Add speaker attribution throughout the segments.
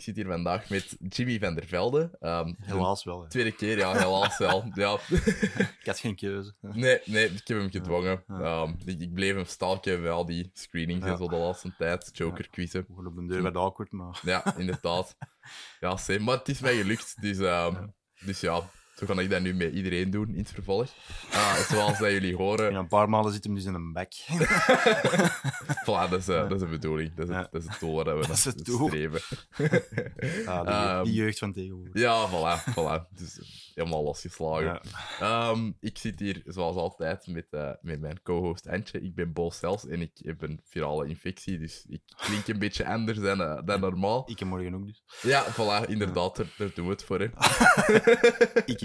Speaker 1: zit hier vandaag met Jimmy van der Velde. Ehm,
Speaker 2: Helaas wel. hè.
Speaker 1: Tweede keer, ja, helaas wel. Ja.
Speaker 2: Ik had geen keuze.
Speaker 1: Nee, nee, ik heb hem gedwongen.
Speaker 2: Ja,
Speaker 1: Ehm, ik, ik bleef hem stalken bij al die screenings en
Speaker 2: Ja.
Speaker 1: zo de laatste tijd. Joker quizzen.
Speaker 2: Gewoon op de deur werd awkward, maar
Speaker 1: Ja, inderdaad. Ja, same. Maar het is mij gelukt. Dus, ehm, dus ja, zo kan ik dat nu met iedereen doen in het vervolg. Ah, zoals dat jullie horen,
Speaker 2: in een paar malen zit hem dus in een bek.
Speaker 1: voilà, dat, is, eh, dat is de bedoelig. Dat is, het-
Speaker 2: Ja.
Speaker 1: dat is het doel waar we naar
Speaker 2: is het doel.
Speaker 1: streven.
Speaker 2: Ah, die,
Speaker 1: Ehm,
Speaker 2: die jeugd van tegenwoordig.
Speaker 1: Ja, voilà, voilà. Dus eh, helemaal losgeslagen.
Speaker 2: Ja.
Speaker 1: Ehm, ik zit hier zoals altijd met, eh, met mijn co-host Antje. Ik ben Bo Cels en ik heb een virale infectie, dus ik klink een beetje anders dan, eh, dan normaal.
Speaker 2: Ik heb morgen ook dus.
Speaker 1: Ja, voilà, inderdaad, daar, daar doen we het voor. Hè.
Speaker 2: Ik niet.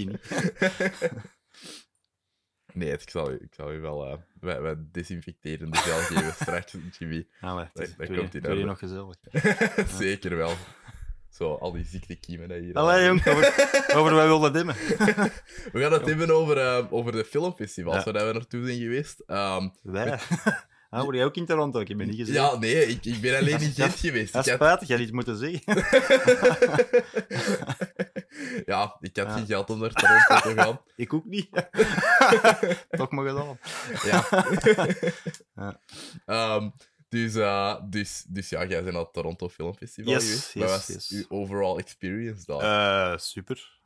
Speaker 1: Nee, het- ik zal, u- ik zal u wel. eh wij, wij desinfecteren de gel geven straks, Jimmy.
Speaker 2: Ah, maar het
Speaker 1: Nee,
Speaker 2: is-
Speaker 1: dat
Speaker 2: het
Speaker 1: komt
Speaker 2: wordt
Speaker 1: in
Speaker 2: het wordt hier
Speaker 1: orde.
Speaker 2: nog gezellig.
Speaker 1: Zeker wel. Zo, al die ziektekiemen die hier.
Speaker 2: Allee, jong, over, over wij wilden dimmen.
Speaker 1: We gaan het hebben over, eh, over de filmfestivals
Speaker 2: Ja.
Speaker 1: waar dat we naartoe zijn geweest. Ehm,
Speaker 2: Wij. Ah, word jij ook in Toronto? Ik heb je niet gezien.
Speaker 1: ja, nee, ik, ik ben alleen
Speaker 2: Dat is-
Speaker 1: in Gent geweest.
Speaker 2: dat
Speaker 1: Ik
Speaker 2: is
Speaker 1: had-
Speaker 2: spijtig, jij had iets moeten zeggen.
Speaker 1: ja, ik had
Speaker 2: Ja.
Speaker 1: geen geld om naar Toronto te gaan.
Speaker 2: Ik ook niet. Toch maar gedaan.
Speaker 1: Ja.
Speaker 2: Ja.
Speaker 1: Ehm, dus, eh, dus, dus ja, jij bent naar het Toronto Film Festival
Speaker 2: Yes,
Speaker 1: geweest.
Speaker 2: yes,
Speaker 1: Wat was
Speaker 2: yes.
Speaker 1: uw overall experience daar?
Speaker 2: Eh, super.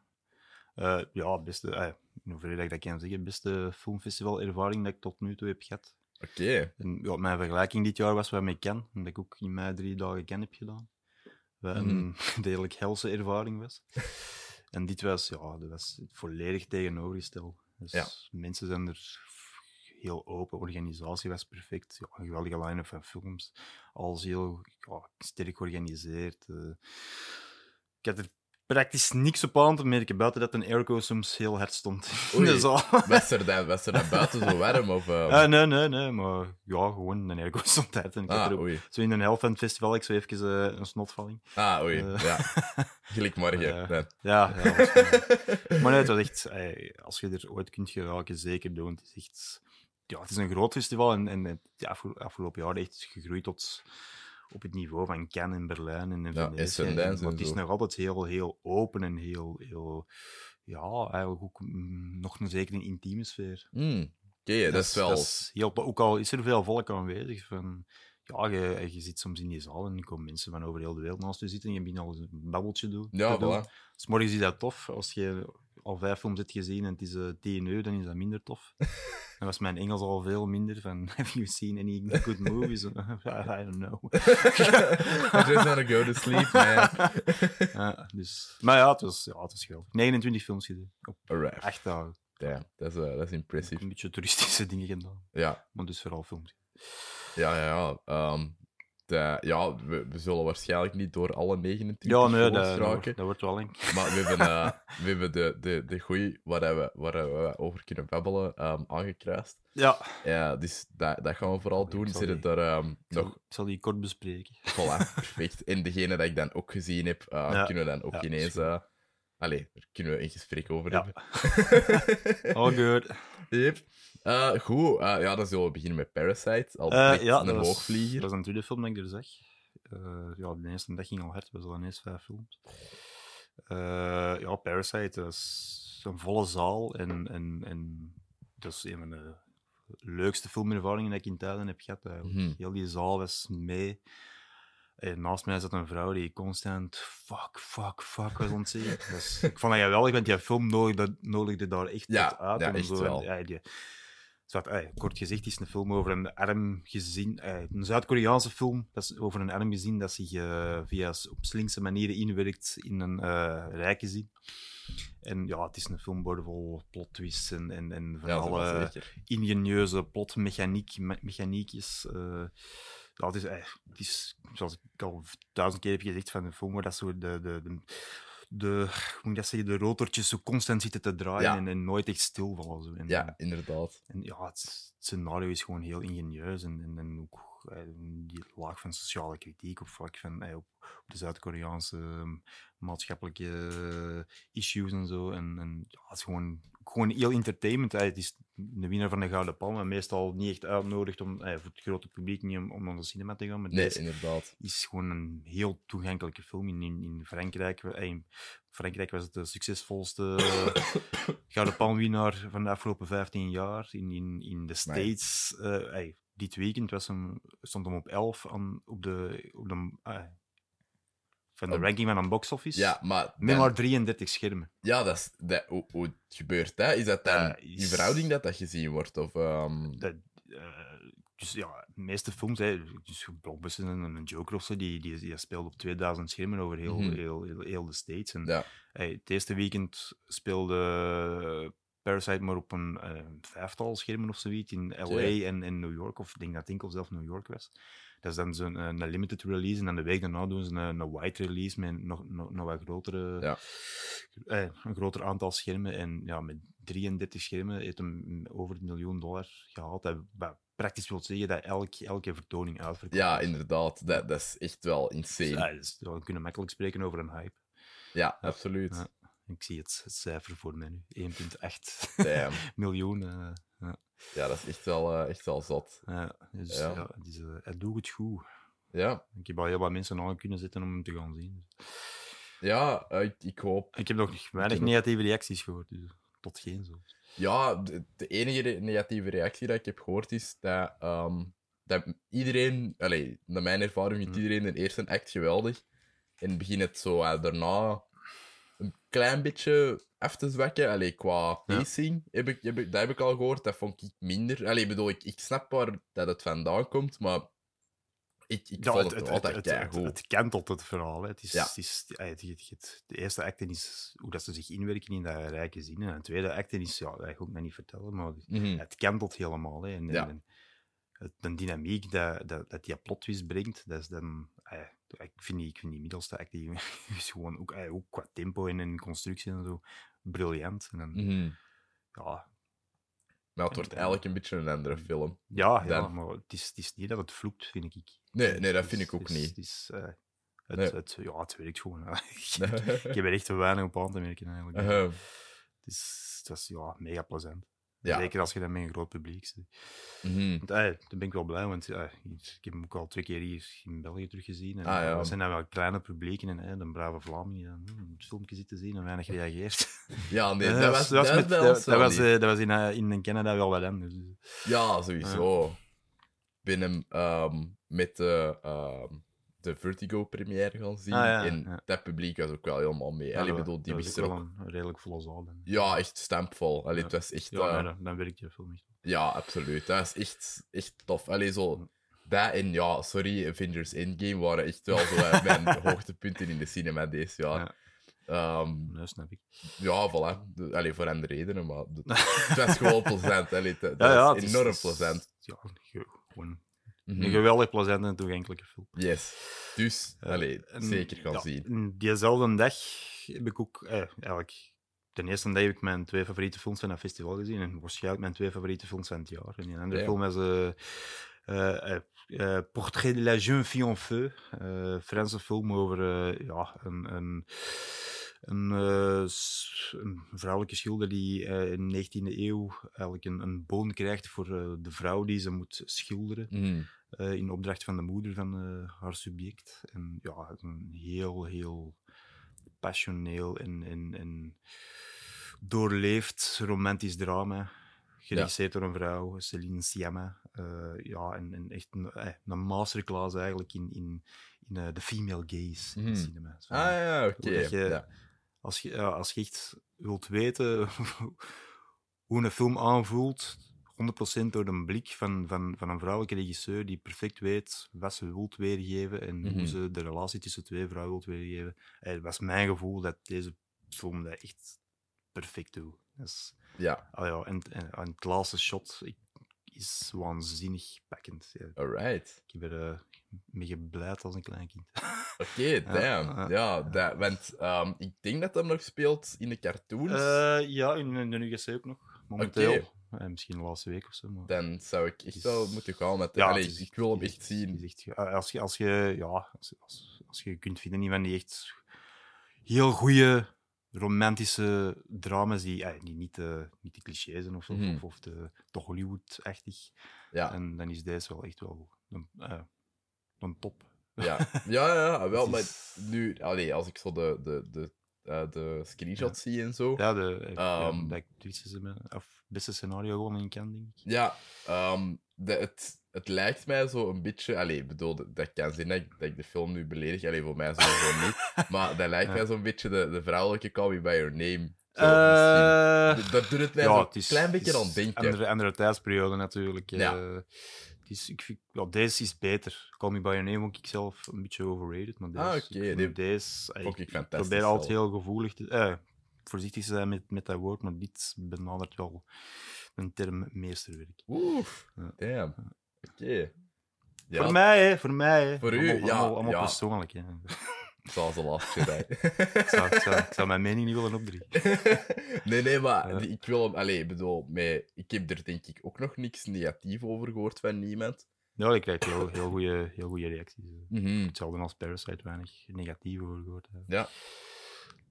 Speaker 2: Eh, ja, beste, eh, in hoeverre dat ik dat kan zeggen, beste filmfestivalervaring dat ik tot nu toe heb gehad.
Speaker 1: Oké,
Speaker 2: En, ja, mijn vergelijking dit jaar was wat ik ken, omdat ik ook in mijn drie dagen ken heb gedaan. Wat
Speaker 1: Mm.
Speaker 2: een redelijk helse ervaring was. en dit was, ja, dat was volledig tegenovergesteld. Dus
Speaker 1: Ja.
Speaker 2: mensen zijn er heel open, organisatie was perfect. Ja, een geweldige line-up van films. Alles heel ja, sterk georganiseerd. eh. ik had er praktisch niks op aan te merken, buiten dat een airco soms heel hard stond in
Speaker 1: Oei.
Speaker 2: de zaal.
Speaker 1: was, er dan, was er dan buiten zo warm? Of, ehm,
Speaker 2: Eh, nee, nee, nee, maar ja, gewoon een airco stond uit. En ik had
Speaker 1: ah,
Speaker 2: er ook-
Speaker 1: oei.
Speaker 2: zo in de helft van het festival, ik zo even eh, een snotvalling.
Speaker 1: Ah, oei.
Speaker 2: Eh.
Speaker 1: Ja, gelijk morgen.
Speaker 2: Ja.
Speaker 1: Nee.
Speaker 2: Ja, ja waarschijnlijk. maar nee, het was echt, eh, als je er ooit kunt geraken, zeker doen. Het is echt, ja, het is een groot festival en, en het is afge- afgelopen jaar echt gegroeid tot op het niveau van Cannes en Berlijn en, en
Speaker 1: Ja,
Speaker 2: Venetië.
Speaker 1: Essen, Dance
Speaker 2: maar
Speaker 1: en
Speaker 2: het is
Speaker 1: zo.
Speaker 2: nog altijd heel, heel open en heel, heel ja, eigenlijk ook mm, nog een zekere intieme sfeer.
Speaker 1: Hmm, Oké, dat is wel...
Speaker 2: heel, ook al is er veel volk aanwezig. Van, ja, je, je zit soms in die zaal en er komen mensen van over heel de wereld naast je zitten en je begint al eens een babbeltje doen.
Speaker 1: Ja,
Speaker 2: te doen.
Speaker 1: voilà.
Speaker 2: Dus morgens is dat tof. Als je al vijf films hebt gezien en het is eh tien uur, dan is dat minder tof. Dan was mijn Engels al veel minder van, have you seen any good movies? I don't know.
Speaker 1: I just wanna go to sleep, man.
Speaker 2: Ja, dus, maar ja, het was, ja, het was geweldig. 29 films gezien, op
Speaker 1: Alright.
Speaker 2: acht dagen.
Speaker 1: Damn, dat is, eh, dat is impressief.
Speaker 2: Een beetje toeristische dingen gedaan,
Speaker 1: Ja,
Speaker 2: maar dus vooral films.
Speaker 1: Ja, ja, ja. Ehm, de- ja, we, we zullen waarschijnlijk niet door alle 29
Speaker 2: Ja, nee,
Speaker 1: films
Speaker 2: dat, dat, wordt,
Speaker 1: geraken.
Speaker 2: dat wordt wel eng.
Speaker 1: Maar we hebben, eh, we hebben de, de, de goeie waar we, waar we over kunnen babbelen ehm aangekruist.
Speaker 2: Ja,
Speaker 1: Ja, dus dat, dat gaan we vooral
Speaker 2: Ik
Speaker 1: doen.
Speaker 2: zal
Speaker 1: Zitten
Speaker 2: die-
Speaker 1: er ehm,
Speaker 2: Ik zal,
Speaker 1: nog...
Speaker 2: ik zal die kort bespreken.
Speaker 1: Voilà, perfect. En degene dat ik dan ook gezien heb, eh,
Speaker 2: Ja.
Speaker 1: kunnen we dan ook
Speaker 2: Ja,
Speaker 1: ineens...
Speaker 2: is goed.
Speaker 1: eh, allee, daar kunnen we een gesprek over
Speaker 2: Ja.
Speaker 1: hebben.
Speaker 2: All Oh, good.
Speaker 1: Yep. Eh, goed, eh, ja, dan zullen we beginnen met Parasite. Al
Speaker 2: Eh,
Speaker 1: direct
Speaker 2: ja,
Speaker 1: een
Speaker 2: dat was,
Speaker 1: hoogvlieger.
Speaker 2: Dat was een tweede film dat ik er zag. Eh, ja, de eerste dag ging al hard. We hadden ineens vijf films. Eh, ja, Parasite dat is een volle zaal. En, en, en dat is een van de leukste filmervaringen die ik in tijden heb gehad. Eigenlijk.
Speaker 1: Mhm.
Speaker 2: Heel die zaal was mee. En naast mij zat een vrouw die constant fuck, fuck, fuck was ontzien. dus, ik vond dat geweldig, want die film nodigde, nodigde daar echt
Speaker 1: Ja,
Speaker 2: tot uit.
Speaker 1: ja,
Speaker 2: en
Speaker 1: echt
Speaker 2: zo. En,
Speaker 1: wel.
Speaker 2: ja, die- Zwart, ey, eh, kort gezegd is een film over een arm gezin, ey, een Zuid-Koreaanse film, dat is over een arm gezin dat zich eh, via s- op slinkse manieren inwerkt in een eh rijk gezin. En ja, het is een film vol plot twists en, en, en van
Speaker 1: Ja, dat was
Speaker 2: alle
Speaker 1: lekker.
Speaker 2: ingenieuze plotmechaniek me- mechaniek is. eh, ja, het, is eh, het is, zoals ik al v- duizend keer heb gezegd van de film, waar dat zo de, de, de, de, hoe moet ik dat zeggen, de rotortjes zo constant zitten te draaien
Speaker 1: Ja.
Speaker 2: en, en nooit echt stilvallen. Zo. En,
Speaker 1: Ja, inderdaad.
Speaker 2: en ja, het, het scenario is gewoon heel ingenieus en, en, en ook eh, die laag van sociale kritiek op vlak van eh, op, op de Zuid-Koreaanse ehm, maatschappelijke eh, issues en zo. En, en ja, het is gewoon, gewoon heel entertainment. eh. Het is de winnaar van de Gouden Palm, en meestal niet echt uitnodigt om, eh, voor het grote publiek niet om, om naar de cinema te gaan. Maar
Speaker 1: Nee,
Speaker 2: deze
Speaker 1: inderdaad.
Speaker 2: is gewoon een heel toegankelijke film. In, in, in Frankrijk, eh, in Frankrijk was het de succesvolste Gouden Palmwinnaar van de afgelopen 15 jaar. In, in, in de States, eh, ey, dit weekend was hem, stond hem op 11 aan, op de, op de, eh, van de
Speaker 1: Op-
Speaker 2: ranking van een box office.
Speaker 1: Ja, maar...
Speaker 2: Met
Speaker 1: dan-
Speaker 2: maar 33 schermen.
Speaker 1: Ja, dat is, dat, hoe, hoe gebeurt dat? Is dat dan
Speaker 2: Dat
Speaker 1: in
Speaker 2: is-
Speaker 1: verhouding dat dat gezien wordt? Of, ehm,
Speaker 2: Dat, eh, dus ja, de meeste films, hè, dus blockbusters en een Joker of zo, die, die, die speelde op 2000 schermen over heel,
Speaker 1: Mhm.
Speaker 2: heel, heel, heel de States. En,
Speaker 1: Ja.
Speaker 2: hey, het eerste weekend speelde eh, Parasite maar op een eh, vijftal schermen of zoiets in LA
Speaker 1: Ja.
Speaker 2: en, en New York, of ik denk dat het enkel zelf New York was. Dat is dan zo'n eh, een limited release en dan de week daarna doen ze een, een wide release met nog, nog, nog wat grotere,
Speaker 1: Ja.
Speaker 2: eh, een groter aantal schermen. En ja, met 33 schermen heeft hem over een miljoen dollar gehaald. Dat, wat praktisch wil zeggen dat elk, elke vertoning uitverkoopt.
Speaker 1: ja, inderdaad. Dat, dat is echt wel
Speaker 2: Dus,
Speaker 1: insane.
Speaker 2: ja, dus we kunnen makkelijk spreken over een hype.
Speaker 1: Ja, absoluut.
Speaker 2: Ja. Ik zie het, het cijfer voor mij nu. 1,8
Speaker 1: Damn.
Speaker 2: miljoen. eh, ja.
Speaker 1: Ja, dat is echt wel, eh, echt wel zat.
Speaker 2: Ja, dus
Speaker 1: Ja.
Speaker 2: ja. het is, eh, het doet het goed.
Speaker 1: Ja,
Speaker 2: Ik heb al heel wat mensen aan kunnen zitten om hem te gaan zien.
Speaker 1: ja eh, ik, ik hoop.
Speaker 2: Ik heb nog weinig
Speaker 1: heb ook-
Speaker 2: negatieve reacties gehoord. Dus tot geen zo.
Speaker 1: Ja, de, de enige re- negatieve reactie dat ik heb gehoord is dat, ehm, dat iedereen, allee, naar mijn ervaring, vindt
Speaker 2: Mm.
Speaker 1: iedereen de eerste act geweldig. En begint het zo eh, daarna een klein beetje af te zwakken. Allee, qua
Speaker 2: Ja.
Speaker 1: pacing, heb ik, heb ik, dat heb ik al gehoord. Dat vond ik minder. Allee, bedoel, ik, ik snap waar dat het vandaan komt, maar ik, ik vond het, nog altijd
Speaker 2: het, het,
Speaker 1: keigoed.
Speaker 2: het kentelt het verhaal. hè. Het is,
Speaker 1: Ja.
Speaker 2: het is, ja, het, het- het- de eerste acte is hoe dat ze zich inwerken in dat rijke zin. En de tweede acte is, ja, dat ga ik me niet vertellen, maar
Speaker 1: Mhm.
Speaker 2: het kentelt helemaal. Hè. En,
Speaker 1: Ja.
Speaker 2: en het, de dynamiek dat, dat, dat die plot twist brengt, dat is dan... ah ja, ik, vind die, ik vind die middelste act die is gewoon ook, ah ja, ook qua tempo en, en constructie en zo briljant. En dan,
Speaker 1: Mhm.
Speaker 2: ja,
Speaker 1: Maar het wordt eigenlijk een beetje een andere film.
Speaker 2: ja, ja,
Speaker 1: Dan-
Speaker 2: maar het is, het is niet dat het vloekt, vind ik.
Speaker 1: Nee, nee, dat
Speaker 2: Het
Speaker 1: vind
Speaker 2: is-
Speaker 1: ik ook
Speaker 2: het is-
Speaker 1: niet.
Speaker 2: Het, is, eh, het,
Speaker 1: Nee. Uh-huh.
Speaker 2: het, ja, het werkt gewoon. ik, heb- ik heb er echt te weinig op aan te merken eigenlijk.
Speaker 1: Ehem.
Speaker 2: Het, is, het was ja, mega plezant.
Speaker 1: Ja.
Speaker 2: Zeker als je dat met een groot publiek ziet.
Speaker 1: Mhm.
Speaker 2: Want, eh, daar ben ik wel blij, want eh, ik heb hem ook al twee keer hier in België teruggezien. En, eh,
Speaker 1: Ah, ja.
Speaker 2: Dat zijn dan wel kleine publieken en eh, een brave Vlaming die dan hm, het filmpje zit te zien en weinig reageert.
Speaker 1: Ja, nee,
Speaker 2: Eh,
Speaker 1: dat was, dat was
Speaker 2: met-
Speaker 1: bij
Speaker 2: dat-
Speaker 1: ons
Speaker 2: dat
Speaker 1: wel
Speaker 2: was,
Speaker 1: niet.
Speaker 2: eh, dat was in, eh, in Canada wel wat anders. Dus,
Speaker 1: Ja, sowieso. Binnen ehm, met de, ehm, de Vertigo-première gaan zien.
Speaker 2: Ah, ja,
Speaker 1: en
Speaker 2: ja.
Speaker 1: dat publiek was ook wel helemaal mee. Allee,
Speaker 2: dat-
Speaker 1: ik bedoel, die
Speaker 2: Eh, dat was
Speaker 1: wist
Speaker 2: ook
Speaker 1: er
Speaker 2: wel
Speaker 1: ook...
Speaker 2: een redelijk volle zaal. dan.
Speaker 1: Ja, echt stampvol. Allee,
Speaker 2: Ja.
Speaker 1: het was echt...
Speaker 2: Ja,
Speaker 1: eh,
Speaker 2: nee, dan, dan werkt je film echt.
Speaker 1: ja, absoluut. Dat is echt, echt tof. Allee, zo... Dat en ja, sorry, Avengers Endgame waren echt wel zo eh, mijn hoogtepunten in de cinema deze jaar. Ehm, Ja,
Speaker 2: Nee, snap ik.
Speaker 1: ja voilà. De- Allee, voor andere redenen, maar... de- Het was gewoon plezant. Allee, het, het was
Speaker 2: het is-
Speaker 1: enorm
Speaker 2: het is-
Speaker 1: plezant.
Speaker 2: Ja, ge- gewoon
Speaker 1: Mhm.
Speaker 2: een geweldig plezant en toegankelijke film.
Speaker 1: Yes. Dus,
Speaker 2: Eh,
Speaker 1: allee,
Speaker 2: en-
Speaker 1: zeker gaan
Speaker 2: ja,
Speaker 1: zien.
Speaker 2: en Diezelfde dag heb ik ook, eh, eigenlijk, de eerste dag heb ik mijn twee favoriete films van het festival gezien. En waarschijnlijk mijn twee favoriete films van het jaar. En die andere
Speaker 1: Ja.
Speaker 2: film was eh, eh, eh, eh, Portrait de la jeune fille en feu. Eh, Franse film over eh, ja, een. een een, eh, s- een vrouwelijke schilder die eh, in de 19e eeuw eigenlijk een, een boon krijgt voor eh, de vrouw die ze moet schilderen
Speaker 1: Mhm.
Speaker 2: eh, in opdracht van de moeder van eh, haar subject. En ja, het is een heel, heel passioneel en, en, en doorleefd romantisch drama. Geregisseerd door een vrouw, Celine Siama. Eh, ja, en, en echt een, eh, een masterclass eigenlijk in, in, in eh, de female gaze in
Speaker 1: Mhm.
Speaker 2: het cinema. Zo,
Speaker 1: Ah ja, oké.
Speaker 2: hoe dat je-
Speaker 1: Ja.
Speaker 2: als, je, ja, als je echt wilt weten hoe een film aanvoelt, 100% door de blik van, van, van een vrouwelijke regisseur die perfect weet wat ze wilt weergeven en
Speaker 1: Mhm.
Speaker 2: hoe ze de relatie tussen twee vrouwen wilt weergeven. Eh, Het was mijn gevoel dat deze film dat echt perfect doet. Dat is-
Speaker 1: ja,
Speaker 2: ah ja, en, en, en het laatste shot ik- is waanzinnig pakkend. Ja,
Speaker 1: alright.
Speaker 2: ik heb er eh, mee geblijd als een klein kind.
Speaker 1: Oké,
Speaker 2: Ja,
Speaker 1: damn. Ja,
Speaker 2: ja,
Speaker 1: dat, want ehm, ik denk dat dat nog speelt in de cartoons.
Speaker 2: Eh, ja, in, in de UGC ook nog. Momenteel.
Speaker 1: Oké.
Speaker 2: Eh, misschien de laatste week of zo. Maar...
Speaker 1: Dan zou ik echt
Speaker 2: is-
Speaker 1: wel moeten gaan met...
Speaker 2: Ja,
Speaker 1: allee,
Speaker 2: het is
Speaker 1: ik wil hem
Speaker 2: het is
Speaker 1: echt zien.
Speaker 2: het is echt ge- eh, als, je, als, je, ja, als, als, als je kunt vinden, die van die echt heel goede romantische dramas die, eh, die niet, de niet de clichés zijn of zo,
Speaker 1: Mhm.
Speaker 2: of, of de, te Hollywood-achtig.
Speaker 1: Ja,
Speaker 2: En dan is deze wel echt wel een, eh, een top.
Speaker 1: ja. ja, ja, ja, wel.
Speaker 2: Het
Speaker 1: Maar
Speaker 2: is-
Speaker 1: nu, allee, als ik zo de, de, de, eh, de screenshots zie en zo.
Speaker 2: Ja, de eh, ja,
Speaker 1: Ehm.
Speaker 2: dat actrices hebben- of beste scenario gewoon in kan, denk ik.
Speaker 1: Ja, ehm, de, het, het lijkt mij zo een beetje. Allee, ik bedoel, dat- dat kan zijn dat ik, dat ik de film nu beledig. Allee, voor mij sowieso niet. Maar dat lijkt
Speaker 2: Ja.
Speaker 1: mij zo'n beetje de, de vrouwelijke Call Me By Your Name. Zo, misschien.
Speaker 2: Eh,
Speaker 1: D- dat doet het mij
Speaker 2: ja,
Speaker 1: zo'n
Speaker 2: het is-
Speaker 1: klein beetje
Speaker 2: het is
Speaker 1: aan denken.
Speaker 2: Andere, andere tijdsperiode natuurlijk. eh.
Speaker 1: Ja.
Speaker 2: het is, ik vind, ja, deze is beter. Call Me By Your Name vond ik zelf een beetje overrated. Maar deze,
Speaker 1: Ah,
Speaker 2: ik
Speaker 1: oké,
Speaker 2: vond
Speaker 1: die
Speaker 2: deze eh,
Speaker 1: vond ik fantastisch
Speaker 2: probeer altijd
Speaker 1: zelf.
Speaker 2: heel gevoelig te eh, voorzichtig te zijn met, met dat woord, maar dit benadert wel een term meesterwerk.
Speaker 1: Oeh,
Speaker 2: Ja.
Speaker 1: damn. Oké. Ja,
Speaker 2: Voor mij, hè, voor mij. Hè.
Speaker 1: Voor u,
Speaker 2: allemaal,
Speaker 1: ja,
Speaker 2: Allemaal, allemaal
Speaker 1: ja.
Speaker 2: persoonlijk. Hè.
Speaker 1: Zoals de laatste Jedi.
Speaker 2: Ik, zou, ik, zou, ik zou mijn mening niet willen opdringen.
Speaker 1: nee, nee, maar
Speaker 2: Ja.
Speaker 1: die- ik wil hem... Allee, ik bedoel, mij, ik heb er denk ik ook nog niks negatief over gehoord van niemand.
Speaker 2: Ja, ik krijg heel, heel goede heel goede reacties. hè.
Speaker 1: Mhm.
Speaker 2: Hetzelfde als Parasite, weinig negatief over gehoord. hè.
Speaker 1: Ja.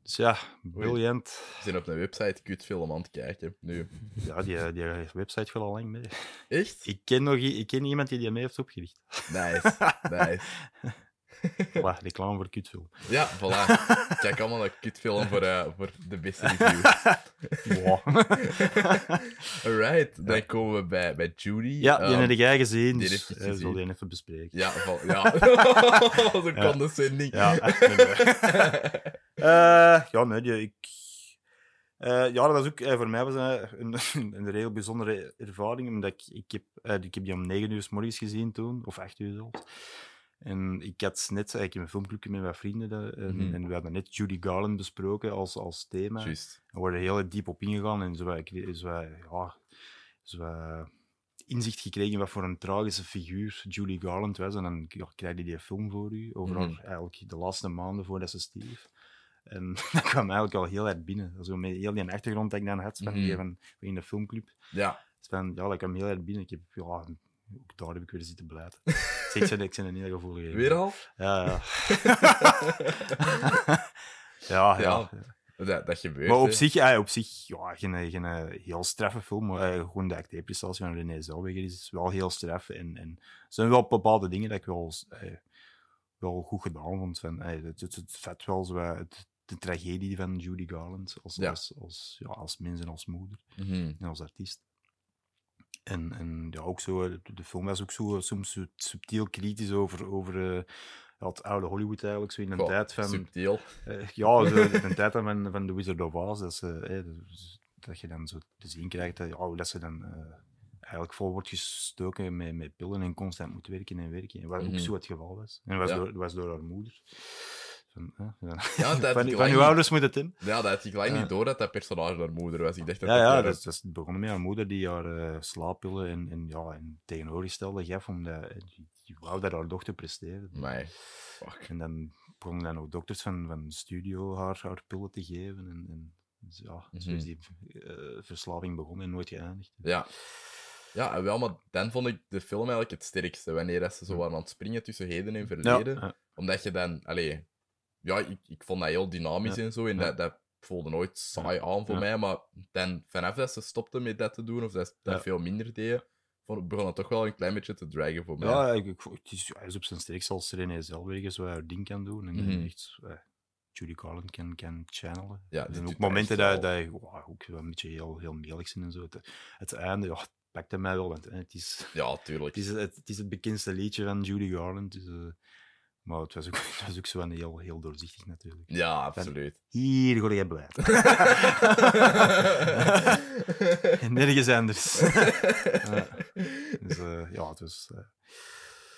Speaker 2: Dus ja, briljant.
Speaker 1: We zijn op een website kutfilm aan het kijken. Nu.
Speaker 2: Ja, die, eh, die website gaat al lang mee.
Speaker 1: Echt?
Speaker 2: Ik ken, nog, i- ik ken iemand die die mee heeft opgericht.
Speaker 1: Nice, nice.
Speaker 2: Voilà, reclame voor kutfilm.
Speaker 1: Ja, voilà. Kijk allemaal naar kutfilm voor, eh, voor de beste review.
Speaker 2: Wow.
Speaker 1: Alright, dan komen we bij, bij Judy.
Speaker 2: Ja, die
Speaker 1: Ehm,
Speaker 2: heb jij gezien,
Speaker 1: die
Speaker 2: dus
Speaker 1: heb ik
Speaker 2: eh, we zullen
Speaker 1: gezien.
Speaker 2: die even bespreken.
Speaker 1: Ja, van, ja. Zo'n
Speaker 2: Ja.
Speaker 1: condescending.
Speaker 2: Ja, echt minder. Eh, ja, nee, die, ik... eh, ja, dat was ook... eh, voor mij was dat een, een, heel bijzondere ervaring, omdat ik... Ik heb, eh, ik heb die om negen uur s morgens gezien toen, of acht uur zelfs. En ik had net... eh, ik heb een filmclubje met mijn vrienden dat- en,
Speaker 1: Mhm.
Speaker 2: en we hadden net Judy Garland besproken als, als thema.
Speaker 1: Juist.
Speaker 2: We worden heel diep op ingegaan en zo, wat- zo, wat- ja, zo wat inzicht gekregen in wat voor een tragische figuur Julie Garland was. En dan ja, krijg je die film voor u over haar
Speaker 1: Mhm.
Speaker 2: eigenlijk de laatste maanden voordat ze stierf. En dat kwam eigenlijk al heel erg binnen. Zo met heel die achtergrond dat ik dan had van, die,
Speaker 1: Mhm.
Speaker 2: van, van in de filmclub.
Speaker 1: Ja,
Speaker 2: Dus van, ja, dat kwam heel erg binnen. Ik heb, ja, ook daar heb ik weer zitten blijven. Zeg, ik ben- ik ben een heel gevoelige. jongen.
Speaker 1: weer al?
Speaker 2: Ja, ja. ja, ja.
Speaker 1: Dat, dat gebeurt.
Speaker 2: Maar op
Speaker 1: hè.
Speaker 2: zich, eh, op zich ja, geen, geen eh, heel straffe film. Maar eh, gewoon de acteerprestatie van René Zellweger is wel heel straf. En, en er zijn wel bepaalde dingen dat ik wel, eh, wel goed gedaan vond. Van, eh, het, het, het vet wel zo, eh, het- de tragedie van Judy Garland als,
Speaker 1: Ja.
Speaker 2: als, als, ja, als mens en als moeder
Speaker 1: Mhm.
Speaker 2: en als artiest. En, en ja, ook zo, eh, de, de film was ook zo, eh, soms zo subtiel kritisch over, over eh, ja, het oude Hollywood eigenlijk. Zo in een
Speaker 1: Goh,
Speaker 2: tijd van,
Speaker 1: Subtiel.
Speaker 2: eh, ja, zo, de tijd dan van, van The Wizard of Oz, dat, ze, eh, dus dat je dan zo te zien krijgt dat, ja, dat ze dan eh, eigenlijk vol wordt gestoken met, met pillen en constant moet werken en werken. En Wat
Speaker 1: Mhm.
Speaker 2: ook zo het geval was. En dat was,
Speaker 1: Ja.
Speaker 2: door, dat was door haar moeder. Van, eh, van,
Speaker 1: Ja, dat
Speaker 2: van,
Speaker 1: ik lang
Speaker 2: van uw
Speaker 1: niet-
Speaker 2: ouders moet het in.
Speaker 1: Ja, dat had ik lang
Speaker 2: Ja.
Speaker 1: niet door dat dat personage haar moeder was. Ik dacht dat
Speaker 2: Ja, ja,
Speaker 1: dat-
Speaker 2: dat, is- dat is begonnen met haar moeder die haar eh, slaappillen en, en, ja, en tegenovergestelde gaf, omdat eh, die, die wou dat haar dochter presteerde.
Speaker 1: Amai. Fuck.
Speaker 2: En dan begonnen dan ook dokters van, van de studio haar, haar pillen te geven. En, en dus ja,
Speaker 1: Mhm.
Speaker 2: zo is die eh, verslaving begonnen en nooit geëindigd.
Speaker 1: Ja. Ja, en wel, maar dan vond ik de film eigenlijk het sterkste. Wanneer dat ze zo waren aan het springen tussen heden en verleden.
Speaker 2: Hm. Ja,
Speaker 1: Omdat je dan, allee, ja, ik, ik vond dat heel dynamisch en zo. En
Speaker 2: Ja.
Speaker 1: dat, dat voelde nooit saai aan voor
Speaker 2: Ja.
Speaker 1: mij. Maar dan, vanaf dat ze stopten met dat te doen, of dat ze dat
Speaker 2: Ja.
Speaker 1: veel minder deden, vond, begon het toch wel een klein beetje te dragen voor mij.
Speaker 2: ja, ik, ik, het is, hij is op zijn sterkst als René Zellweger zo haar ding kan doen. En, en
Speaker 1: Mhm.
Speaker 2: echt eh, Judy Garland kan, kan channelen.
Speaker 1: Ja, dus die
Speaker 2: Er zijn
Speaker 1: doet
Speaker 2: ook
Speaker 1: dat
Speaker 2: momenten
Speaker 1: echt
Speaker 2: dat,
Speaker 1: wel.
Speaker 2: dat je wow, ook wel een beetje heel, heel melig zijn en zo. Het, het einde, ja, het pakte mij wel, want eh, het is,
Speaker 1: Ja,
Speaker 2: het,
Speaker 1: tuurlijk.
Speaker 2: is het, het is het bekendste liedje van Judy Garland. Dus, eh, maar het was ook, het was ook zo een heel, heel doorzichtig natuurlijk.
Speaker 1: Ja, absoluut.
Speaker 2: Hier ga jij blij. Nergens anders. Ja. dus eh, ja, het was eh,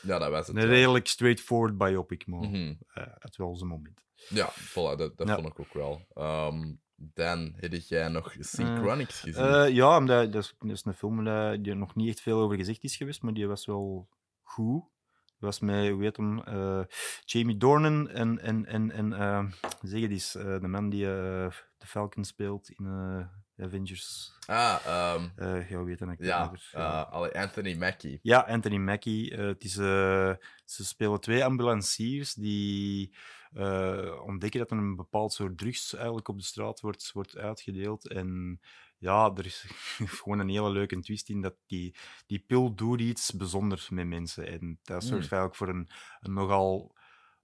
Speaker 1: ja, dat was het.
Speaker 2: een
Speaker 1: ja.
Speaker 2: redelijk straightforward biopic, maar
Speaker 1: Mhm.
Speaker 2: eh, het wel zijn moment.
Speaker 1: Ja, voilà, dat, dat
Speaker 2: Ja.
Speaker 1: vond ik ook wel. Ehm, dan heb jij nog Synchronics gezien.
Speaker 2: Eh, ja, omdat, dat, is, dat is een film eh, die er nog niet echt veel over gezegd is geweest, maar die was wel goed. Die was met, hoe heet hem, eh, Jamie Dornan en, en, en, en eh, zeg het eens, eh, de man die eh, de Falcon speelt in eh, Avengers.
Speaker 1: Ah, ehm,
Speaker 2: Eh ja, weet een acteur.
Speaker 1: ja.
Speaker 2: maar, ja.
Speaker 1: eh, allee, Anthony Mackie.
Speaker 2: Ja, Anthony Mackie. eh, het is, eh, ze spelen twee ambulanciers die eh, ontdekken dat er een bepaald soort drugs eigenlijk op de straat wordt, wordt uitgedeeld. En ja, er is gewoon een hele leuke twist in dat die, die pil doet iets bijzonders met mensen. En dat
Speaker 1: Hmm.
Speaker 2: zorgt eigenlijk voor een, een nogal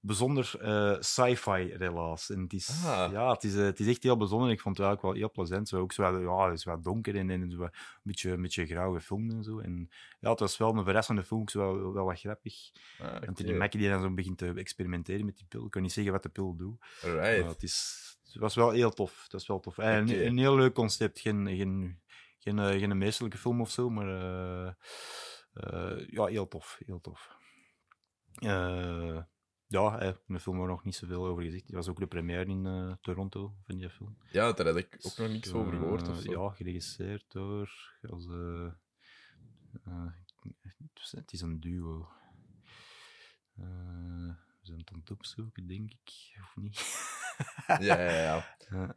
Speaker 2: bijzonder eh, sci-fi relaas. En het is,
Speaker 1: Ah.
Speaker 2: ja, het, is, eh, het is echt heel bijzonder. Ik vond het eigenlijk wel heel plezant. Zo, ook zo, wat- ja, het is wat donker en, en zo, wat- een, beetje, een beetje grauw gefilmd en zo. En ja, het was wel een verrassende film, ook zo wel, wel wat grappig.
Speaker 1: Ah, oké.
Speaker 2: En Anthony Mackie die dan zo begint te experimenteren met die pil. Ik kan niet zeggen wat de pil doet.
Speaker 1: Alright.
Speaker 2: Maar het, is, het was wel heel tof. Het was wel tof. En
Speaker 1: Oké.
Speaker 2: een, een heel leuk concept. Geen, geen, geen, eh, geen meesterlijke film of zo, maar eh, eh, ja, heel tof. Heel tof. Eh, ja, hè, een film waar nog niet zoveel over gezegd. Het was ook de première in eh, Toronto van die film.
Speaker 1: Ja, daar had ik ook nog niks over gehoord of
Speaker 2: Eh,
Speaker 1: zo.
Speaker 2: Ja, geregisseerd door. Als, eh, eh, het is een duo. Eh, we zijn het aan het opzoeken, denk ik, of niet?
Speaker 1: Ja, ja, ja.
Speaker 2: Eh,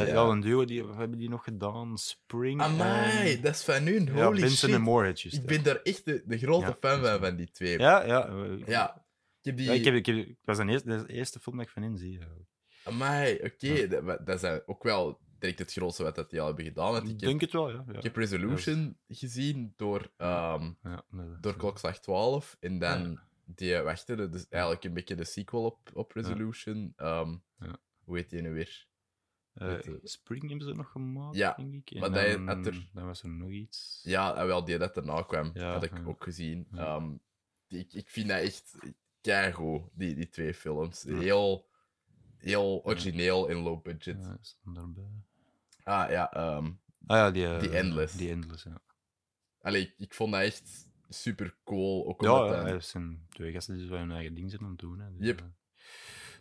Speaker 2: eh,
Speaker 1: Ja.
Speaker 2: ja, een duo, die, wat hebben die nog gedaan? Spring.
Speaker 1: Amai,
Speaker 2: en-
Speaker 1: dat is van hun.
Speaker 2: Ehm, ja,
Speaker 1: Holy
Speaker 2: Benson
Speaker 1: shit.
Speaker 2: en Moorhead, juist,
Speaker 1: Ik
Speaker 2: ja.
Speaker 1: ben daar echt de, de grote
Speaker 2: Ja,
Speaker 1: fan van,
Speaker 2: Benson.
Speaker 1: van die twee.
Speaker 2: Ja, ja. eh,
Speaker 1: Ja. Ik heb die...
Speaker 2: ja, ik heb, ik heb, het was een eerste, de eerste film dat ik van in zie. eh. eigenlijk.
Speaker 1: Amai, oké.
Speaker 2: Ja.
Speaker 1: Dat, wa- dat zijn ook wel direct het grootste wat dat die al hebben gedaan. Want
Speaker 2: Ik
Speaker 1: ik, heb,
Speaker 2: denk het wel, ja. ja.
Speaker 1: ik heb Resolution gezien door, ehm,
Speaker 2: Ja, maar-
Speaker 1: door klokslag 12. En dan die wachten, dus eigenlijk een beetje de sequel op, op Resolution. Ehm,
Speaker 2: Ja.
Speaker 1: Hoe heet die nu weer?
Speaker 2: Eh,
Speaker 1: Met, eh,
Speaker 2: Spring hebben ze nog gemaakt,
Speaker 1: Ja,
Speaker 2: denk ik. En
Speaker 1: maar dat-
Speaker 2: dan,
Speaker 1: dat er-
Speaker 2: dan was er nog iets.
Speaker 1: Ja, en wel, die dat erna kwam,
Speaker 2: Ja,
Speaker 1: had ik
Speaker 2: ja.
Speaker 1: ook gezien.
Speaker 2: Ja.
Speaker 1: Ehm, die- ik, ik vind dat echt keigoed, die, die twee films.
Speaker 2: Ja.
Speaker 1: Heel, heel origineel en low budget.
Speaker 2: Ja, staan daarbij.
Speaker 1: Ah ja, ehm,
Speaker 2: Ah ja, die... eh,
Speaker 1: Die Endless.
Speaker 2: Die Endless, ja.
Speaker 1: Allee, ik, ik vond dat echt super cool. Ook
Speaker 2: Ja,
Speaker 1: omdat eh,
Speaker 2: ja,
Speaker 1: dat-
Speaker 2: er zijn twee gasten die zo hun eigen ding zijn aan het doen. Hè, dus,
Speaker 1: Yep.
Speaker 2: eh,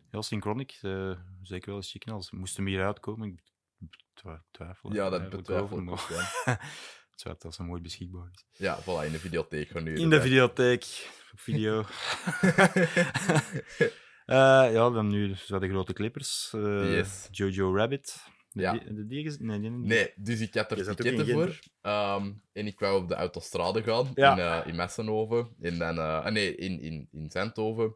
Speaker 2: heel synchronic, eh, zeker wel eens chicken. Als moesten meer uitkomen, ik betwa- twijfel.
Speaker 1: ja, dat
Speaker 2: eigenlijk
Speaker 1: betwijfel
Speaker 2: over,
Speaker 1: ik ook.
Speaker 2: maar-
Speaker 1: ja.
Speaker 2: Het zou dat ze mooi beschikbaar is.
Speaker 1: Ja, voilà, in de videotheek gewoon nu.
Speaker 2: In de
Speaker 1: erbij.
Speaker 2: videotheek, op video. Eh, ja, dan nu dus wel de grote clippers. eh,
Speaker 1: Yes.
Speaker 2: Jojo Rabbit. De
Speaker 1: Ja.
Speaker 2: die- De, die gez- nee, die-
Speaker 1: Nee, dus ik had er
Speaker 2: Hm. Je zat ook
Speaker 1: ticketten
Speaker 2: in
Speaker 1: voor.
Speaker 2: Gent,
Speaker 1: ehm, en ik wou op de autostrade gaan
Speaker 2: Ja.
Speaker 1: in, eh, in Messenhoven. En dan, eh, ah, nee, in, in, in Zendhoven.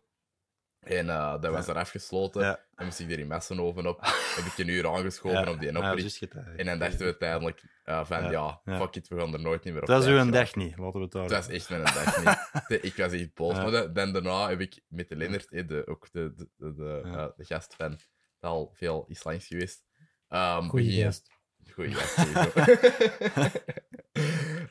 Speaker 1: En eh, dat was
Speaker 2: Ja.
Speaker 1: er afgesloten.
Speaker 2: Ja.
Speaker 1: Dan moest ik er in Messenhoven op. Heb ik een uur aangeschoven
Speaker 2: Ja.
Speaker 1: op die
Speaker 2: Ah,
Speaker 1: oprit.
Speaker 2: juist getuigen.
Speaker 1: en dan dachten we uiteindelijk eh, van, ja.
Speaker 2: Ja. Ja.
Speaker 1: fuck it, we gaan er nooit meer op
Speaker 2: Het was
Speaker 1: tijd
Speaker 2: uw
Speaker 1: gaan.
Speaker 2: dag niet, laten we het daar.
Speaker 1: Het was echt mijn dag niet. De- Ik was echt boos.
Speaker 2: Ja.
Speaker 1: Maar dan, dan daarna heb ik met de Lennart, eh, de, ook de, de, de, de,
Speaker 2: Ja.
Speaker 1: eh, de gast van, dat al veel is langs geweest. Ehm,
Speaker 3: Goeie
Speaker 1: begin-
Speaker 3: gast.
Speaker 1: Goeie gast, sowieso.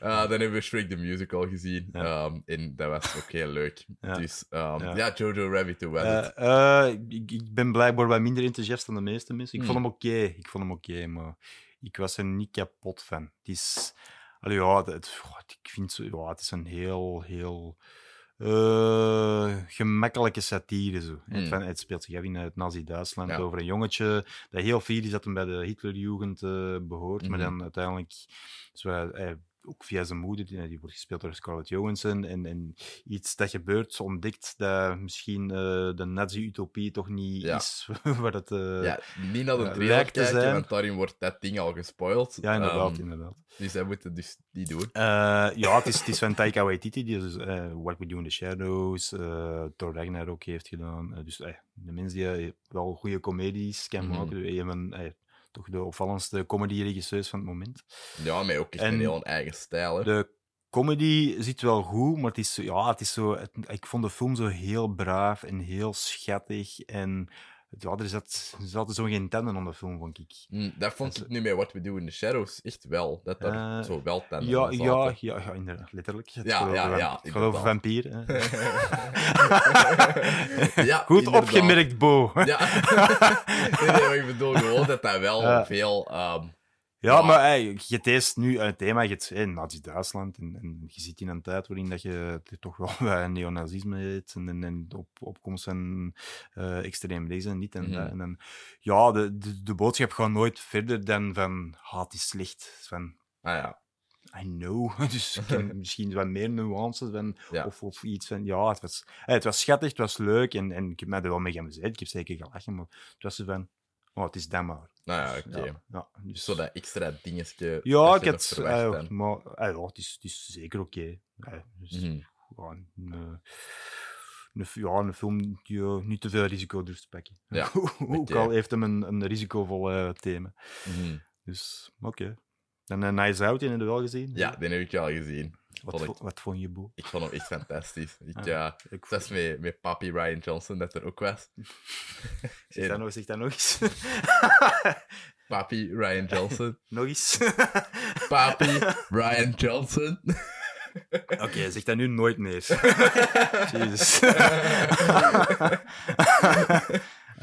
Speaker 1: Eh, dan hebben we Shrek the Musical gezien.
Speaker 2: Ja.
Speaker 1: ehm, en dat was ook heel leuk.
Speaker 2: Ja.
Speaker 1: Dus ehm, ja.
Speaker 2: Ja.
Speaker 1: Jojo Rabbit, hoe was het?
Speaker 2: Eh, eh, ik, ik ben blijkbaar wat minder enthousiast dan de meeste mensen. Ik
Speaker 1: Hmm.
Speaker 2: vond hem oké, ik vond hem oké, maar ik was er niet kapot van. Het is, allee, ja, het- het, goh, ik vind zo, ja, het is een heel, heel eh, gemakkelijke satire. Zo.
Speaker 1: Hmm.
Speaker 2: Het, van- het speelt zich af in eh, het Nazi-Duitsland
Speaker 1: Ja.
Speaker 2: over een jongetje dat heel fier is dat hem bij de Hitlerjugend eh, behoort, maar
Speaker 1: Mhm.
Speaker 2: dan uiteindelijk zo, eh, ook via zijn moeder, die, die wordt gespeeld door Scarlett Johansson, en, en iets dat gebeurt, ze ontdekt dat misschien eh, de nazi-utopie toch niet
Speaker 1: Ja.
Speaker 2: is waar het... eh, ja.
Speaker 1: ja, niet naar de
Speaker 2: eh,
Speaker 1: trailer
Speaker 2: lijkt te
Speaker 1: kijken,
Speaker 2: zijn-
Speaker 1: want daarin wordt dat ding al gespoild.
Speaker 2: inderdaad,
Speaker 1: Ehm,
Speaker 2: inderdaad.
Speaker 1: Dus dat moeten we dus niet doen.
Speaker 2: Eh, ja, het is, het is van Taika Waititi, die dus, eh, What We Do in the Shadows, eh Thor Ragnarok heeft gedaan. Eh, dus eh, de mensen die eh, wel goede comedies kan
Speaker 1: Mhm.
Speaker 2: maken, een van eh, toch de opvallendste comedy-regisseurs van het moment.
Speaker 1: Ja, maar ook echt
Speaker 2: en
Speaker 1: een heel eigen stijl. Hè.
Speaker 2: De comedy zit wel goed, maar het is, zo- ja, het is zo, het- ik vond de film zo heel braaf en heel schattig. En het, ja, er zat- er zaten zo geen tanden aan de film, vond ik.
Speaker 1: Mm, dat vond
Speaker 2: Dat-
Speaker 1: ik nu met What We Do in the Shadows echt wel. Dat daar
Speaker 2: Eh,
Speaker 1: zo wel tanden
Speaker 2: Ja,
Speaker 1: aan
Speaker 2: ja,
Speaker 1: zaten.
Speaker 2: ja, ja, inderdaad, letterlijk. Het
Speaker 1: Ja,
Speaker 2: gaat over
Speaker 1: ja,
Speaker 2: vamp-
Speaker 1: ja,
Speaker 2: Het gaat over
Speaker 1: inderdaad.
Speaker 2: vampieren. hè.
Speaker 1: Ja,
Speaker 2: Goed
Speaker 1: inderdaad.
Speaker 2: opgemerkt, Bo. Ja,
Speaker 1: Ja. nee, nee, maar ik bedoel gewoon dat dat wel
Speaker 2: Ja.
Speaker 1: veel... ehm,
Speaker 2: maar hey, je teest nu een thema, je hebt hey, Nazi-Duitsland, en, en je zit in een tijd waarin dat je t- toch wel wat neonazisme hebt, en, en, en op, opkomst van eh extreem links en niet. En,
Speaker 1: Mhm.
Speaker 2: dat. en dan, ja, de, de, de boodschap gaat nooit verder dan van, haat is slecht. Van,
Speaker 1: ah ja,
Speaker 2: I know. Dus ik ken misschien wat meer nuances van,
Speaker 1: Ja.
Speaker 2: of, of iets van, ja, het was, eh, het was schattig, het was leuk en, en ik heb mij er wel mee geamuseerd. Ik heb zeker gelachen, maar het was zo van, Maar het is dan maar.
Speaker 1: Nou ja, oké.
Speaker 2: Ja, ja, dus...
Speaker 1: Zo dat extra dingetje.
Speaker 2: Ja,
Speaker 1: dat
Speaker 2: ik
Speaker 1: je
Speaker 2: had,
Speaker 1: nog verwacht
Speaker 2: eh,
Speaker 1: dan.
Speaker 2: maar eh, ja, het, is, het is zeker oké. Eh, dus,
Speaker 1: Mhm.
Speaker 2: gewoon een, eh, een f- ja, een film die eh, niet te veel risico durft te pakken.
Speaker 1: Ja,
Speaker 2: Ook
Speaker 1: oké.
Speaker 2: al heeft hem een, een risicovol eh, thema.
Speaker 1: Mhm.
Speaker 2: Dus, oké. En eh, Nice Out, die heb je wel gezien?
Speaker 1: Ja, die heb ik al gezien.
Speaker 2: Wat,
Speaker 1: vond
Speaker 2: vo-
Speaker 1: ik-
Speaker 2: wat vond je boe?
Speaker 1: Ik vond hem echt fantastisch. Ik,
Speaker 2: Ah.
Speaker 1: ja,
Speaker 2: Ik
Speaker 1: dat is met, met papi Ryan Johnson dat er ook was.
Speaker 2: zeg, dat
Speaker 1: En
Speaker 2: nog, zeg dat nog eens.
Speaker 1: papi Ryan Johnson.
Speaker 2: nog eens.
Speaker 1: Papi Ryan Johnson.
Speaker 2: Oké, zeg dat nu nooit meer. Jezus.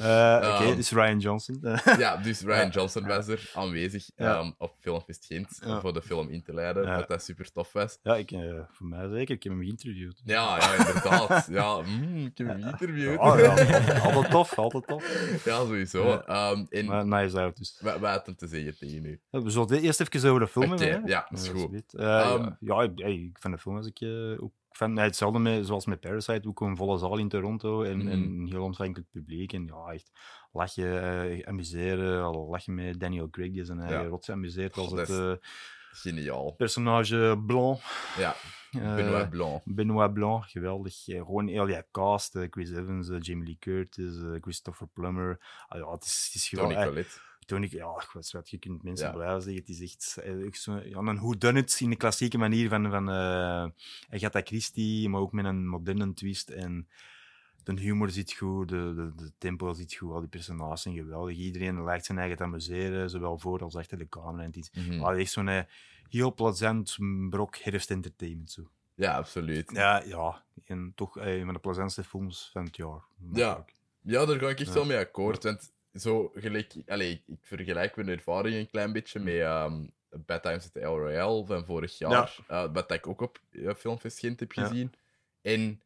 Speaker 2: Eh, Oké,
Speaker 1: Ehm.
Speaker 2: dus Ryan Johnson.
Speaker 1: ja, dus Ryan Johnson was er aanwezig
Speaker 2: Ja.
Speaker 1: ehm, op Filmfest Gent
Speaker 2: Ja.
Speaker 1: voor de film in te leiden,
Speaker 2: Ja.
Speaker 1: dat dat super tof was.
Speaker 2: ja, ik, eh, voor mij zeker. Ik heb hem geïnterviewd.
Speaker 1: Ja, ja inderdaad. ja, mm, ik heb hem geïnterviewd.
Speaker 2: Ja, ja, altijd- altijd tof, altijd tof.
Speaker 1: Ja, sowieso.
Speaker 2: Ja.
Speaker 1: Ehm, en
Speaker 2: Maar nice out dus.
Speaker 1: wa- wat had hem te zeggen tegen u?
Speaker 2: We zullen dit eerst even over de film
Speaker 1: Oké,
Speaker 2: hebben. hè?
Speaker 1: ja, dat is
Speaker 2: Ja,
Speaker 1: goed.
Speaker 2: weet. Eh,
Speaker 1: Ehm,
Speaker 2: ja, ja, ik, hey, ik vind de film als ik eh, ook van nee, hetzelfde met, zoals met Parasite, ook een volle zaal in Toronto en, en
Speaker 1: Mhm.
Speaker 2: een heel ontvankelijk publiek en ja, echt lachen, eh, amuseren, al lachen met Daniel Craig die zijn eigen
Speaker 1: Ja.
Speaker 2: rotse amuseert als
Speaker 1: God,
Speaker 2: het
Speaker 1: dat
Speaker 2: eh,
Speaker 1: Geniaal.
Speaker 2: personage Blanc.
Speaker 1: Ja,
Speaker 2: eh,
Speaker 1: Benoit Blanc.
Speaker 2: Benoit Blanc, geweldig. Eh, Gewoon heel die cast, eh, Chris Evans, eh, Jamie Lee Curtis, eh, Christopher Plummer. Ah, ja, het is, het is
Speaker 1: Tony
Speaker 2: geweldig.
Speaker 1: Collette.
Speaker 2: Toen ik, ja, ik was wat, je kunt mensen
Speaker 1: Ja.
Speaker 2: blijven zeggen. Het is echt, eh, echt zo, ja, een whodunit in de klassieke manier van, van eh, Agatha Christie, maar ook met een moderne twist. En de humor zit goed, de, de, de tempo zit goed, al die personages zijn geweldig. Iedereen lijkt zijn eigen te amuseren, zowel voor als achter de camera. En het is
Speaker 1: Mhm.
Speaker 2: ah, echt zo'n eh, heel plezant brok herfstentertainment. Zo.
Speaker 1: Ja, absoluut. Ja.
Speaker 2: Ja, ja, en toch eh, een van de plezantste films van het jaar. natuurlijk.
Speaker 1: daar ga ik echt
Speaker 2: Ja.
Speaker 1: wel mee akkoord. Want zo gelijk... Allee, ik- ik vergelijk mijn ervaring een klein
Speaker 2: Hm.
Speaker 1: beetje met ehm Bad Times at the El Royale van vorig jaar. eh, wat ik ook op eh, Filmfest Gent heb
Speaker 2: Ja.
Speaker 1: gezien. En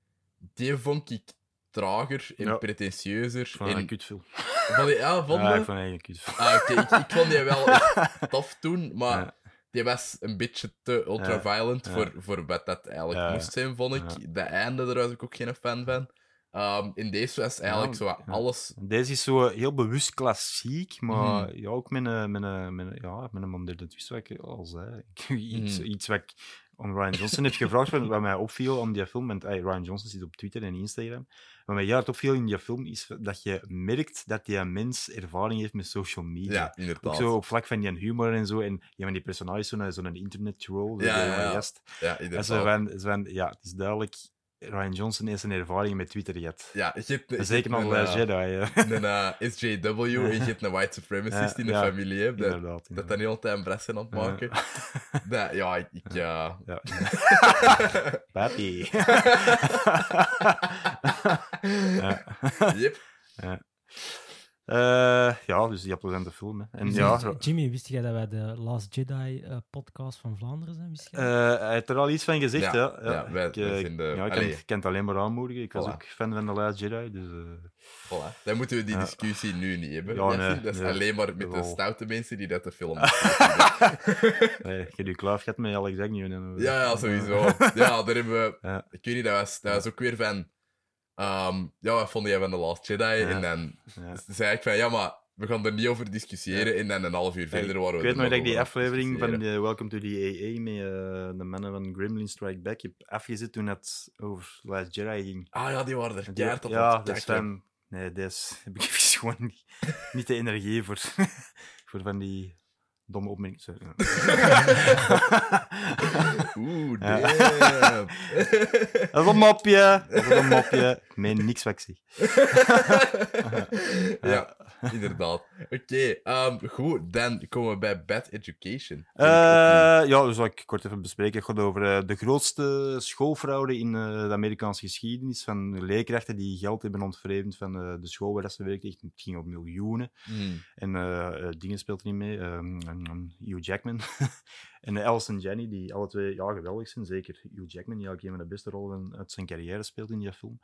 Speaker 1: die vond ik trager en
Speaker 2: Ja.
Speaker 1: pretentieuzer.
Speaker 2: Ik vond het
Speaker 1: en...
Speaker 2: een kutfilm.
Speaker 1: Vond je- ja, vond
Speaker 2: Ja,
Speaker 1: je?
Speaker 2: ik vond het een kutfilm.
Speaker 1: Ah, oké, ik, ik vond die wel echt tof toen, maar
Speaker 2: Ja.
Speaker 1: die was een beetje te ultra-violent
Speaker 2: Ja.
Speaker 1: Voor, voor wat dat eigenlijk
Speaker 2: Ja.
Speaker 1: moest zijn, vond ik.
Speaker 2: Ja.
Speaker 1: De einde, daar was ik ook geen fan van. Ehm, in deze was eigenlijk
Speaker 2: Ja,
Speaker 1: zo wat
Speaker 2: ja.
Speaker 1: alles...
Speaker 2: Deze is zo heel bewust klassiek, maar
Speaker 1: Mhm.
Speaker 2: ja, ook met een, met een, met een, ja, met een moderne twist, wat ik al zei. Ik- iets,
Speaker 1: Mhm.
Speaker 2: iets wat ik aan Ryan Johnson heb gevraagd, wat wat mij opviel aan die film, want ey, Ryan Johnson zit op Twitter en Instagram, wat mij juist opviel in die film is dat je merkt dat die mens ervaring heeft met social media.
Speaker 1: Ja,
Speaker 2: Ook
Speaker 1: inderdaad.
Speaker 2: zo op vlak van die humor en zo. En ja, van die personages, zo'n zo'n internet-troll. zo'n
Speaker 1: Ja, ja,
Speaker 2: jonge
Speaker 1: ja.
Speaker 2: gast.
Speaker 1: Ja,
Speaker 2: En zo
Speaker 1: inderdaad.
Speaker 2: van, zo van, ja, het is duidelijk, Ryan Johnson heeft zijn ervaring met Twitter gehad.
Speaker 1: Ja, je hebt, je
Speaker 2: En
Speaker 1: hebt
Speaker 2: Zeker
Speaker 1: een,
Speaker 2: nog
Speaker 1: eh,
Speaker 2: uh, Jedi, hè.
Speaker 1: een eh, SJW en je hebt een white supremacist
Speaker 2: Ja,
Speaker 1: in de
Speaker 2: ja.
Speaker 1: familie hebt. Dat,
Speaker 2: inderdaad.
Speaker 1: dat dan heel de tijd een bres zijn aan het maken. Dat, ja, ik... ik, eh, ja.
Speaker 2: Ja. Papi. ja.
Speaker 1: Yep.
Speaker 2: Eh, ja, dus die plezante film. Hè. En ja,
Speaker 3: Jimmy, Jimmy, wist jij dat wij de Last Jedi eh, podcast van Vlaanderen zijn? Wist jij dat?
Speaker 2: eh, hij heeft er al iets van gezegd.
Speaker 1: Ja,
Speaker 2: Ja, ja.
Speaker 1: ja, wij-
Speaker 2: ik, eh,
Speaker 1: wij vinden-
Speaker 2: ja, ik kan,
Speaker 1: allee.
Speaker 2: ik kan het alleen maar aanmoedigen. Ik was
Speaker 1: Voilà. Oh.
Speaker 2: ook fan van The Last Jedi. Dus, eh,
Speaker 1: Voilà. Dan moeten we die
Speaker 2: Ja.
Speaker 1: discussie nu niet hebben.
Speaker 2: Ja,
Speaker 1: Jassie.
Speaker 2: nee,
Speaker 1: dat is
Speaker 2: nee.
Speaker 1: alleen maar met de
Speaker 2: Jawel.
Speaker 1: stoute mensen die dat de film
Speaker 2: nee, eh, je hebt je kluif gehad met Alex Agnew. En, eh,
Speaker 1: Ja, ja, sowieso. Ja, daar hebben we...
Speaker 2: Ja.
Speaker 1: Ik weet niet, dat was, dat was ook weer van... ehm, ja, wat vond jij van The Last Jedi? En dan
Speaker 2: Ja.
Speaker 1: zei ik van, ja, maar we gaan er niet over discussiëren. En dan een half uur verder waren we...
Speaker 2: Ik weet
Speaker 1: er
Speaker 2: nog dat ik
Speaker 1: over
Speaker 2: die
Speaker 1: aan het
Speaker 2: aflevering van
Speaker 1: discussiëren.
Speaker 2: de Welcome to the AA met eh, de mannen van Gremlin Strike Back heb afgezet toen het over Last Jedi ging.
Speaker 1: Ah ja, die waren er
Speaker 2: En die-
Speaker 1: keihard op aan
Speaker 2: ja,
Speaker 1: het
Speaker 2: dat is
Speaker 1: kakken.
Speaker 2: van... Nee, deze heb ik even gewoon niet, niet de energie voor, voor van die domme opmerkingen. Sorry.
Speaker 1: Oeh,
Speaker 2: Ja.
Speaker 1: damn.
Speaker 2: Dat is een mopje. Dat is een mopje. Ik meen niks wat ik zeg.
Speaker 1: ja, inderdaad. Oké, ehm, goed. Dan komen we bij Bad Education.
Speaker 2: Eh, ja, dus zal ik kort even bespreken. Het gaat over eh, de grootste schoolfraude in eh, de Amerikaanse geschiedenis. Van leerkrachten die geld hebben ontvreemd van eh, de school waar dat ze werkten. Echt, Het ging op miljoenen.
Speaker 1: Hmm.
Speaker 2: En eh, eh, dingen speelt er niet mee. ehm, ehm, ehm, Hugh Jackman. en eh, Alice en Jenny, die alle twee ja, geweldig zijn. Zeker Hugh Jackman, die eigenlijk een van de beste rollen uit zijn carrière speelt in die film.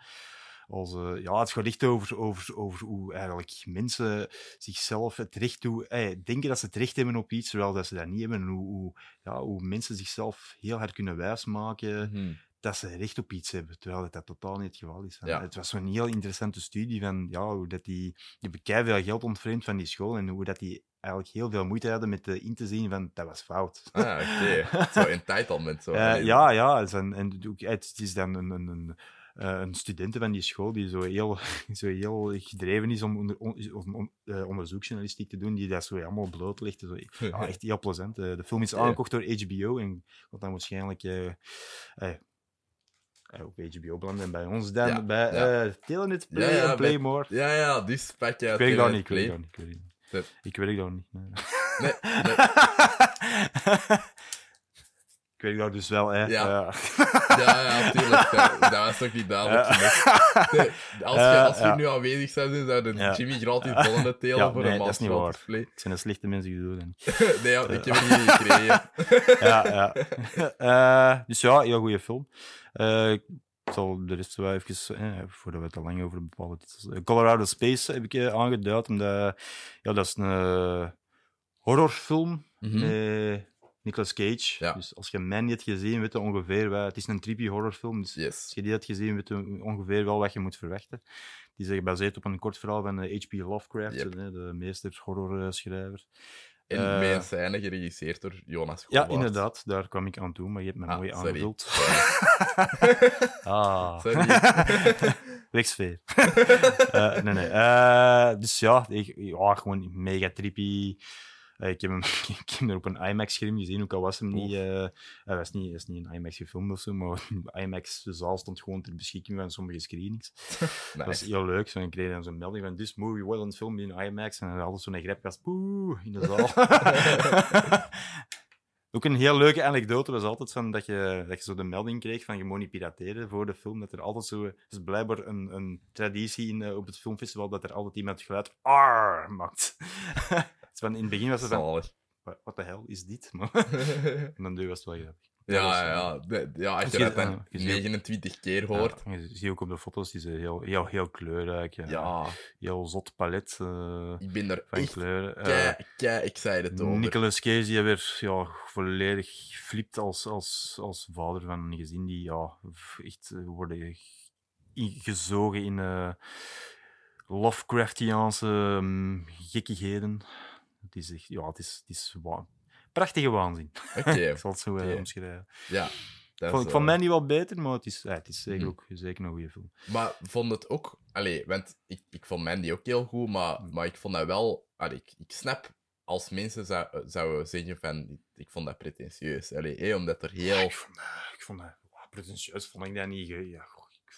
Speaker 2: Als, eh, ja, het gaat echt over, over, over hoe eigenlijk mensen zichzelf het recht toe, eh, denken dat ze het recht hebben op iets, terwijl dat ze dat niet hebben. En hoe, hoe, ja, hoe mensen zichzelf heel hard kunnen wijsmaken
Speaker 1: Mhm.
Speaker 2: dat ze recht op iets hebben, terwijl dat, dat totaal niet het geval is.
Speaker 1: Ja.
Speaker 2: Het was zo'n heel interessante studie van ja, hoe dat die, die hebben keiveel geld ontvreemd van die school en hoe dat die eigenlijk heel veel moeite hadden met eh, in te zien van dat was fout.
Speaker 1: Ah, oké. Zo entitlement. Zo.
Speaker 2: Eh,
Speaker 1: Allee,
Speaker 2: ja, ja. het is een- en ook- het is dan een, een, een, eh, een student van die school die zo heel, zo heel gedreven is om, onder, on- om, om, eh, onderzoeksjournalistiek te doen, die dat zo allemaal blootlegt. Zo, ja, echt heel plezant. Eh, de film is
Speaker 1: Ja.
Speaker 2: aangekocht door HBO en gaat dan waarschijnlijk eh, eh, eh, op HBO belanden en bij ons dan
Speaker 1: Ja,
Speaker 2: bij
Speaker 1: ja.
Speaker 2: eh, Telenet Play
Speaker 1: Ja, ja,
Speaker 2: en
Speaker 1: bij-
Speaker 2: Playmore.
Speaker 1: Ja, ja, die spek uit.
Speaker 2: Ik weet dat
Speaker 1: eh,
Speaker 2: niet, ik weet
Speaker 1: Play.
Speaker 2: dat niet. ik weet dat niet.
Speaker 1: Dat-
Speaker 2: Ik weet dat niet. nee.
Speaker 1: Nee, nee.
Speaker 2: ik weet dat dus wel, hè.
Speaker 1: Ja.
Speaker 2: Eh.
Speaker 1: Ja, ja, tuurlijk. Dat, dat was toch niet duidelijk genoeg. Nee, als je,
Speaker 2: Eh,
Speaker 1: als je
Speaker 2: ja.
Speaker 1: nu aanwezig zou zijn, zouden
Speaker 2: Ja.
Speaker 1: Jimmy gratis ballen het telen
Speaker 2: Ja,
Speaker 1: voor
Speaker 2: nee,
Speaker 1: een
Speaker 2: dat is niet
Speaker 1: maand
Speaker 2: waar.
Speaker 1: gratis play.
Speaker 2: Het zijn de slechte mensen die dat doen.
Speaker 1: Nee, ja, ik heb het niet gekregen.
Speaker 2: Ja, ja. Eh, dus ja, heel goede film. Eh, ik zal de rest wel even, eh, voordat we te lang over bepaalde titels... Eh, Colorado Space heb ik eh, aangeduid, omdat... Ja, dat is een eh, horrorfilm
Speaker 1: Mhm.
Speaker 2: met Nicolas Cage.
Speaker 1: Ja.
Speaker 2: Dus als je Man niet hebt gezien, weet je ongeveer... Wat, het is een trippy horrorfilm, dus als
Speaker 1: Yes.
Speaker 2: je die had gezien, weet je ongeveer wel wat je moet verwachten. Die is gebaseerd op een kort verhaal van eh, H.P. Lovecraft,
Speaker 1: Yep.
Speaker 2: eh, de meester horrorschrijver.
Speaker 1: En
Speaker 2: Eh,
Speaker 1: mijn scène geregisseerd door Jonas
Speaker 2: Ja,
Speaker 1: Govaerts.
Speaker 2: inderdaad, daar kwam ik aan toe, maar je hebt me
Speaker 1: Ah,
Speaker 2: mooi
Speaker 1: sorry.
Speaker 2: aangevuld. ah,
Speaker 1: Sorry.
Speaker 2: wegsfeer. Eh, nee, nee. Eh, dus ja, ik- ja, gewoon mega trippy. Eh, ik, heb hem, ik heb hem er op een IMAX-scherm gezien, ook al was hem niet,
Speaker 1: Oef.
Speaker 2: eh, hij was niet, is niet een IMAX gefilmd of zo, maar de IMAX-zaal stond gewoon ter beschikking van sommige screenings. Dat was
Speaker 1: Nice.
Speaker 2: heel leuk. Zo, ik kreeg dan zo'n melding van this movie wasn't filmed in IMAX. En dan hadden zo'n grep was poeh in de zaal. Ook een heel leuke anekdote was altijd van dat je, dat je zo de melding kreeg van je moet niet pirateren voor de film. Dat er altijd zo... Het is blijkbaar een, een traditie in, eh, op het filmfestival dat er altijd iemand het geluid ar maakt. dus van, in het begin was het van,
Speaker 1: Zalig.
Speaker 2: wat de hel is dit? Maar- en dan was het wel grappig.
Speaker 1: Ja, ja, ja. Ja, als je
Speaker 2: Je-
Speaker 1: dat dan
Speaker 2: je ziet-
Speaker 1: 29 keer hoort.
Speaker 2: eh, Ja, je ziet ook op de foto's, die zijn heel, heel, heel kleurrijk. Ja.
Speaker 1: Ja,
Speaker 2: Heel zot palet. eh,
Speaker 1: ik ben er
Speaker 2: van
Speaker 1: echt
Speaker 2: kleuren. Eh,
Speaker 1: kei, kei excited over.
Speaker 2: Nicolas Cage die weer ja, volledig flipt als, als, als vader van een gezin die ja, f- echt eh, worden ge- in- gezogen in eh, Lovecraftiaanse mm, gekkigheden. Het is echt, ja, het is, het is wa- prachtige waanzin.
Speaker 1: Oké,
Speaker 2: Ik zal het zo eh,
Speaker 1: Oké.
Speaker 2: omschrijven.
Speaker 1: ja. Dat
Speaker 2: Ik
Speaker 1: is,
Speaker 2: vond, ik
Speaker 1: eh,
Speaker 2: vond mij niet wel beter, maar het is, eh, het is zeker,
Speaker 1: Mhm.
Speaker 2: ook, zeker een goede film.
Speaker 1: Maar vond het ook... Allee, want ik, ik vond Mandy ook heel goed, maar,
Speaker 2: Mm.
Speaker 1: maar ik vond dat wel... Allee, ik, ik snap als mensen zou, zouden zeggen van... Ik, ik vond dat pretentieus. Allee, hé, omdat er
Speaker 2: Ja,
Speaker 1: heel...
Speaker 2: Ik vond dat, ik vond dat ja, pretentieus, vond ik dat niet. eh, Ja, goh, ik, ik,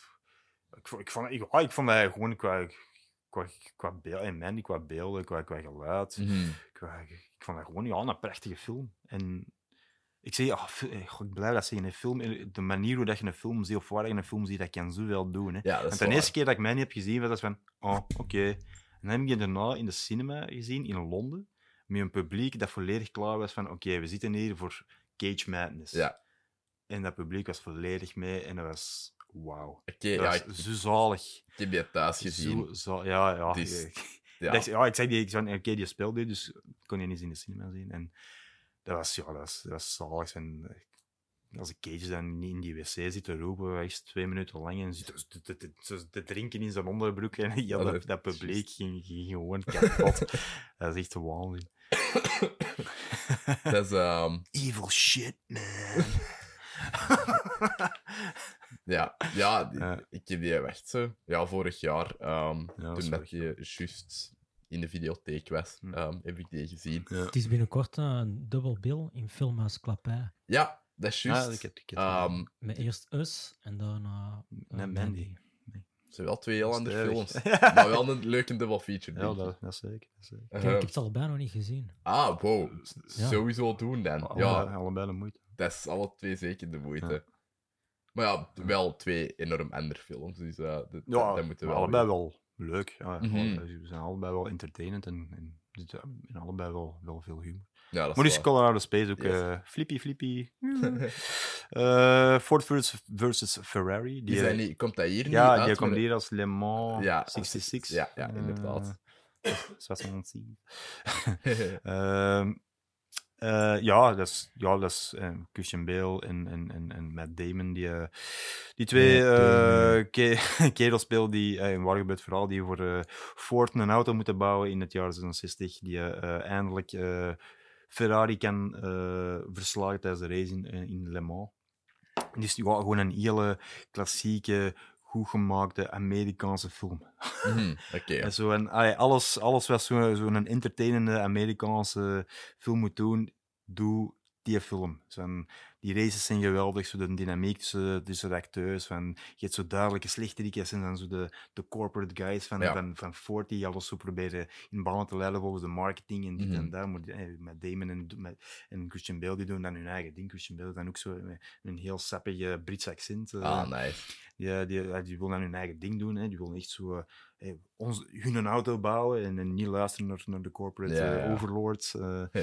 Speaker 2: vond, ik, vond, ik, ah, ik vond dat gewoon qua, qua, qua beeld, en Mandy, qua beelden, qua, qua geluid.
Speaker 1: Mhm.
Speaker 2: Qua, ik vond dat gewoon ja, een prachtige film. En ik zei, ah, fi- eh, goh, ik blij dat ze in een film, eh, de manier hoe dat je een film ziet of waar je een film ziet, dat kan zoveel doen. Hè.
Speaker 1: Ja, dat
Speaker 2: En
Speaker 1: is
Speaker 2: de
Speaker 1: waar.
Speaker 2: eerste keer dat ik mij niet heb gezien, was dat van, oh, oké. En dan heb ik je daarna in de cinema gezien, in Londen, met een publiek dat volledig klaar was van, oké, we zitten hier voor Cage Madness.
Speaker 1: Ja.
Speaker 2: En dat publiek was volledig mee en dat was, wauw.
Speaker 1: Oké,
Speaker 2: Dat
Speaker 1: ja, ik,
Speaker 2: was zo zalig.
Speaker 1: ik heb die thuis
Speaker 2: Zo,
Speaker 1: gezien.
Speaker 2: za- ja, ja.
Speaker 1: Het is-
Speaker 2: Ik-
Speaker 1: Ja.
Speaker 2: dat is- ja, ik zei die, ik zei, oké, die speelde, dus ik kon je niet eens in de cinema zien. En dat was, ja, dat was, dat was zalig. En eh, als ik Cage dan niet in die wc zit te roepen, hij is twee minuten lang en zit te, te- te- te- te drinken in zijn onderbroek. En ja,
Speaker 1: Oh, Dat
Speaker 2: dat,
Speaker 1: is-
Speaker 2: dat publiek ging, ging gewoon kapot. dat is echt waanzin.
Speaker 1: Dat is... ehm,
Speaker 2: Evil shit, man.
Speaker 1: Ja, ja die-
Speaker 2: Ja.
Speaker 1: ik heb die echt zo. Ja, vorig jaar, ehm,
Speaker 2: dat is
Speaker 1: toen
Speaker 2: wel
Speaker 1: dat je juist in de videotheek was,
Speaker 2: Hm.
Speaker 1: ehm, heb ik die gezien.
Speaker 3: Het is binnenkort eh, een dubbel bil in Filmhuis Klapij.
Speaker 1: Ja, dat is juist.
Speaker 2: Ja, ik heb, ik heb
Speaker 1: Ehm,
Speaker 3: Met eerst Us en daarna eh,
Speaker 2: Met Mandy.
Speaker 1: het zijn wel twee heel andere
Speaker 2: Stevig.
Speaker 1: films. maar wel een leuke double feature.
Speaker 2: Ja,
Speaker 1: denk ik.
Speaker 2: dat, dat zeker. Dat zeker.
Speaker 3: Ik,
Speaker 1: Eh,
Speaker 3: heb- ik heb ze allebei nog niet gezien.
Speaker 1: ah, wow.
Speaker 3: Ja.
Speaker 1: Sowieso doen dan.
Speaker 2: Allebei,
Speaker 1: Ja,
Speaker 2: allebei de moeite.
Speaker 1: dat is alle twee zeker de moeite.
Speaker 2: Ah, Ja.
Speaker 1: Maar ja, wel twee enorm andere films. Dus eh, dat,
Speaker 2: Ja,
Speaker 1: dat moeten we wel
Speaker 2: maar allebei wel leuk. Ja,
Speaker 1: Mhm.
Speaker 2: allebei- Ze zijn allebei wel entertainend en, en, er zit in allebei wel, wel veel humor.
Speaker 1: Ja, dat
Speaker 2: Maar
Speaker 1: is
Speaker 2: dus Colorado Space ook.
Speaker 1: Yes.
Speaker 2: eh, flippy, flippy.
Speaker 1: waar.
Speaker 2: Eh, Ford versus, versus Ferrari.
Speaker 1: Die zijn niet, komt dat hier niet
Speaker 2: eh, ja,
Speaker 1: uit?
Speaker 2: die
Speaker 1: maar
Speaker 2: komt
Speaker 1: dat-
Speaker 2: hier als Le Mans Eh,
Speaker 1: Ja,
Speaker 2: 66.
Speaker 1: ja, ja, inderdaad.
Speaker 2: Eh, 76. Ehm, Eh, ja, dat is, ja, dat is eh, Christian Bale en, en, en, en Matt Damon. Die, eh, die twee
Speaker 1: Matt Damon.
Speaker 2: eh, ke- kerels spelen die eh, in Wargebeurt vooral, die voor eh Forten een auto moeten bouwen in het jaar 66. Die eh, eh, eindelijk eh, Ferrari kan eh, verslagen tijdens de race in, in- in Le Mans. Dus ja, gewoon een hele klassieke, goed gemaakte Amerikaanse film.
Speaker 1: Mhm, Oké.
Speaker 2: En zo en, allee, alles, alles wat zo'n zo een entertainende Amerikaanse film moet doen, doe die film. Zo en die races zijn geweldig, zo de dynamiek tussen, tussen de acteurs. Van, je hebt zo duidelijke slechterikjes en dan zo de, de corporate guys van,
Speaker 1: Ja.
Speaker 2: van, van Ford die alles zo proberen in banen te leiden volgens de marketing en dit
Speaker 1: Mhm.
Speaker 2: en dat. Maar, die- eh, met Damon en, met, en Christian Bale die doen dan hun eigen ding. Christian Bale dan ook zo met een heel sappige Brits accent. eh,
Speaker 1: Ah, nice.
Speaker 2: ja, die, ja, die willen dan hun eigen ding doen. Hè. Die willen echt zo eh, hey, ons, hun een auto bouwen en, en niet luisteren naar, naar de corporate
Speaker 1: Ja,
Speaker 2: eh,
Speaker 1: ja.
Speaker 2: overlords. eh.
Speaker 1: Ja.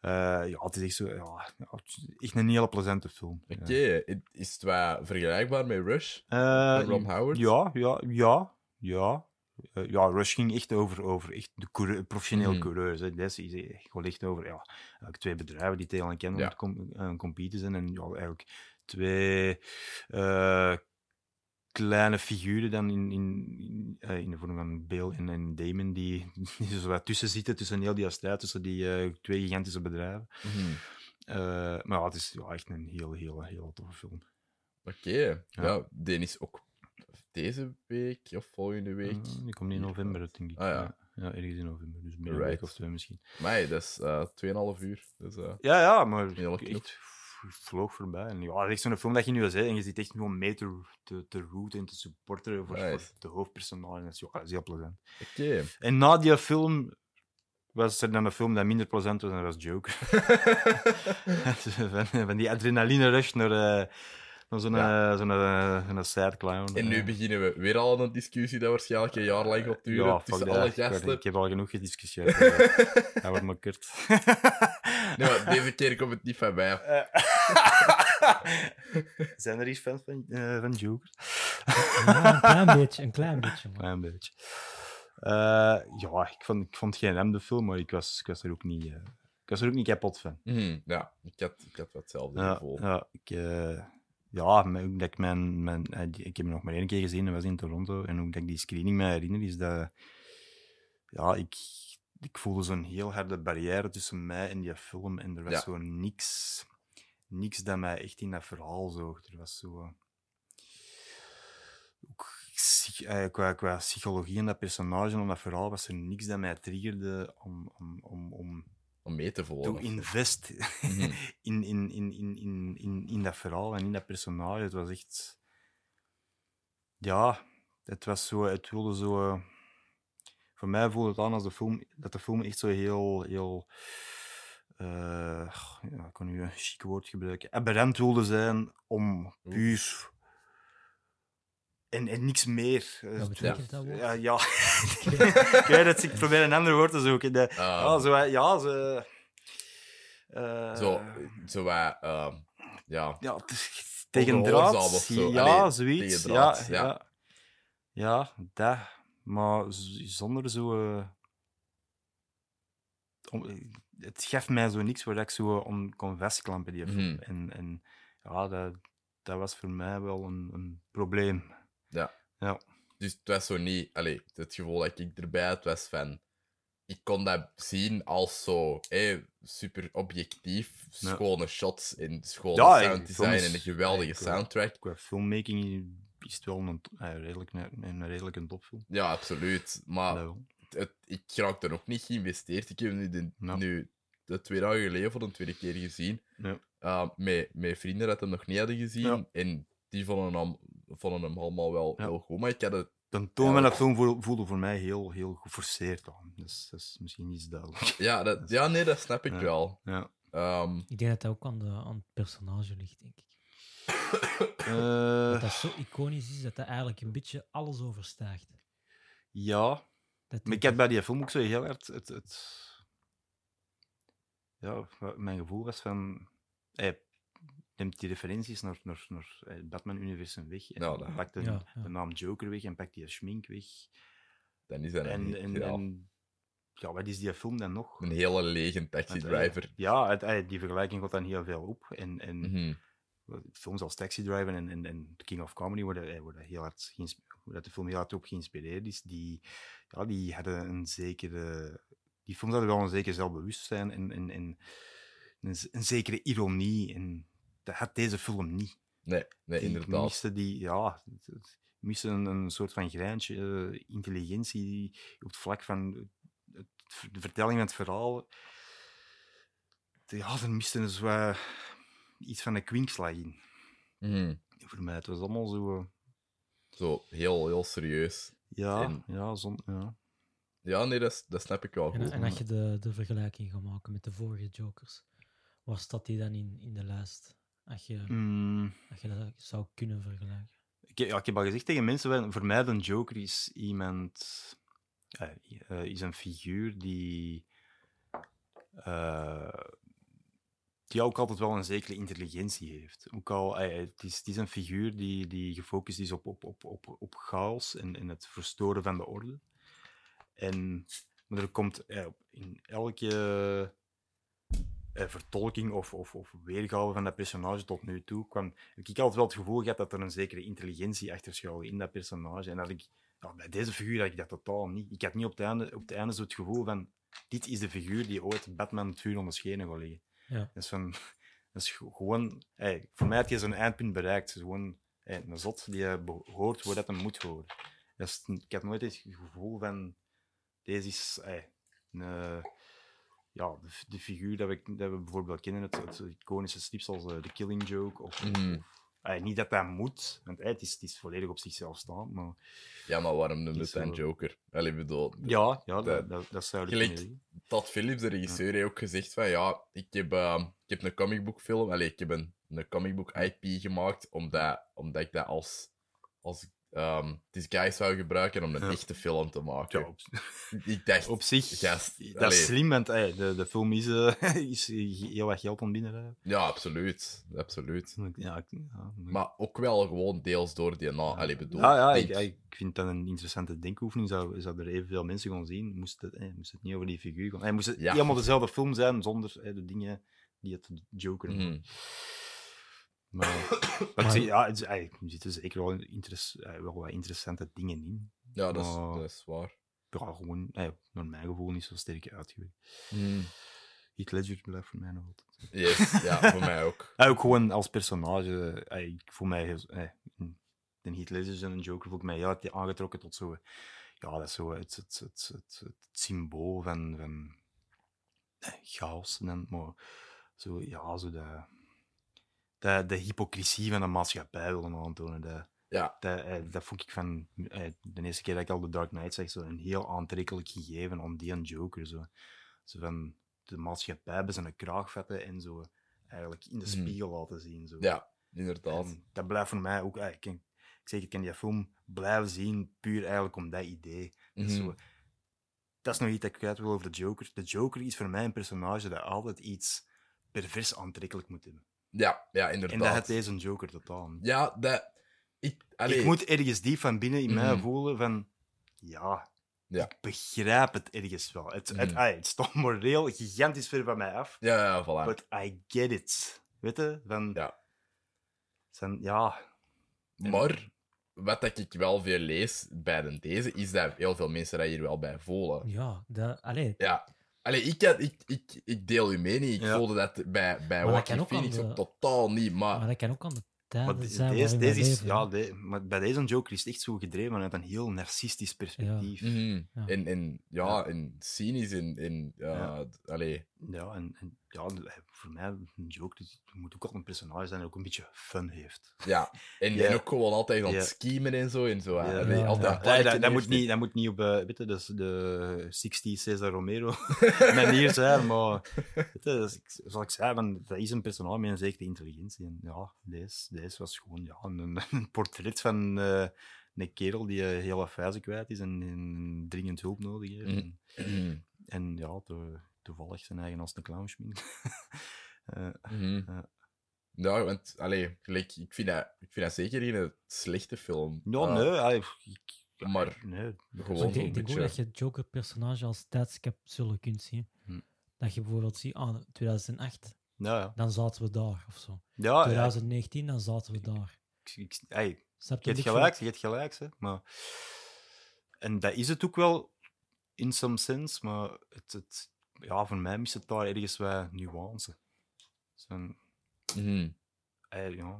Speaker 2: Eh, ja, het is echt zo. Ja, ja, het is echt een hele plezante film.
Speaker 1: Oké.
Speaker 2: Ja.
Speaker 1: i- Is het wel vergelijkbaar met Rush?
Speaker 2: Eh,
Speaker 1: Van Ron Howard?
Speaker 2: Ja, ja, ja, ja. Eh, ja, Rush ging echt over, over echt de coureur, professionele
Speaker 1: Mhm.
Speaker 2: coureurs. Hè. Dat is echt gewoon echt over ja, eigenlijk twee bedrijven die tegen elkaar
Speaker 1: Ja.
Speaker 2: aan het com- aan het competen zijn. En ja, eigenlijk twee eh, kleine figuren dan in, in, in, eh, in de vorm van Bill en, en Damon die, die er zo wat tussen zitten, tussen heel die strijd, tussen die eh, twee gigantische bedrijven.
Speaker 1: Mhm.
Speaker 2: Eh, maar ja, het is ja, echt een heel, heel, heel toffe film.
Speaker 1: Oké. Ja. die is ook deze week of volgende week.
Speaker 2: Eh, die komt in
Speaker 1: Hier
Speaker 2: november,
Speaker 1: uit.
Speaker 2: denk ik.
Speaker 1: Ah, ja.
Speaker 2: ja, ergens in november, dus binnen een
Speaker 1: Right.
Speaker 2: week of twee misschien.
Speaker 1: Maar dat is eh 2,5 uur. Dus, eh,
Speaker 2: Ja, ja, maar
Speaker 1: Heel knap.
Speaker 2: echt v- vloog voorbij. En ja, het is echt zo'n film dat je nu zegt en je ziet echt gewoon mee te, te, te rooten en te supporteren voor,
Speaker 1: Nice.
Speaker 2: voor de hoofdpersonage. En dat is, ja, dat is heel plezant.
Speaker 1: Oké.
Speaker 2: En na die film was er dan een film dat minder plezant was en dat was Joker. van, van die adrenaline rush naar, eh, naar zo'n eh, zo'n eh, zo'n sad clown.
Speaker 1: en nu
Speaker 2: eh.
Speaker 1: beginnen we weer al een discussie dat waarschijnlijk een jaar lang gaat duren
Speaker 2: Ja, fuck
Speaker 1: tussen
Speaker 2: dat,
Speaker 1: alle
Speaker 2: ik weet-
Speaker 1: gasten.
Speaker 2: Ik heb al genoeg gediscussieerd. eh. Dat wordt maar kort.
Speaker 1: Nee, maar deze keer komt het niet van mij. af.
Speaker 2: Eh, Zijn er iets fans van, eh, van Joker?
Speaker 3: Ja, een klein beetje, een klein beetje. maar-
Speaker 2: Klein beetje. Eh, ja, ik vond, ik vond geen hem de film, maar ik was, ik was er ook niet... eh, ik was er ook niet kapot van.
Speaker 1: Mhm, Ja, ik had, ik had wel hetzelfde
Speaker 2: Ja,
Speaker 1: gevoel.
Speaker 2: ja, ik, eh, ja maar ook dat ik mijn... mijn eh, die- ik heb hem nog maar één keer gezien, dat was in Toronto. En ook dat ik die screening me herinner, is dat... Ja, ik, ik voelde zo'n heel harde barrière tussen mij en die film. En er was
Speaker 1: Ja.
Speaker 2: zo niks... Niks dat mij echt in dat verhaal zoog. Er was zo... eh, ook psych- eh, qua, qua psychologie en dat personage en dat verhaal was er niks dat mij triggerde om, om, om, om
Speaker 1: Om mee te
Speaker 2: to
Speaker 1: volgen.
Speaker 2: invest
Speaker 1: Mhm.
Speaker 2: in, in, in, in, in, in, in dat verhaal en in dat personage. Het was echt. Ja, het was zo. Het wilde zo. eh, Voor mij voelde het aan als de film. Dat de film echt zo heel. heel eh, ja, ik kon nu een chic woord gebruiken. Aberrant wilde zijn om puur. En, en niks meer. Eh,
Speaker 3: Wat betekent dat woord?
Speaker 2: Ja, ja. ik weet het, ik probeer een ander woord te zoeken. De-
Speaker 1: Ehm,
Speaker 2: ja, zo, ja, ze. eh,
Speaker 1: Zo, zo wij, ehm, ja.
Speaker 2: Ja, het is tegen
Speaker 1: Overhoorzaam of
Speaker 2: draad.
Speaker 1: zo.
Speaker 2: Ja,
Speaker 1: Allee,
Speaker 2: zoiets.
Speaker 1: tegen draad,
Speaker 2: ja,
Speaker 1: ja.
Speaker 2: ja. ja. dat. Maar z- zonder zo. eh, om- het geeft mij zo niks waar ik zo eh, om kon vastklampen. Die film.
Speaker 1: Mhm.
Speaker 2: en, en ja, dat, dat was voor mij wel een, een probleem.
Speaker 1: Dus het was zo niet... Allee, het gevoel dat ik erbij had, was van... Ik kon dat zien als zo hé, super objectief.
Speaker 2: Ja.
Speaker 1: Schone shots en schone
Speaker 2: Ja, en
Speaker 1: sounddesign
Speaker 2: soms-
Speaker 1: en een geweldige
Speaker 2: Ja, ik wel.
Speaker 1: soundtrack.
Speaker 2: Qua filmmaking is het wel een, to- eh, redelijk, een, een redelijk een topfilm.
Speaker 1: Ja, absoluut. Maar
Speaker 2: Dat wel.
Speaker 1: het, ik raak er ook niet geïnvesteerd. Ik heb nu de,
Speaker 2: Ja.
Speaker 1: nu de twee dagen geleden voor de tweede keer gezien.
Speaker 2: Ja.
Speaker 1: Eh, met, met vrienden dat hem nog niet hadden gezien.
Speaker 2: Ja.
Speaker 1: En die vonden hem, vonden hem allemaal wel
Speaker 2: Ja.
Speaker 1: heel goed. Maar ik had het
Speaker 2: De toon
Speaker 1: Ja.
Speaker 2: van dat film voel- voelde voor mij heel, heel geforceerd aan. Dus dat is misschien iets duidelijk.
Speaker 1: Ja, dat, ja nee, dat snap ik
Speaker 2: Ja.
Speaker 1: wel.
Speaker 2: Ja.
Speaker 1: Ehm,
Speaker 3: Ik denk dat dat ook aan, de, aan het personage ligt, denk ik.
Speaker 2: Eh,
Speaker 3: Dat dat zo iconisch is dat dat eigenlijk een beetje alles overstijgt.
Speaker 2: ja,
Speaker 3: Dat
Speaker 2: maar ik had bij die film ook zo heel hard het... het... Ja, wat mijn gevoel was van... Hij neemt die referenties naar, naar, naar het Batman-universum weg. En
Speaker 1: Ja, dat-
Speaker 2: pakt de,
Speaker 3: Ja, ja.
Speaker 2: de naam Joker weg en pakt die schmink weg.
Speaker 1: dan is dat nog
Speaker 2: En,
Speaker 1: niet
Speaker 2: en,
Speaker 1: gedaan.
Speaker 2: en ja, wat is die film dan nog?
Speaker 1: Een hele lege taxi
Speaker 2: Want, eh,
Speaker 1: driver.
Speaker 2: Ja, het- eh, die vergelijking gaat dan heel veel op. En, en
Speaker 1: Mhm.
Speaker 2: films als Taxi Driver en, en, en The King of Comedy worden, eh, worden heel hard geïns- dat de film heel hard op geïnspireerd is. Die, ja, die hadden een zekere... Die films hadden wel een zeker zelfbewustzijn en, en, en een, z- een zekere ironie. En dat had deze film niet.
Speaker 1: Nee, nee
Speaker 2: Die- Ik
Speaker 1: inderdaad.
Speaker 2: miste die, ja, het- het- ik miste een, een soort van grijntje eh, intelligentie die op het vlak van het, de vertelling van het verhaal. De- Ja, er miste dus wat, iets van een kwinkslag in.
Speaker 1: Mhm.
Speaker 2: Voor mij, het was allemaal zo. eh,
Speaker 1: Zo heel, heel serieus.
Speaker 2: ja,
Speaker 1: En-
Speaker 2: ja, zon, ja.
Speaker 1: Ja, nee, dat, is- dat snap ik wel
Speaker 3: En,
Speaker 1: goed.
Speaker 3: en als je de, de vergelijking gaat maken met de vorige Jokers, waar staat die dan in, in de lijst? Als je,
Speaker 2: Mm,
Speaker 3: als je dat zou kunnen vergelijken.
Speaker 2: ik, heb- ja, ik heb al gezegd tegen mensen, wel, voor mij de Joker is iemand... eh, eh, is een figuur die... eh, die ook altijd wel een zekere intelligentie heeft. Ook al, eh, het, is, het is een figuur die, die gefocust is op, op, op, op, op chaos en, en het verstoren van de orde. En maar er komt eh, op- in elke eh, vertolking of, of, of weergave van dat personage tot nu toe, kwam, heb ik altijd wel het gevoel gehad dat er een zekere intelligentie achter schuilde in dat personage. En dat ik, ja, bij deze figuur had ik dat totaal niet. Ik had niet op het einde, op het einde zo het gevoel van, dit is de figuur die ooit Batman het vuur onder schenen gaat leggen.
Speaker 3: Ja.
Speaker 2: Dat is, van, dat is ge- gewoon... ey, voor mij had je zo'n eindpunt bereikt. Het is gewoon ey, een zot die eh, be- hoort waar dat hem moet horen. Dat is, n- ik had nooit het gevoel van... Deze is... ey, een, eh, ja, de, f- de figuur dat we, dat we bijvoorbeeld kennen. Het, het iconische strips als eh, The Killing Joke. Of,
Speaker 1: Mhm.
Speaker 2: ey, niet dat dat moet, want ey, het, is, het is volledig op zichzelf staan. Maar
Speaker 1: Ja, maar waarom noemde
Speaker 2: Is
Speaker 1: het dan
Speaker 2: wel-
Speaker 1: Joker? Allee, bedoel,
Speaker 2: ja, ja
Speaker 1: dat-
Speaker 2: dat, dat, dat zou ik
Speaker 1: gelijk-
Speaker 2: kunnen zeggen.
Speaker 1: Todd Phillips, de regisseur, heeft ook gezegd van ja, ik heb, ehm, ik heb een comicboekfilm, allee, ik heb een, een comicbook IP gemaakt, omdat, omdat ik dat als, als ehm disguise zou gebruiken om een
Speaker 2: Ja.
Speaker 1: echte film te maken.
Speaker 2: Ja, op,
Speaker 1: Ik dacht,
Speaker 2: op zich,
Speaker 1: Gast,
Speaker 2: dat
Speaker 1: allee.
Speaker 2: is slim, want ey, de, de film is, eh, is heel wat geld aan binnen.
Speaker 1: ja, absoluut, absoluut.
Speaker 2: Ja, ik, ja, maar-
Speaker 1: Maar ook wel gewoon deels door die na. Allee, bedoel,
Speaker 2: ja, ja
Speaker 1: denk-
Speaker 2: ik, ik vind dat een interessante denkoefening. Zou, zou er evenveel mensen gaan zien, moest het, eh, moest het niet over die figuur gaan. Eh, moest het
Speaker 1: Ja.
Speaker 2: helemaal dezelfde film zijn, zonder eh, de dingen die het Joker
Speaker 1: Mhm.
Speaker 2: maakt. Maar, eh, maar ik
Speaker 3: Maar-
Speaker 2: zie- ja, het is- eh, er zitten zeker wel, interess- eh, wel wat interessante dingen in.
Speaker 1: ja, dat is,
Speaker 2: maar-
Speaker 1: dat is waar.
Speaker 2: Ja, gewoon, eh, naar mijn gevoel, niet zo sterk uitgewerkt. Mhm. Heath Ledger blijft voor mij nog altijd.
Speaker 1: Yes, ja, voor mij ook.
Speaker 2: Ja, ook gewoon als personage. eh, Ik voel mij heel. eh, De Heath Ledger en een Joker voel ik mij heel erg aangetrokken tot zo. Ja, dat is zo het, het, het, het, het symbool van, van eh, chaos. En, dan, maar zo, ja, zo de, de, de hypocrisie van de maatschappij willen aantonen. Dat,
Speaker 1: Ja.
Speaker 2: dat, eh, dat vond ik van eh, de eerste keer dat ik al de Dark Knight zag, zo een heel aantrekkelijk gegeven om die een Joker. Zo, zo van de maatschappij bij zijn kraag vatten en zo eigenlijk in de
Speaker 1: Mhm.
Speaker 2: spiegel laten zien. Zo.
Speaker 1: Ja, inderdaad.
Speaker 2: En dat blijft voor mij ook. eh, Ik, ken- ik zeg, ik kan die film blijven zien puur eigenlijk om dat idee. Dat is,
Speaker 1: Mhm.
Speaker 2: zo- dat is nog iets dat ik kwijt wil over de Joker. De Joker is voor mij een personage dat altijd iets pervers aantrekkelijk moet hebben.
Speaker 1: Ja, ja,
Speaker 2: En dat
Speaker 1: inderdaad.
Speaker 2: had deze Joker totaal niet.
Speaker 1: Ja, dat... Ik, allee,
Speaker 2: Ik moet ergens diep van binnen in mij
Speaker 1: Mhm.
Speaker 2: voelen van... Ja,
Speaker 1: Ja.
Speaker 2: ik begrijp het ergens wel. Het, het,
Speaker 1: Mhm.
Speaker 2: ah, het staat moreel gigantisch ver van mij af.
Speaker 1: Ja, ja, voilà.
Speaker 2: But I get it. Weet je? Van,
Speaker 1: Ja.
Speaker 2: Zijn, ja. En-
Speaker 1: Maar wat dat ik wel veel lees bij den deze, is dat heel veel mensen dat hier wel bij voelen.
Speaker 3: Ja, dat, allee,
Speaker 1: Ja. Allee, ik, had- ik, ik, ik deel uw mening. Ik
Speaker 2: Ja.
Speaker 1: voelde dat bij, bij
Speaker 3: dat
Speaker 1: Joaquin
Speaker 3: kan ook aan
Speaker 1: Phoenix
Speaker 3: de-
Speaker 1: ook totaal niet, maar...
Speaker 3: maar dat kan ook aan de
Speaker 2: eh, Maar
Speaker 3: tijden
Speaker 2: de-
Speaker 3: zijn
Speaker 2: deze,
Speaker 3: waarin we
Speaker 2: deze is,
Speaker 3: leven,
Speaker 2: ja,
Speaker 3: hè.
Speaker 2: de- maar bij deze Joker is het echt zo gedreven vanuit een heel narcistisch perspectief. Ja,
Speaker 1: mhm.
Speaker 3: Ja.
Speaker 1: En, en ja,
Speaker 2: Ja.
Speaker 1: en cynisch, en... en eh,
Speaker 2: Ja.
Speaker 1: Allee,
Speaker 2: en, en ja, de- voor mij, een Joker is- moet ook altijd een personage zijn dat ook een beetje fun heeft.
Speaker 1: ja. En,
Speaker 2: Ja.
Speaker 1: en ook gewoon altijd aan het
Speaker 2: Ja.
Speaker 1: schemen en zo, en zo.
Speaker 2: Ja.
Speaker 1: Allee, altijd
Speaker 3: Ja. Ja.
Speaker 1: aan het
Speaker 2: Ja,
Speaker 1: plannen
Speaker 2: dat, dat, moet
Speaker 1: heeft.
Speaker 2: niet, dat moet niet op eh, weet je, dat is de 60 Cesar Romero manier zijn, maar weet je, dat is- ik- zoals ik zei, van, dat is een personage met een zekere intelligentie. En ja, deze, deze was gewoon ja, een, een portret van eh, een kerel die eh, heel afwijzen kwijt is en, en dringend hulp nodig heeft.
Speaker 1: Mhm.
Speaker 2: En, en ja, to- toevallig zijn eigen als een clown schminkt. Eh,
Speaker 1: Mhm.
Speaker 2: Ja.
Speaker 1: Ja, want allee, gelijk, ik, vind dat, ik vind dat zeker geen slechte film.
Speaker 2: ja,
Speaker 1: Eh,
Speaker 2: nee, ah, ik, ik-
Speaker 1: maar
Speaker 2: Nee, dat
Speaker 1: gewoon
Speaker 2: is-
Speaker 3: ik denk,
Speaker 1: een
Speaker 3: ik denk ook
Speaker 1: beetje-
Speaker 3: dat je het Joker-personage als tijdscapsule kunt zien.
Speaker 2: Hm.
Speaker 3: Dat je bijvoorbeeld ziet, ah, 2008,
Speaker 2: Ja, nou ja.
Speaker 3: dan zaten we daar of zo.
Speaker 2: Ah, ja, ja,
Speaker 3: 2019, dan zaten we daar.
Speaker 2: ik, ik- ey,
Speaker 3: Snap
Speaker 2: Je hebt
Speaker 3: je? een beetje
Speaker 2: gelijk, je hebt gelijk. Hè? Maar... En dat is het ook wel, in some sense, maar het, het, ja, voor mij mist het daar ergens wat nuance. Zo'n,
Speaker 1: Mhm.
Speaker 2: ey, ja.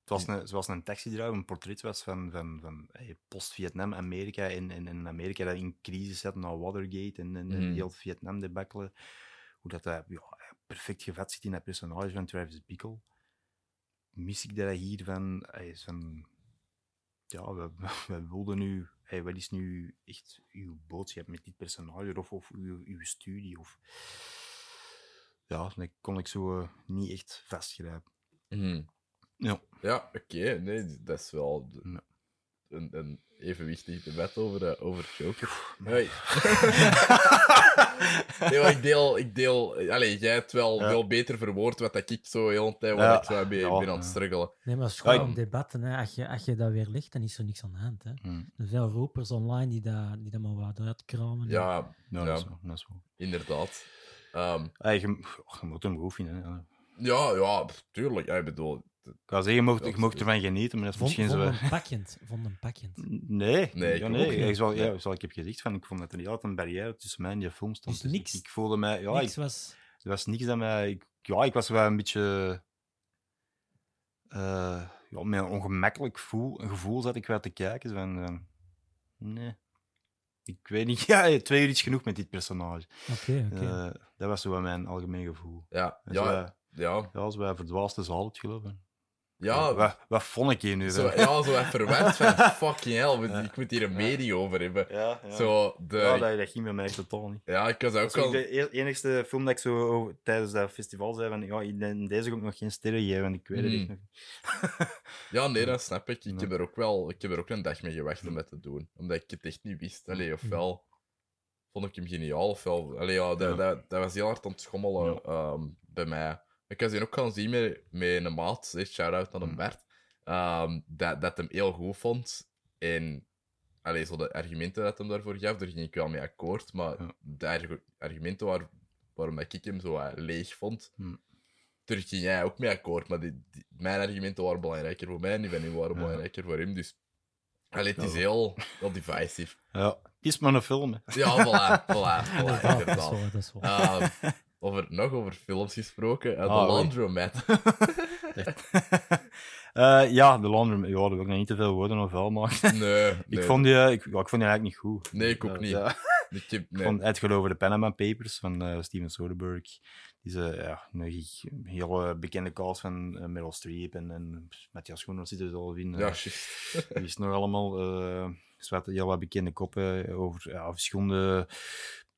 Speaker 2: Het was een, zoals een taxidriver, een portret was van, van, van ey, post-Vietnam, Amerika. En, en, en Amerika dat in crisis zat na Watergate en, en, en
Speaker 1: Mhm.
Speaker 2: heel Vietnam debakkelen. Hoe dat, dat ja, perfect gevat zit in dat personage van Travis Bickle. Mis ik dat hier van... ey, van ja, we, we wilden nu... ey, wat is nu echt uw boodschap met dit personage? Of, of uw, uw studie? Of... Ja, dat kon ik zo eh, niet echt vastgrijpen.
Speaker 1: Mhm.
Speaker 2: Ja.
Speaker 1: Ja, oké. Nee, dat is wel de-
Speaker 2: Ja.
Speaker 1: een, een evenwichtig debat over, eh, over Joker.
Speaker 2: nee.
Speaker 1: Nee. nee, maar ik deel... Ik deel allee, jij hebt wel
Speaker 2: Ja.
Speaker 1: veel beter verwoord wat dat ik zo heel een tijd...
Speaker 2: Ja.
Speaker 1: Waar ik zo mee
Speaker 2: Ja.
Speaker 1: ben aan het struggelen.
Speaker 3: Nee, maar het is
Speaker 2: Ja,
Speaker 3: gewoon
Speaker 2: ik-
Speaker 3: een debat. Hè. Als, je, als je dat weer legt, dan is er niks aan de hand. Hè.
Speaker 2: Mm.
Speaker 3: Er zijn veel ropers online die dat, die dat maar wat uitkramen.
Speaker 1: Ja,
Speaker 2: Ja,
Speaker 1: Ja.
Speaker 2: Dat, is wel, dat is wel.
Speaker 1: inderdaad. Ehm,
Speaker 2: Ey, je, och, je moet hem goed vinden. Hè.
Speaker 1: ja, ja, pff, tuurlijk. Ja, ik bedoel...
Speaker 2: Ik wou zeggen, je mocht,
Speaker 1: Ja,
Speaker 2: je mocht ervan genieten, maar dat is
Speaker 3: Vond,
Speaker 2: misschien
Speaker 3: vond
Speaker 2: zo... wat-
Speaker 3: hem pakkend. Vond hem pakkend.
Speaker 2: Nee,
Speaker 1: Nee, ik
Speaker 2: ja,
Speaker 1: ook
Speaker 2: nee.
Speaker 1: niet.
Speaker 2: Ik, zal,
Speaker 1: Nee.
Speaker 2: ja, zoals ik heb gezegd, van, ik vond dat er niet altijd een barrière tussen mij en die film stond.
Speaker 3: Dus niks-
Speaker 2: ik, ik voelde mij... Ja,
Speaker 3: niks
Speaker 2: ik,
Speaker 3: was...
Speaker 2: er was niks dat mij... Ik, ja, ik was wel een beetje... eh ja, met een ongemakkelijk gevoel, een gevoel zat ik wel te kijken. zo Van, eh, nee. Ik weet niet. Ja, twee uur is genoeg met dit personage.
Speaker 3: Oké, oké.
Speaker 2: Eh, dat was zo wel mijn algemeen gevoel.
Speaker 1: Ja,
Speaker 2: Dat is wel-
Speaker 1: ja, ja.
Speaker 2: Ja, als wij verdwaasde zaaltje geloven.
Speaker 1: Ja,
Speaker 2: Wat, wat vond ik hier nu?
Speaker 1: zo,
Speaker 2: van?
Speaker 1: ja, zo even verwend van fucking hell,
Speaker 2: Ja.
Speaker 1: ik moet hier een mening over hebben.
Speaker 2: Ja, ja.
Speaker 1: Zo, eh, de,
Speaker 2: ja, dat, dat ging bij mij echt totaal niet.
Speaker 1: ja, ik was ook
Speaker 2: Dat is ook
Speaker 1: al...
Speaker 2: de e- enigste film dat ik zo over- tijdens dat festival zei van, ja, in- in deze kom ik nog geen sterren geven, want ik weet het
Speaker 1: Mm.
Speaker 2: echt nog niet.
Speaker 1: Ja, nee, dat snap ik. Ik,
Speaker 2: Ja.
Speaker 1: heb er ook wel, ik heb er ook een dag mee gewacht om dat te doen. Omdat ik het echt niet wist.
Speaker 2: Mhm.
Speaker 1: Allee, ofwel vond ik hem geniaal, ofwel... Allee, ja, dat,
Speaker 2: Ja.
Speaker 1: Dat, dat was heel hard aan het schommelen
Speaker 2: Ja.
Speaker 1: ehm, bij mij. Ik was hier ook gaan zien met, met een maat, eh, shout-out aan
Speaker 2: Mm.
Speaker 1: hem Bert, ehm, dat, dat hem heel goed vond. En allee, zo de argumenten dat hem daarvoor gaf, daar ging ik wel mee akkoord. Maar
Speaker 2: Ja.
Speaker 1: de argu- argumenten waar, waarom dat ik hem zo wat leeg vond,
Speaker 2: Mm.
Speaker 1: daar ging jij ook mee akkoord. Maar die, die- mijn argumenten waren belangrijker voor mij en die van hem waren
Speaker 2: Ja.
Speaker 1: belangrijker voor hem. Dus allee, het
Speaker 2: Ja.
Speaker 1: is heel, heel divisive.
Speaker 2: Ja, het is maar een film, hè.
Speaker 1: Ja, voilà, voilà,
Speaker 3: Ja,
Speaker 1: voilà,
Speaker 3: Oh, dat is
Speaker 1: inderdaad.
Speaker 3: wel, dat is wel.
Speaker 1: Ehm, over, nog over films gesproken. eh,
Speaker 2: Ah,
Speaker 1: The
Speaker 2: oei.
Speaker 1: Laundromat.
Speaker 2: Eh, ja, The Laundromat, ja, daar wil ik nog niet te veel woorden of vuil maken.
Speaker 1: Nee, nee.
Speaker 2: Ik, vond die, eh, ik, ja, ik vond die eigenlijk niet goed.
Speaker 1: Nee, ik ook
Speaker 2: Eh,
Speaker 1: niet.
Speaker 2: ja.
Speaker 1: Ik heb-
Speaker 2: Ik
Speaker 1: nee.
Speaker 2: vond het over de Panama Papers van eh, Steven Soderbergh. Die is eh, ja, een gig- een heel eh, bekende cast van eh, Meryl Streep en, en Matthias Groenhoff zit er al in. eh.
Speaker 1: Ja, juist.
Speaker 2: Er is nog allemaal eh, er zaten heel wat bekende koppen eh, over ja, verschillende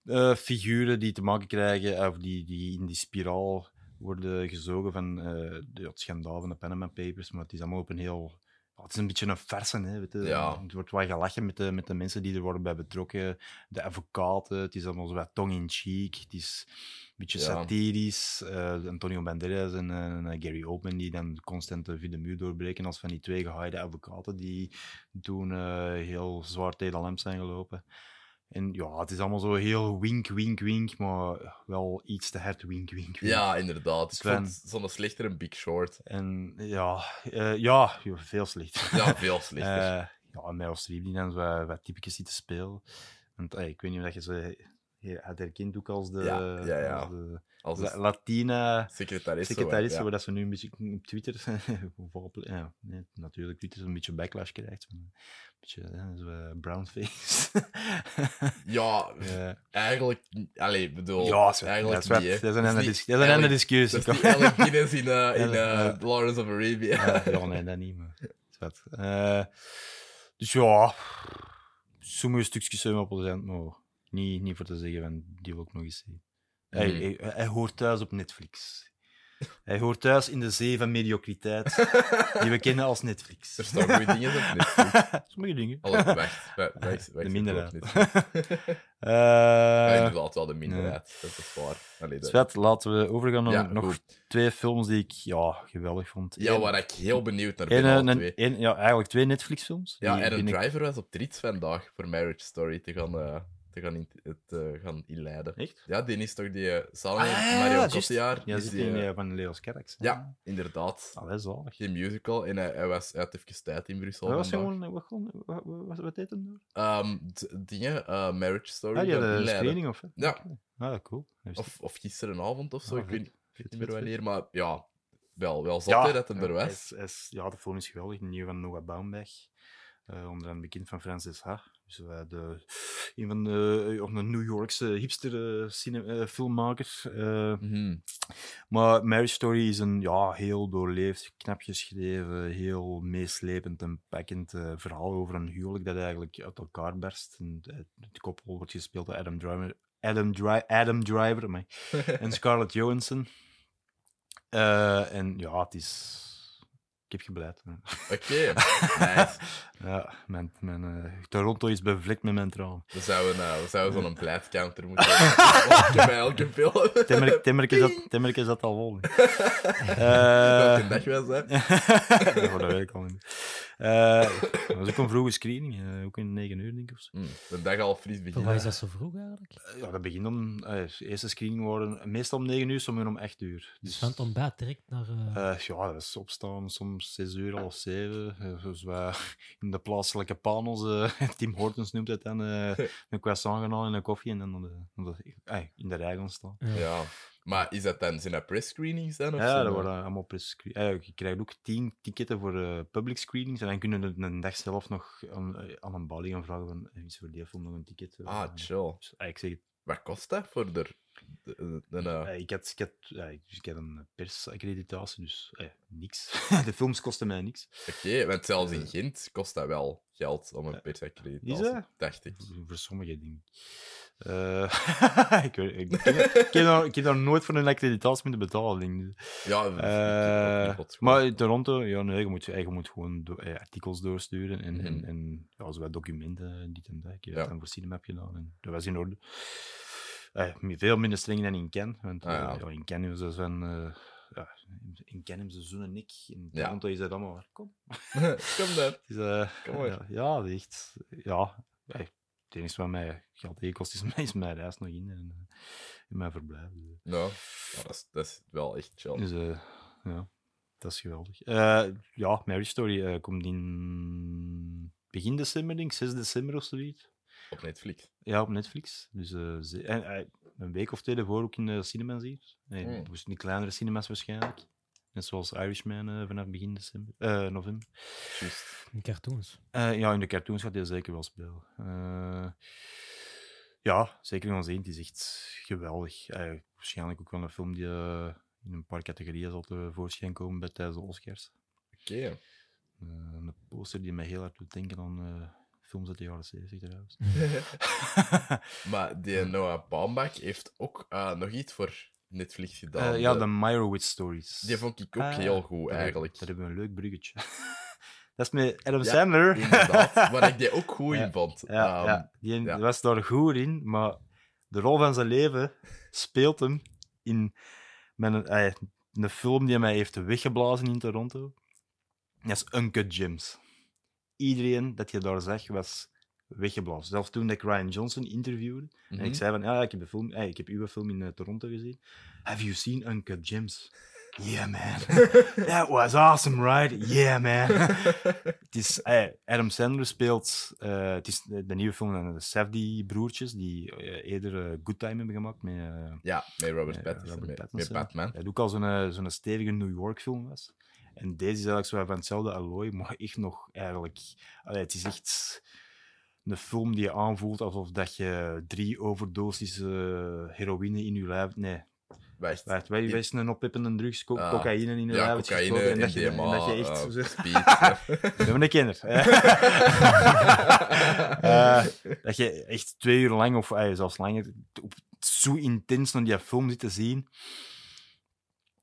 Speaker 2: eh, figuren die te maken krijgen, eh, of die, die in die spiraal worden gezogen van eh, de, het schandaal van de Panama Papers. Maar het is allemaal op een heel. ja, het is een beetje een farsen, hè, weet je.
Speaker 1: Ja.
Speaker 2: Het wordt wel gelachen met de, met de mensen die er worden bij betrokken. De advocaten, het is allemaal zo wat tong-in-cheek. Het is een beetje
Speaker 1: Ja.
Speaker 2: satirisch. Eh, Antonio Banderas en eh, Gary Oldman die dan constant de via de muur doorbreken als van die twee gehaaide advocaten die toen eh, heel zwaar tegen de lamp zijn gelopen. En ja, het is allemaal zo heel wink, wink, wink, maar wel iets te hard wink, wink, wink.
Speaker 1: ja, inderdaad. Ik
Speaker 2: Sven.
Speaker 1: vond zo'n slechter een Big Short.
Speaker 2: En ja, eh, ja, joh, veel slecht.
Speaker 1: Ja, veel slechter.
Speaker 2: Eh, ja, en Meryl Streep die dan zo wat, wat typetjes ziet te spelen. Want eh, ik weet niet of dat je ze je had herkend ook als de,
Speaker 1: Ja, ja, ja.
Speaker 2: als de
Speaker 1: Als
Speaker 2: La-
Speaker 1: een
Speaker 2: Latina
Speaker 1: secretaris. zo, hè.
Speaker 2: secretaris,
Speaker 1: Ja.
Speaker 2: waar dat ze nu een beetje op Twitter, vooral op- ja, nee, natuurlijk Twitter een beetje backlash krijgt. Een beetje eh, zo, eh, brownface.
Speaker 1: Ja,
Speaker 2: Eh,
Speaker 1: eigenlijk... Allee, bedoel...
Speaker 2: ja, zo,
Speaker 1: Oh, eigenlijk
Speaker 2: dat is wat-
Speaker 1: niet, hè.
Speaker 2: dat is een
Speaker 1: Dat is
Speaker 2: andere
Speaker 1: niet
Speaker 2: dis- dat is een andere
Speaker 1: Alec-
Speaker 2: discussie.
Speaker 1: Dat is die Alec Guinness in, eh, in
Speaker 2: Ja.
Speaker 1: eh, Lawrence of Arabia.
Speaker 2: Eh, ja, nee, dat niet, maar het is wat. Eh, dus ja, sommige stukjes zijn wel plezant, maar niet, niet voor te zeggen, van, die wil ik nog eens zien. Hij,
Speaker 1: Mhm.
Speaker 2: hij, hij hoort thuis op Netflix. Hij hoort thuis in de zee van mediocriteit, die we kennen als Netflix.
Speaker 1: Er staan goede dingen op Netflix.
Speaker 2: Sommige dingen.
Speaker 1: Allee, wacht. wa- wacht, wacht,
Speaker 2: De
Speaker 1: ik
Speaker 2: minderheid.
Speaker 1: doe het niet.
Speaker 2: Eh,
Speaker 1: Ja, inderdaad, wel de minderheid. Dat is waar. Allee, dat-
Speaker 2: Svet, laten we overgaan naar
Speaker 1: Ja,
Speaker 2: nog
Speaker 1: goed.
Speaker 2: twee films die ik ja, geweldig vond.
Speaker 1: Ja,
Speaker 2: Eén-
Speaker 1: waar ik heel benieuwd naar ben.
Speaker 2: één,
Speaker 1: alle
Speaker 2: eh, een-
Speaker 1: twee.
Speaker 2: één- ja, eigenlijk twee Netflix-films.
Speaker 1: Ja,
Speaker 2: Die
Speaker 1: Aaron
Speaker 2: ben ik-
Speaker 1: Driver was op Trits vandaag voor Marriage Story te gaan, eh, te gaan, in, het, eh, gaan inleiden.
Speaker 2: Echt?
Speaker 1: Ja, die is toch die eh, samen met
Speaker 2: Ah, ja, ja,
Speaker 1: Mario
Speaker 2: juist.
Speaker 1: Cotillard.
Speaker 2: Ja,
Speaker 1: is
Speaker 2: zit
Speaker 1: die,
Speaker 2: in
Speaker 1: eh,
Speaker 2: eh, van Leo's Kerks.
Speaker 1: ja, inderdaad.
Speaker 2: Ah, dat is zalig.
Speaker 1: Geen musical. En hij, hij was uit even tijd in Brussel
Speaker 2: Dat was
Speaker 1: vandaag.
Speaker 2: gewoon... Wat, gewoon- wat, wat, wat deed hem daar?
Speaker 1: Ehm, d- dingen, eh, Marriage Story.
Speaker 2: Ah, die
Speaker 1: gaan
Speaker 2: hadden een
Speaker 1: inleiden.
Speaker 2: screening of... hè?
Speaker 1: Ja.
Speaker 2: Oké. Ah, cool. Dat wist ik.
Speaker 1: Of, of gisterenavond of zo,
Speaker 2: Ah,
Speaker 1: ik weet
Speaker 2: vet.
Speaker 1: niet,
Speaker 2: Vet,
Speaker 1: niet meer
Speaker 2: vet, vet.
Speaker 1: wanneer. Maar ja, wel, wel zat hij dat hem er
Speaker 2: ja,
Speaker 1: was.
Speaker 2: hij is- hij is- ja, de film is geweldig. Nieuw van Noah Baumbach. eh, onder andere bekend van Francis H. Dus eh, de, een van de, of een New Yorkse hipster eh, cine- eh, filmmaker. eh.
Speaker 1: Mhm.
Speaker 2: maar Marriage Story is een ja, heel doorleefd, knap geschreven, heel meeslepend en pakkend eh, verhaal over een huwelijk dat eigenlijk uit elkaar berst. En het, het koppel wordt gespeeld door Adam Driver, Adam, Dri- Adam Driver amai, en Scarlett Johansson. Eh, en ja, het is... Ik heb gebleid.
Speaker 1: Oké, nice.
Speaker 2: Ja, mijn, mijn, eh, Toronto is bevlekt met mijn traum.
Speaker 1: We zouden, eh, we zouden zo'n pleitcounter moeten hebben. Bij elke film.
Speaker 2: Timmerk Timmerk is, dat- Timmerk is dat al vol.
Speaker 1: Welke
Speaker 2: Eh
Speaker 1: dag was dat?
Speaker 2: ja, dat weet ik al niet. Eh, dat was ook een vroege screening, eh, ook in 9 uur, denk ik. Of zo.
Speaker 1: Hm, de dag al fris
Speaker 3: Voor wat
Speaker 1: beginnen.
Speaker 3: is dat zo vroeg eigenlijk?
Speaker 2: Eh, Ja, dat begint om... eh, de eerste screening worden meestal om 9 uur, sommigen om 8 uur.
Speaker 3: Dus van het ontbijt direct naar... eh,
Speaker 2: Eh, ja, dat is opstaan, soms 6 uur, half 7. eh, zoals wij in de plaatselijke panels, eh, Tim Hortons noemt het dan, eh, een croissant gaan halen en een koffie en dan naar de- naar de- eh, in de rij gaan staan.
Speaker 1: Ja. Maar is dat dan, zijn dat press-screenings dan? Of
Speaker 2: Ja,
Speaker 1: zijn
Speaker 2: dat worden allemaal press eh, Je krijgt ook tien ticketten voor eh, public screenings. En dan kunnen we een dag zelf nog aan, eh, aan een balie gaan vragen: van, eh, is voor die film nog een ticket? eh,
Speaker 1: Ah, chill.
Speaker 2: dus, eh, ik zeg het,
Speaker 1: Wat kost dat voor de... de, de, de- eh,
Speaker 2: eh, ik, had, ik, had, eh, ik- dus ik had een persaccreditatie, dus eh, niks. de films kosten mij niks.
Speaker 1: Oké, want zelfs in Gent kost dat wel geld om een persaccreditatie.
Speaker 2: Is dat?
Speaker 1: Dacht ik.
Speaker 2: Voor- Voor sommige dingen. Eh, ik, weet- ik, ik, heb- ik heb daar, ik heb daar nooit voor een accreditatie moeten betalen. Denk ik.
Speaker 1: Ja, ik- ik- ik-
Speaker 2: Eh,
Speaker 1: ik- ik- ik- ik-
Speaker 2: maar in Toronto, ja, nee, je, moet, je moet gewoon do- eh, artikels doorsturen en, en,
Speaker 1: Mhm.
Speaker 2: en ja, zowel documenten, eh, dit en dat. Ik heb
Speaker 1: Ja.
Speaker 2: dat dan voor Cinema heb gedaan en dat was in orde. Eh, mi- veel minder streng dan in Ken. Want
Speaker 1: Ah,
Speaker 2: eh,
Speaker 1: ja.
Speaker 2: ja, in Ken hebben ze zo'n... eh, ja, in Ken hebben ze zo'n nek. In
Speaker 1: Ja.
Speaker 2: Toronto is dat allemaal waar. Kom.
Speaker 1: Kom dan.
Speaker 2: Het is, eh,
Speaker 1: Kom maar.
Speaker 2: ja, ja, echt. Ja. Eh, het enige wat mij geld tegenkost is, mijn- is mijn reis nog in en eh, in mijn verblijf. dus, eh.
Speaker 1: Nou, ja, dat, is, dat is wel echt chill.
Speaker 2: Dus eh, ja, dat is geweldig. Eh, ja, Marriage Story eh, komt in begin december, denk ik, 6 december of zoiets.
Speaker 1: Op Netflix.
Speaker 2: Ja, op Netflix. Dus eh, ze- en, eh, een week of twee daarvoor ook in de cinema zie. Nee,
Speaker 1: Mm.
Speaker 2: dus in de kleinere cinemas waarschijnlijk. Net zoals Irishman eh, vanaf begin december, eh, november.
Speaker 1: Juist.
Speaker 3: in cartoons.
Speaker 2: Eh, ja, in de cartoons gaat hij zeker wel spelen. Eh, ja, zeker gaan zien. Het is echt geweldig. Eh, waarschijnlijk ook wel een film die eh, in een paar categorieën zal tevoorschijn komen bij tijdens de Oscars.
Speaker 1: Oké.
Speaker 2: Eh, een poster die mij heel hard doet denken aan eh, films uit de jaren 70 trouwens.
Speaker 1: maar die Noah Baumbach heeft ook eh, nog iets voor Netflix gedaan.
Speaker 2: Eh, ja,
Speaker 1: De-
Speaker 2: de Meyerowitz Stories.
Speaker 1: Die vond ik ook
Speaker 2: Ah,
Speaker 1: heel goed,
Speaker 2: Daar heb-
Speaker 1: eigenlijk.
Speaker 2: Daar hebben we een leuk bruggetje. dat is met Adam
Speaker 1: Ja,
Speaker 2: Sandler.
Speaker 1: Inderdaad, waar ik die ook goed
Speaker 2: Ja,
Speaker 1: in vond.
Speaker 2: Ja,
Speaker 1: Ehm,
Speaker 2: ja. die
Speaker 1: ja.
Speaker 2: was daar goed in, maar de rol van zijn leven speelt hem in met een, eh, een film die mij heeft weggeblazen in Toronto. Dat is Uncut Gems. Iedereen dat je daar zag was weggeblazen. Zelfs toen ik Ryan Johnson interviewde
Speaker 1: mhm.
Speaker 2: en ik zei van, ja, ik heb, de film, eh, ik heb uw film in eh, Toronto gezien. Have you seen Uncut Gems? Yeah, man. That was awesome, right? Yeah, man. Het is, eh, Adam Sandler speelt. eh, het is de, de nieuwe film van de Safdie-broertjes, die eh, eerder eh, Good Time hebben gemaakt. Met, eh,
Speaker 1: Ja, met Robert
Speaker 2: Ja,
Speaker 1: Pattinson,
Speaker 2: Robert
Speaker 1: met-
Speaker 2: Pattinson.
Speaker 1: met Batman.
Speaker 2: dat ook al zo'n eh, zo'n stevige New York-film was. En deze is eigenlijk zo van hetzelfde allooi, maar echt nog eigenlijk. allee, het is echt een film die je aanvoelt alsof dat je drie overdoses eh, heroïne in je lijf. Nee,
Speaker 1: Wacht.
Speaker 2: wacht, wij
Speaker 1: Ja.
Speaker 2: wezen een oppippende drugs, co-
Speaker 1: Ah.
Speaker 2: cocaïne in je
Speaker 1: Ja,
Speaker 2: lijf. is
Speaker 1: cocaïne,
Speaker 2: gesproken en dat je- en
Speaker 1: MDMA,
Speaker 2: dat je echt.
Speaker 1: eh,
Speaker 2: zo-
Speaker 1: speed.
Speaker 2: ik ben een kinder. Eh. Eh, dat je echt twee uur lang, of eh, zelfs langer, op, zo intens naar die film zit te zien.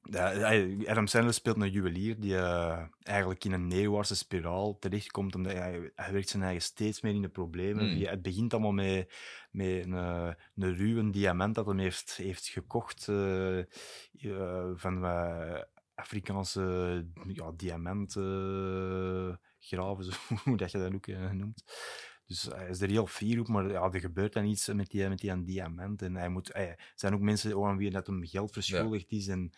Speaker 2: Ja, hij- Adam Sandler speelt een juwelier die eh, eigenlijk in een neerwaartse spiraal terechtkomt. Omdat hij, hij werkt zijn eigen steeds meer in de problemen.
Speaker 1: Hmm.
Speaker 2: Die- Het begint allemaal met, met een, eh, een ruwe diamant dat hij heeft, heeft gekocht eh, eh, van eh, Afrikaanse ja, diamantgraven, zo, hoe dat je dat ook eh, noemt. Dus hij is er heel fier op, maar ja, er gebeurt dan iets met die, met die diamant. En hij moet, hij- er zijn ook mensen aan wie dat hem geld verschuldigd is. En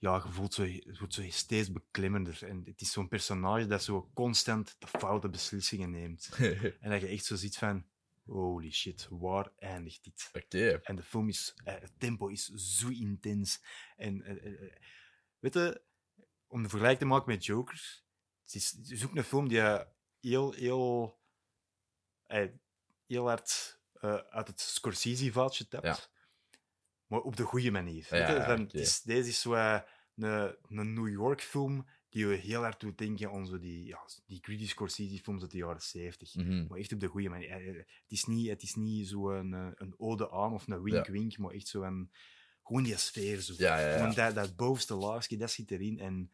Speaker 2: ja, je voelt zo, je voelt zo steeds beklemmender. En het is zo'n personage dat zo constant de foute beslissingen neemt. En dat je echt zo ziet van, holy shit, waar eindigt dit?
Speaker 1: Oké.
Speaker 2: En de film is, eh, het tempo is zo intens. En eh, eh, eh, weet je, om de vergelijk te maken met Joker, het is, het is ook een film die eh, heel, heel, eh, heel hard eh, uit het Scorsese-vaatje tapt.
Speaker 1: Ja.
Speaker 2: Maar op de goede manier.
Speaker 1: Ja,
Speaker 2: Weet je,
Speaker 1: ja,
Speaker 2: van, het
Speaker 1: oké.
Speaker 2: is, deze is zo, eh, een, een New York-film die we heel hard doet denken aan zo die, ja, die gritty Scorsese-films uit de jaren 70.
Speaker 1: Mhm.
Speaker 2: Maar echt op de goede manier. Eh, eh, Het is niet, het is niet zo'n eh, een ode aan of een wink-wink, maar echt zo'n... Gewoon die sfeer. Zo.
Speaker 1: Ja, ja, ja.
Speaker 2: Gewoon dat, dat bovenste laagje, dat zit erin. En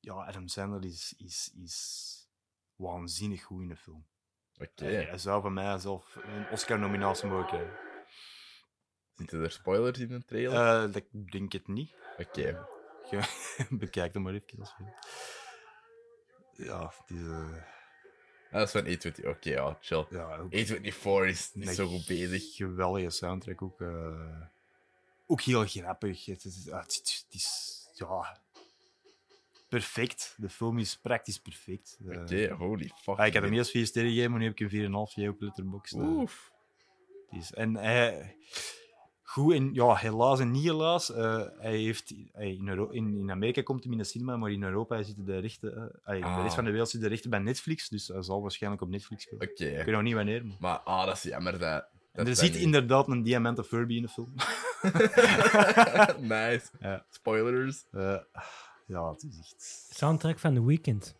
Speaker 2: ja, Adam Sandler is, is, is waanzinnig goed in de film. Hij-
Speaker 1: Oké.
Speaker 2: Hij zou van mij zelf een Oscar-nominatie mogen krijgen.
Speaker 1: Zitten er spoilers in de trailer?
Speaker 2: Eh, dat denk ik niet.
Speaker 1: Oké.
Speaker 2: Bekijk hem maar even. Als je... Ja, het is... eh,
Speaker 1: Ah, dat is van A24. Oké, ja, chill.
Speaker 2: ja, ook-
Speaker 1: A24 is niet
Speaker 2: Een
Speaker 1: zo goed bezig.
Speaker 2: Geweldige soundtrack ook. eh, ook heel grappig. Het is, ja, het is, het is- ja, perfect. De film is praktisch perfect. Eh,
Speaker 1: Oké, holy fuck.
Speaker 2: ah, ik had hem eerst 4 sterren gegeven, maar nu heb ik hem 4,5 gegeven op Letterboxd. eh.
Speaker 1: Oef.
Speaker 2: Het is. En hij, goed en ja, helaas en niet helaas. eh, hij heeft, hij in, Euro- in, in Amerika komt hem in de cinema, maar in Europa zitten de rechten. eh, ah, in de
Speaker 1: Ah.
Speaker 2: rest van de wereld zitten de rechten bij Netflix, dus hij zal waarschijnlijk op Netflix komen.
Speaker 1: Oké.
Speaker 2: Ik weet nog niet wanneer. Maar...
Speaker 1: Maar, ah, dat is jammer. Dat,
Speaker 2: En
Speaker 1: dat
Speaker 2: er
Speaker 1: zijn
Speaker 2: zit
Speaker 1: niet-
Speaker 2: inderdaad een diamanten Furby in de film.
Speaker 1: nice.
Speaker 2: Ja.
Speaker 1: Spoilers.
Speaker 2: Eh, ja, het is echt...
Speaker 3: Soundtrack van The Weeknd.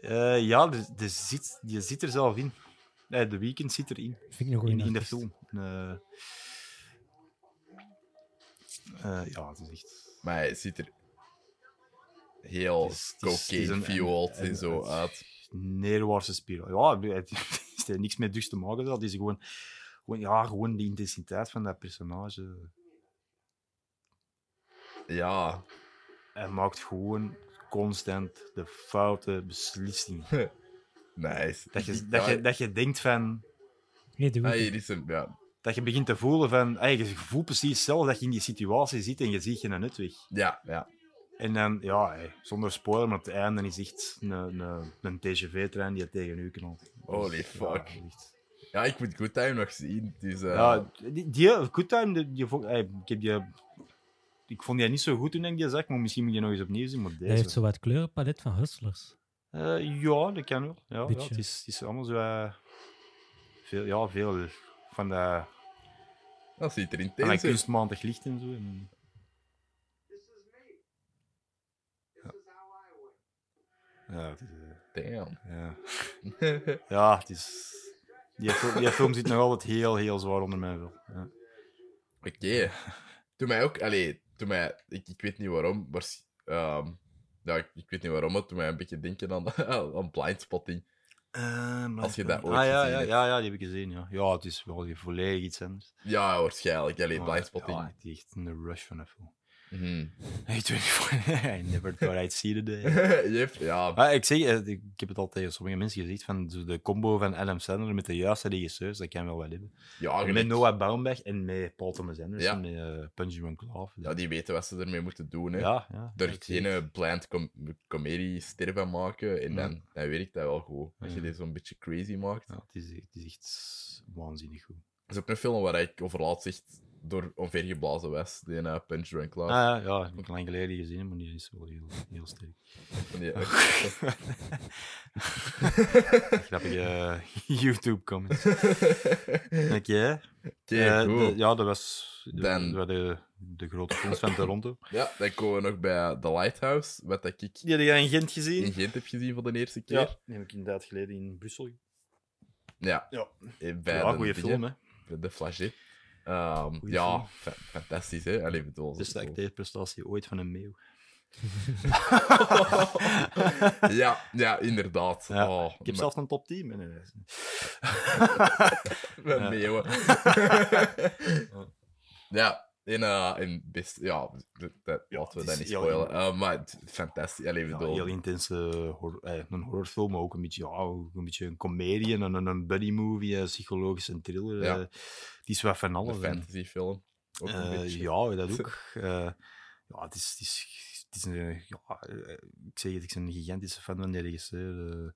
Speaker 2: Eh, ja, er, er zit, je zit er zelf in. Nee, de weekend zit erin.
Speaker 3: Vind ik nog
Speaker 2: In, in de film. Eh, eh, ja, het is echt...
Speaker 1: Maar hij ziet er heel
Speaker 2: Het is- het is- het is een-
Speaker 1: cocaine-fueled
Speaker 2: een-
Speaker 1: en zo
Speaker 2: een-
Speaker 1: uit.
Speaker 2: Neerwaartse spiraal. Ja, het heeft er niks met drugs te maken. Dat is gewoon, gewoon, ja, gewoon de intensiteit van dat personage.
Speaker 1: Ja,
Speaker 2: Hij maakt gewoon constant de foute beslissingen.
Speaker 1: nice.
Speaker 2: Dat je, dat je, dat je denkt van...
Speaker 3: Nee, The
Speaker 1: Ah,
Speaker 3: Weeknd.
Speaker 1: hier is hem, ja.
Speaker 2: Dat je begint te voelen van... Hey, je voelt precies zelf dat je in die situatie zit en je ziet geen uitweg.
Speaker 1: Ja, ja.
Speaker 2: En dan, ja, hey, zonder spoiler, maar op het einde is echt een, een, een TGV-trein die het tegen u knalt.
Speaker 1: Holy
Speaker 2: Dus,
Speaker 1: fuck.
Speaker 2: Ja, echt.
Speaker 1: Ja, ik moet Good Time nog zien. Dus, eh,
Speaker 2: Ja, die, die Good Time, die, die vond- hey, ik, heb die, ik vond die niet zo goed toen ik die zag, maar misschien moet je nog eens opnieuw zien. Maar
Speaker 3: Hij
Speaker 2: deze,
Speaker 3: heeft zo wat kleurenpalet van Hustlers.
Speaker 2: Eh, ja, dat kan wel. Ja, ja,
Speaker 3: Beetje.
Speaker 2: het, is, het is allemaal zo... eh, veel, ja, veel van dat
Speaker 1: dat ziet er
Speaker 2: van dat
Speaker 1: intens uit.
Speaker 2: kunstmatig licht en zo. En, ja, het is, eh,
Speaker 1: Damn.
Speaker 2: ja. Ja, het is... Die, fil- die film zit nog altijd heel, heel zwaar onder mijn vel. Ja.
Speaker 1: Oké. Toen mij ook, allee, toen mij, ik, ik weet niet waarom, maar ehm, ja, ik, ik weet niet waarom, maar toen mij een beetje denken aan, aan blindspotting.
Speaker 2: Eh,
Speaker 1: Als je dat ooit
Speaker 2: ah, ja,
Speaker 1: gezien
Speaker 2: ja,
Speaker 1: hebt.
Speaker 2: Ja, ja, die heb ik gezien, ja. Ja, het is wel weer volledig iets anders.
Speaker 1: Ja, waarschijnlijk. Allee,
Speaker 2: Maar,
Speaker 1: blindspotting.
Speaker 2: Ah, Ja, het is echt een rush van een film.
Speaker 1: Mhm.
Speaker 2: Hey, 24, I never thought I'd see the day.
Speaker 1: Jep, ja.
Speaker 2: Ah, ik, zeg, eh, ik heb het al tegen sommige mensen gezegd, van zo de combo van Adam Sandler met de juiste regisseurs, dat kan wel wat hebben.
Speaker 1: ja
Speaker 2: met
Speaker 1: gelijk.
Speaker 2: Noah Baumbach en met Paul Thomas Anderson,
Speaker 1: Ja.
Speaker 2: met eh, Punch Drunk Love.
Speaker 1: ja, die weten wat ze ermee moeten doen. Hè.
Speaker 2: ja, ja.
Speaker 1: Er
Speaker 2: ja, ik zeg het.
Speaker 1: geen eh, blind com comedie ster van maken en
Speaker 2: Ja.
Speaker 1: dan, dan werkt dat wel goed. Als je
Speaker 2: Ja.
Speaker 1: dit zo'n beetje crazy maakt.
Speaker 2: Ja, het, is, het is echt waanzinnig goed.
Speaker 1: Dat is ook een film waar ik overlaat echt door onvergeblazen was. Die eh, Punch Drunk Love.
Speaker 2: Ah, ja, ik heb lang geleden gezien, maar die is wel heel, heel sterk.
Speaker 1: Die-
Speaker 2: Ah. Grappige YouTube-comments. Oké.
Speaker 1: Oké,
Speaker 2: eh,
Speaker 1: goed.
Speaker 2: de- ja, dat was de,
Speaker 1: Dan-
Speaker 2: dat waren de, de grote films van Toronto.
Speaker 1: Ja, dan komen we nog bij The Lighthouse, wat dat ik
Speaker 2: Die heb jij in Gent gezien?
Speaker 1: in Gent heb gezien voor de eerste keer.
Speaker 2: Ja, die heb ik inderdaad geleden in Brussel.
Speaker 1: Ja,
Speaker 2: Ja,
Speaker 1: eh, bij
Speaker 2: ja
Speaker 1: de,
Speaker 2: goede
Speaker 1: dingen,
Speaker 2: film, hè.
Speaker 1: bij de flagship. Ehm,
Speaker 2: Goeie
Speaker 1: ja,
Speaker 2: film.
Speaker 1: fa- fantastisch, hè? Allee, bedoel,
Speaker 2: Beste
Speaker 1: bedoel-
Speaker 2: acteerprestatie ooit van een meeuw.
Speaker 1: ja, ja, inderdaad.
Speaker 2: Ja,
Speaker 1: Oh,
Speaker 2: ik heb zelfs een top eh, 10. in huis.
Speaker 1: Met meeuwen. ja, in, eh in best, ja, d- d- dat
Speaker 2: Ja,
Speaker 1: laten we
Speaker 2: het
Speaker 1: dat
Speaker 2: is
Speaker 1: niet
Speaker 2: heel-
Speaker 1: spoilen. Eh, maar het- fantastisch. Allee,
Speaker 2: Ja,
Speaker 1: bedoel,
Speaker 2: heel intense horror, eh, een horrorfilm, maar ook een beetje, ja, ook een, beetje een comedie, een, een, een buddy movie, een psychologisch een thriller.
Speaker 1: Ja.
Speaker 2: eh, het is wat van
Speaker 1: een
Speaker 2: alles. en-
Speaker 1: fantasyfilm. Ook een
Speaker 2: Eh,
Speaker 1: beetje.
Speaker 2: ja, dat ook. Eh, ja, het is, het is, het is een, ja, eh, ik zeg het, ik ben een gigantische fan van die regisseur. eh,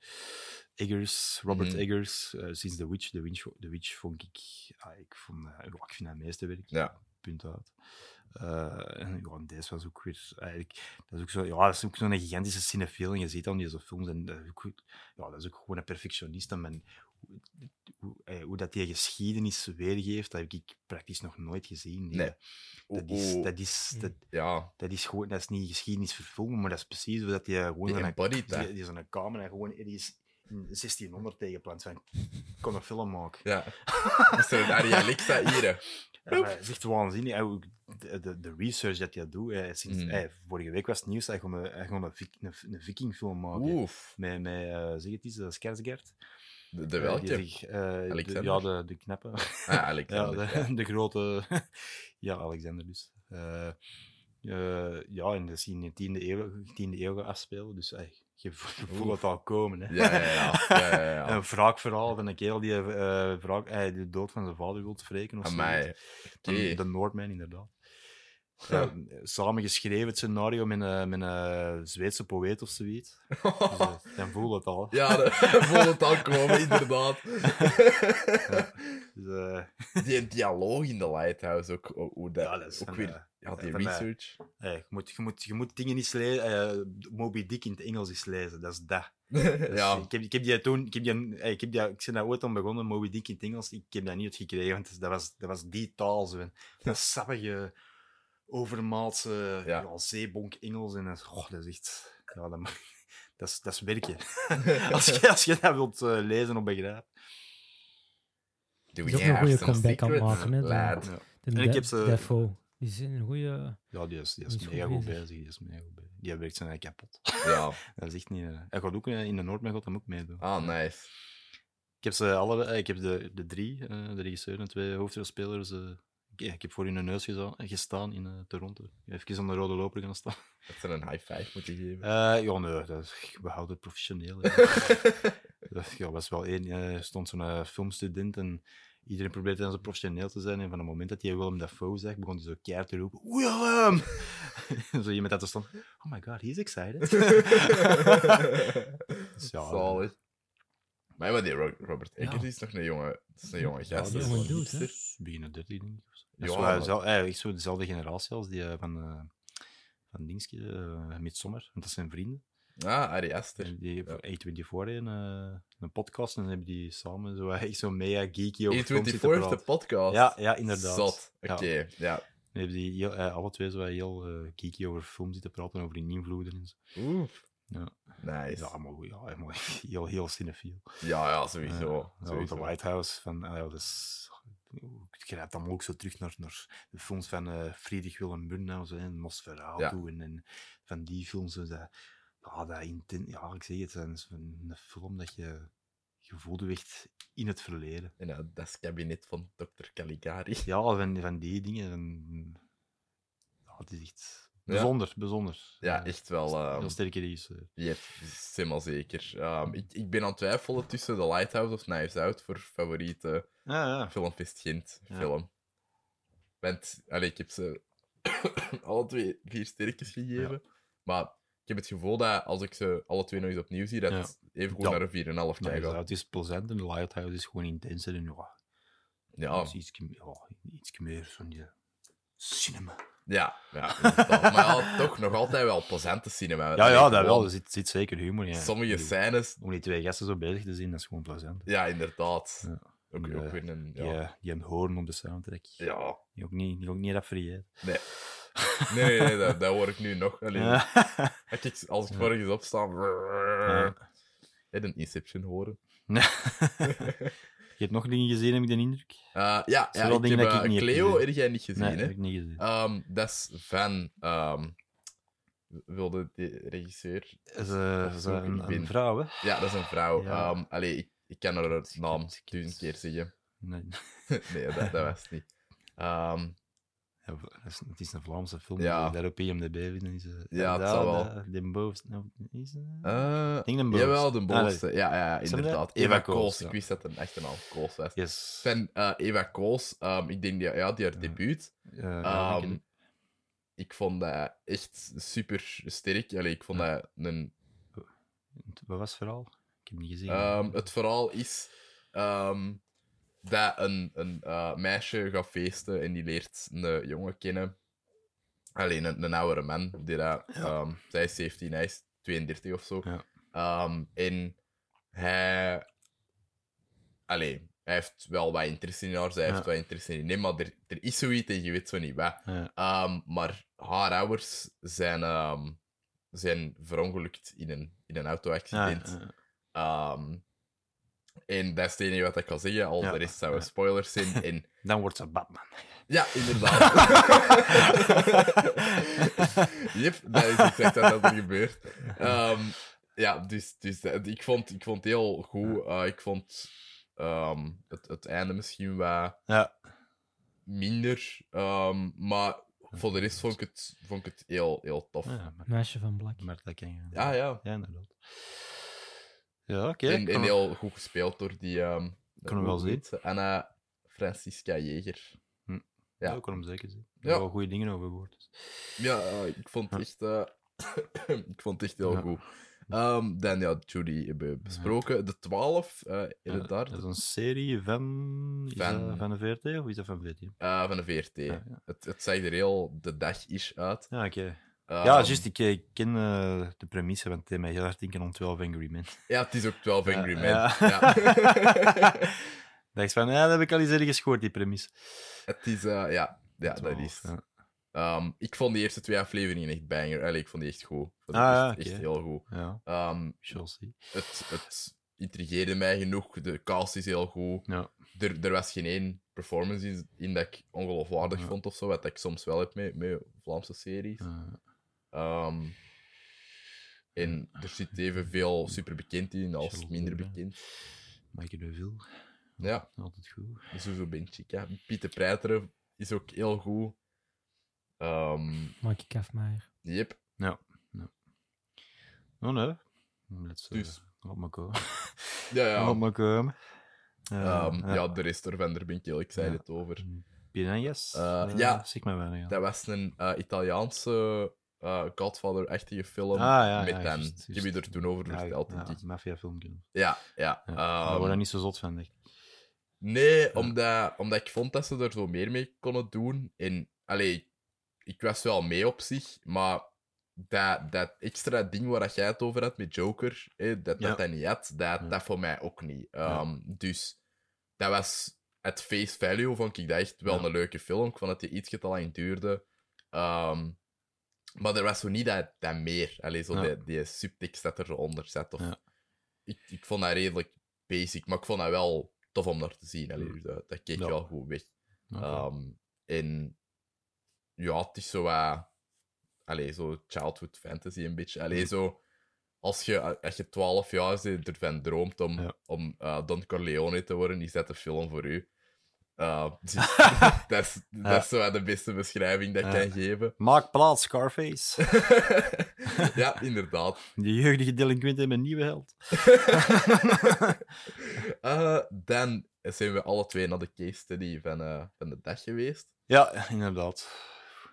Speaker 2: Eggers, Robert
Speaker 1: Mhm.
Speaker 2: Eggers, eh, sinds The Witch. The Witch, The Witch vond ik, ah, ik, vond, eh, ja, ik vind dat meeste werk.
Speaker 1: Ja.
Speaker 2: Punt uit. Eh, en ja, en deze was ook weer eigenlijk, dat is ook zo, ja, dat is ook zo'n gigantische cinefiel en je ziet dan deze films en dat is ook, goed- ja, dat is ook gewoon een perfectionist en men, hoe, hoe, eh, hoe dat die geschiedenis weergeeft, dat heb ik praktisch nog nooit gezien. Die-
Speaker 1: Nee.
Speaker 2: dat
Speaker 1: Oeh,
Speaker 2: is,
Speaker 1: oeh,
Speaker 2: dat is,
Speaker 3: Mm.
Speaker 2: dat,
Speaker 1: Ja,
Speaker 2: dat is gewoon, dat is niet geschiedenis verfilmen, maar dat is precies hoe dat je gewoon
Speaker 1: die
Speaker 2: zo'n-
Speaker 1: embodied
Speaker 2: die,
Speaker 1: dat.
Speaker 2: die zo'n camera gewoon ergens in 1600 tegenplant zijn. Ik kon een film maken.
Speaker 1: Ja. Is er een Arialixa hier? hè?
Speaker 2: Ja, maar het is echt waanzinnig. hè, hoe- De, de, de research dat je doet. hè, sinds,
Speaker 1: Mm.
Speaker 2: hè, vorige week was het nieuws dat je gewoon een, hij gewoon een, vik- een, een vikingfilm maken.
Speaker 1: Oef.
Speaker 2: Met, met eh, zeg het eens, eh, Skarsgård.
Speaker 1: De, de
Speaker 2: Eh,
Speaker 1: welke?
Speaker 2: die zich, eh, de-
Speaker 1: Alexander?
Speaker 2: ja, de, de knappe.
Speaker 1: Ah,
Speaker 2: Ja,
Speaker 1: Alexander.
Speaker 2: de, de grote. ja, Alexander dus. Eh, eh, ja, en dat is in de 10e eeuw, 10e eeuw gaan afspelen. Dus ey, je vo- je voelt het al komen. Hè.
Speaker 1: Ja, ja, ja. ja, ja, ja, ja.
Speaker 2: Een wraakverhaal van een kerel die eh, wraak, ey, de dood van zijn vader wil wreken. Of zo.
Speaker 1: Amai.
Speaker 2: De,
Speaker 1: Oké.
Speaker 2: de Noordman, inderdaad. Ja, samen geschreven het scenario met een, met een Zweedse poëet of zoiets. Dus, eh, dan voel je het al.
Speaker 1: Ja, de, vol het al komen, inderdaad.
Speaker 2: Dus, eh,
Speaker 1: Die dialoog in de Lighthouse ook, hoe- hoe dat,
Speaker 2: Ja, dat is
Speaker 1: ook
Speaker 2: van,
Speaker 1: weer.
Speaker 2: eh,
Speaker 1: ja, die
Speaker 2: van, eh,
Speaker 1: research.
Speaker 2: ey, je, moet, je, moet, je moet dingen eens lezen. eh, Moby Dick in het Engels eens lezen. Dat is dat. Dus
Speaker 1: ja,
Speaker 2: Ik heb, ik heb die toen, ik heb die, eh, ik heb die, ik ben daar ooit aan begonnen, Moby Dick in het Engels, ik heb dat niet uitgekregen, want dat was, dat was die taal, zo. Dat sappige, overmaatse,
Speaker 1: Ja.
Speaker 2: ja. zeebonk Engels, en dat, is- goh, dat is echt, ja, dat, mag- dat, is, dat is werken. als, je, als je dat wilt eh, lezen of begrijpen.
Speaker 1: doe
Speaker 3: is
Speaker 1: je
Speaker 3: ook een goede
Speaker 1: goede
Speaker 3: comeback aan het maken, hè,
Speaker 1: Lad.
Speaker 2: Ja,
Speaker 3: De
Speaker 2: En ik heb ze-
Speaker 3: Defo. Die zijn een goede.
Speaker 2: ja die is, die
Speaker 3: Die
Speaker 2: is
Speaker 3: is
Speaker 2: mega
Speaker 3: goed
Speaker 2: goed
Speaker 3: bezig.
Speaker 2: bezig, die is mega goed bezig. Die werkt zijn eigen kapot.
Speaker 1: Ja.
Speaker 2: Dat is echt niet... eh, Hij gaat ook eh, in de Noord, maar hij gaat hem ook meedoen.
Speaker 1: Ah, nice.
Speaker 2: Ik heb ze alle, eh, ik heb de, de drie, eh, de regisseur en twee hoofdrolspelers. eh, ik, ik heb voor hun neus geza- gestaan in eh, Toronto. Even om de rode loper gaan staan.
Speaker 1: Dat ze een high five moeten geven.
Speaker 2: Eh, ja, nee, dat, is- we houden het professioneel. hè. dat ja, was wel één. eh, Er stond zo'n eh, filmstudent en iedereen probeerde dan zo professioneel te zijn. En van het moment dat hij Willem Dafoe zag, begon hij zo keihard te roepen: Willem! zo iemand dat er stond: Oh my god, he's excited. Dus ja,
Speaker 1: Zalig. Maar, ja, maar die Ro- Robert Eggers
Speaker 2: Ja.
Speaker 1: is nog een jonge, dat is een jonge
Speaker 2: Ja,
Speaker 1: gast.
Speaker 2: die
Speaker 1: dat is
Speaker 2: jonge
Speaker 1: een
Speaker 3: dude, hè?
Speaker 1: hipster.
Speaker 2: beginnen 30, denk ik. of zo. Dat is
Speaker 1: Ja,
Speaker 2: wel,
Speaker 1: maar-
Speaker 2: zel- eigenlijk zo dezelfde generatie als die eh, van, eh van Dingske, eh Midsommar. Want dat zijn vrienden.
Speaker 1: Ah, Ari Aster.
Speaker 2: En die
Speaker 1: Ja.
Speaker 2: voor A24 een, eh, een podcast en dan hebben die samen zo, echt zo mega geeky over films
Speaker 1: E24
Speaker 2: zitten
Speaker 1: heeft de
Speaker 2: praten.
Speaker 1: podcast.
Speaker 2: Ja, ja, inderdaad.
Speaker 1: Zot. Oké,
Speaker 2: Ja.
Speaker 1: ja.
Speaker 2: Dan hebben die heel, eh, alle twee zo heel eh, geeky over film zitten praten, over hun invloeden en zo.
Speaker 1: Oef.
Speaker 2: Ja.
Speaker 1: Nice.
Speaker 2: Ja,
Speaker 1: Ja,
Speaker 2: maar, goed, ja, helemaal heel, heel cinefiel.
Speaker 1: ja, sowieso.
Speaker 2: Ja, zo
Speaker 1: sowieso.
Speaker 2: de Lighthouse. Van, ah ja, dat is, ik grijp dan ook zo terug naar, naar de films van eh Friedrich Willem Murnau zo, en Nosferatu en, en van die films. zo dat, ja, dat inten- ja, ik zeg het, dat is een een film dat je gevoeld echt in het verleden.
Speaker 1: In het deskkabinet van Dr. Caligari.
Speaker 2: Ja, van, van die dingen. van- ja, het is echt
Speaker 1: Ja.
Speaker 2: bijzonder, bijzonder.
Speaker 1: Ja,
Speaker 2: Eh,
Speaker 1: echt wel.
Speaker 2: Heel
Speaker 1: ehm,
Speaker 2: sterke regisseur.
Speaker 1: Je hebt is helemaal zeker. Ehm, ik, ik ben aan het twijfelen tussen The Lighthouse of Knives Out voor favoriete
Speaker 2: Ja, ja.
Speaker 1: filmfest Gent
Speaker 2: Ja.
Speaker 1: film. Want, allee, ik heb ze alle twee vier sterretjes gegeven. Maar ik heb het gevoel dat als ik ze alle twee nog eens opnieuw zie, dat
Speaker 2: Ja.
Speaker 1: het even goed
Speaker 2: Ja.
Speaker 1: naar een 4,5
Speaker 2: Maar
Speaker 1: kan gaan.
Speaker 2: het is plezant en Lighthouse is gewoon intenser. En, ja,
Speaker 1: Ja,
Speaker 2: Dus iets, ja, iets meer van je cinema.
Speaker 1: ja, ja inderdaad. maar ja, toch nog altijd wel plezante cinema.
Speaker 2: Ja,
Speaker 1: Allee,
Speaker 2: ja, dat
Speaker 1: gewoon
Speaker 2: wel. Er zit, zit zeker humor in. ja.
Speaker 1: Sommige
Speaker 2: Ik bedoel,
Speaker 1: scènes,
Speaker 2: Om die twee gasten zo bezig te zien, dat is gewoon plezant.
Speaker 1: ja, inderdaad.
Speaker 2: Ja.
Speaker 1: Ook,
Speaker 2: Ja.
Speaker 1: ook weer een...
Speaker 2: Die,
Speaker 1: Ja.
Speaker 2: eh, die hem horen op de soundtrack.
Speaker 1: ja.
Speaker 2: Die ook niet, die ook niet dat vergeten.
Speaker 1: Nee. Nee, nee, nee, dat, dat hoor ik nu nog. Allee,
Speaker 2: Ja.
Speaker 1: Als ik, als ik morgens opsta... Ja. Een Inception horen.
Speaker 2: hebt nog dingen gezien, heb ik de indruk?
Speaker 1: Eh, ja, ja,
Speaker 2: wel
Speaker 1: ik
Speaker 2: dingen
Speaker 1: heb,
Speaker 2: dat ik
Speaker 1: eh,
Speaker 2: niet heb
Speaker 1: Cleo
Speaker 2: gezien.
Speaker 1: heb jij niet gezien,
Speaker 2: nee,
Speaker 1: hè?
Speaker 2: heb ik niet gezien.
Speaker 1: Ehm, dat is van... ehm, wilde de regisseur...
Speaker 2: Is, eh,
Speaker 1: of
Speaker 2: is
Speaker 1: zo, ik
Speaker 2: een,
Speaker 1: weet
Speaker 2: een
Speaker 1: niet.
Speaker 2: vrouw, hè?
Speaker 1: Ja, dat is een vrouw.
Speaker 2: Ja.
Speaker 1: Ehm, allee, ik, ik kan haar
Speaker 2: Ik
Speaker 1: naam
Speaker 2: heb het- ik heb
Speaker 1: duizend
Speaker 2: het-
Speaker 1: keer zeggen.
Speaker 2: Nee,
Speaker 1: nee, dat, dat was het niet. Ehm,
Speaker 2: ja, dat is- het is een Vlaamse film.
Speaker 1: Ja.
Speaker 2: Ja. Daar op IMDb vinden is... eh,
Speaker 1: Ja, het
Speaker 2: daar-
Speaker 1: zal wel.
Speaker 2: daar- De bovenste... nou, Is, eh,
Speaker 1: eh,
Speaker 2: Ik denk de bovenste.
Speaker 1: jawel, de
Speaker 2: Ah, nee.
Speaker 1: bovenste. ja, ja, ja,
Speaker 2: Is hem
Speaker 1: inderdaad.
Speaker 2: dat? Eva
Speaker 1: Eva
Speaker 2: Koos,
Speaker 1: Koos.
Speaker 2: ja.
Speaker 1: Ik wist dat het een echte naam Koos was.
Speaker 2: Yes.
Speaker 1: Van eh, Eva Koos, ehm, ik denk dat ja, die haar
Speaker 2: Ja.
Speaker 1: debuut.
Speaker 2: Eh, ja, ik
Speaker 1: Ehm,
Speaker 2: ken-
Speaker 1: ik vond dat echt super sterk. Allee, ik vond
Speaker 2: Ja.
Speaker 1: dat een
Speaker 2: Wat was het verhaal? Ik heb het niet gezien.
Speaker 1: Ehm, het verhaal is ehm, dat een, een eh, meisje gaat feesten en die leert een jongen kennen. Alleen een, een oudere man. Die dat, ehm, zij is 17, hij is 32 of zo.
Speaker 2: Ja.
Speaker 1: Ehm, en hij. Allee, hij heeft wel wat interesse in haar, zij heeft
Speaker 2: Ja.
Speaker 1: wat interesse in hem, maar er, er is zoiets en je weet zo niet wat.
Speaker 2: Ja.
Speaker 1: Ehm, maar haar ouders zijn, ehm, zijn verongelukt in een, in een
Speaker 2: Ja,
Speaker 1: auto-accident.
Speaker 2: eh,
Speaker 1: Ehm, en dat is het enige wat ik kan zeggen. Al
Speaker 2: Ja,
Speaker 1: de rest zouden
Speaker 2: ja.
Speaker 1: spoilers zijn. En...
Speaker 2: dan wordt ze Batman.
Speaker 1: Ja, inderdaad. Jep, dat is exact wat dat er gebeurt. Ehm, ja, dus, dus dat- ik, vond, ik vond het heel goed. Eh, ik vond ehm, het, het einde misschien wat
Speaker 2: Ja.
Speaker 1: minder. ehm, maar voor de rest vond ik het, vond ik het heel, heel tof.
Speaker 2: ja maar,
Speaker 3: Meisje van Black.
Speaker 2: maar dat ken je.
Speaker 1: Ja, ja.
Speaker 2: Ja, inderdaad. Ja, oké.
Speaker 1: En,
Speaker 2: kan-
Speaker 1: en heel goed gespeeld door die. ehm
Speaker 2: Kunnen we wel
Speaker 1: hoe heet ze? Anna Francisca Jeger. ja.
Speaker 2: ja, ik kon hem zeker zien. Ik
Speaker 1: Ja.
Speaker 2: heb er wel goede dingen over gehoord. dus.
Speaker 1: Ja, eh, ik vond het echt, eh, ik vond het echt heel
Speaker 2: Ja.
Speaker 1: goed. Ehm, dan, ja, Judy hebben we besproken. De 12, eh
Speaker 2: Ja,
Speaker 1: inderdaad,
Speaker 2: dat is een serie van... Is
Speaker 1: Van-
Speaker 2: dat van de VRT of is dat van VT?
Speaker 1: eh, van de VRT.
Speaker 2: Ja, ja.
Speaker 1: Het, het zag er heel de dag is uit.
Speaker 2: Ja, oké.
Speaker 1: Ehm,
Speaker 2: ja, juist. Ik, eh, ken eh, de premisse, want het deed mij heel hard denken aan 12 Angry Men.
Speaker 1: Ja, het is ook 12 Angry
Speaker 2: Ja,
Speaker 1: Men.
Speaker 2: ja.
Speaker 1: Ja.
Speaker 2: Dacht van, ja, dat heb ik al eens ergens gehoord, die premisse.
Speaker 1: het is, eh, ja, ja dat
Speaker 2: 12,
Speaker 1: is.
Speaker 2: ja.
Speaker 1: Ehm, ik vond de eerste twee afleveringen echt banger. Allee, ik vond die echt goed. Ik vond die
Speaker 2: Ah,
Speaker 1: echt,
Speaker 2: ja, oké.
Speaker 1: echt heel goed.
Speaker 2: Ja,
Speaker 1: Ehm,
Speaker 2: shall see.
Speaker 1: het, het intrigeerde mij genoeg. De cast is heel goed.
Speaker 2: Ja.
Speaker 1: Er, er was geen één performance in, in dat ik ongeloofwaardig
Speaker 2: Ja.
Speaker 1: vond of zo. Wat ik soms wel heb met, met Vlaamse series.
Speaker 2: Eh,
Speaker 1: Ehm, en er zit evenveel superbekend in als
Speaker 2: Charlotte
Speaker 1: minder
Speaker 2: Tilbury.
Speaker 1: bekend.
Speaker 2: Michael de Ville,
Speaker 1: Ja,
Speaker 2: altijd goed.
Speaker 1: Zuzo Benchica. Pieter Preiteren is ook heel goed. Ehm
Speaker 3: Maak ik Meijer.
Speaker 1: yep.
Speaker 2: Oh nee. Let's, eh,
Speaker 1: Dus.
Speaker 2: Laat maar komen.
Speaker 1: Ja, ja.
Speaker 2: Laat maar komen. Eh,
Speaker 1: Ehm,
Speaker 2: eh,
Speaker 1: ja, de rest ervan, daar ben ik heel excited
Speaker 2: Ja.
Speaker 1: over.
Speaker 2: Piranhas?
Speaker 1: Eh,
Speaker 2: Eh,
Speaker 1: ja.
Speaker 2: Zeg maar weinig. ja.
Speaker 1: Dat was een eh, Italiaanse eh Godfather-achtige film
Speaker 2: Ah, ja,
Speaker 1: met
Speaker 2: ja,
Speaker 1: hem.
Speaker 2: juist,
Speaker 1: Ik heb je
Speaker 2: juist.
Speaker 1: er toen over
Speaker 2: Ja,
Speaker 1: verteld.
Speaker 2: Ja,
Speaker 1: denk ik.
Speaker 2: maffiafilmpje.
Speaker 1: Ja, ja.
Speaker 2: Ja,
Speaker 1: ehm,
Speaker 2: Daar word ik niet zo zot van, denk ik.
Speaker 1: Nee, omdat, omdat ik vond dat ze er zo meer mee konden doen. En, allee, ik, ik was wel mee op zich, maar dat, dat extra ding waar dat jij het over had met Joker, hè, dat
Speaker 2: Ja.
Speaker 1: dat hij niet had, dat,
Speaker 2: Ja.
Speaker 1: dat voor mij ook niet.
Speaker 2: Ja.
Speaker 1: Ehm, Dus dat was het face value, vond ik dat echt wel
Speaker 2: Ja.
Speaker 1: een leuke film. Ik vond dat die iets te lang duurde. Ehm, maar er was zo niet dat, dat meer. Allee, zo
Speaker 2: Ja.
Speaker 1: die, die subtekst dat er zo onder zat. Of...
Speaker 2: Ja.
Speaker 1: Ik, ik vond dat redelijk basic, maar ik vond dat wel tof om naar te zien. Allee,
Speaker 2: Mm.
Speaker 1: dus dat, dat keek
Speaker 2: Ja.
Speaker 1: wel goed weg.
Speaker 2: Oké.
Speaker 1: Ehm, en ja, het is zo wat... Allee, zo childhood fantasy een beetje.
Speaker 2: Mm.
Speaker 1: Allee, zo... Als je, als je 12 jaar bent, ervan droomt om,
Speaker 2: Ja.
Speaker 1: om eh, Don Corleone te worden, is dat de film voor u. Eh, dus dat is, dat is zo wat de beste beschrijving dat ik
Speaker 2: Ja.
Speaker 1: kan geven.
Speaker 2: Maak plaats, Scarface.
Speaker 1: ja, inderdaad.
Speaker 2: Die jeugdige delinquent en mijn nieuwe held.
Speaker 1: Eh, dan zijn we alle twee naar de case study van, eh, van de dag geweest.
Speaker 2: Ja, inderdaad.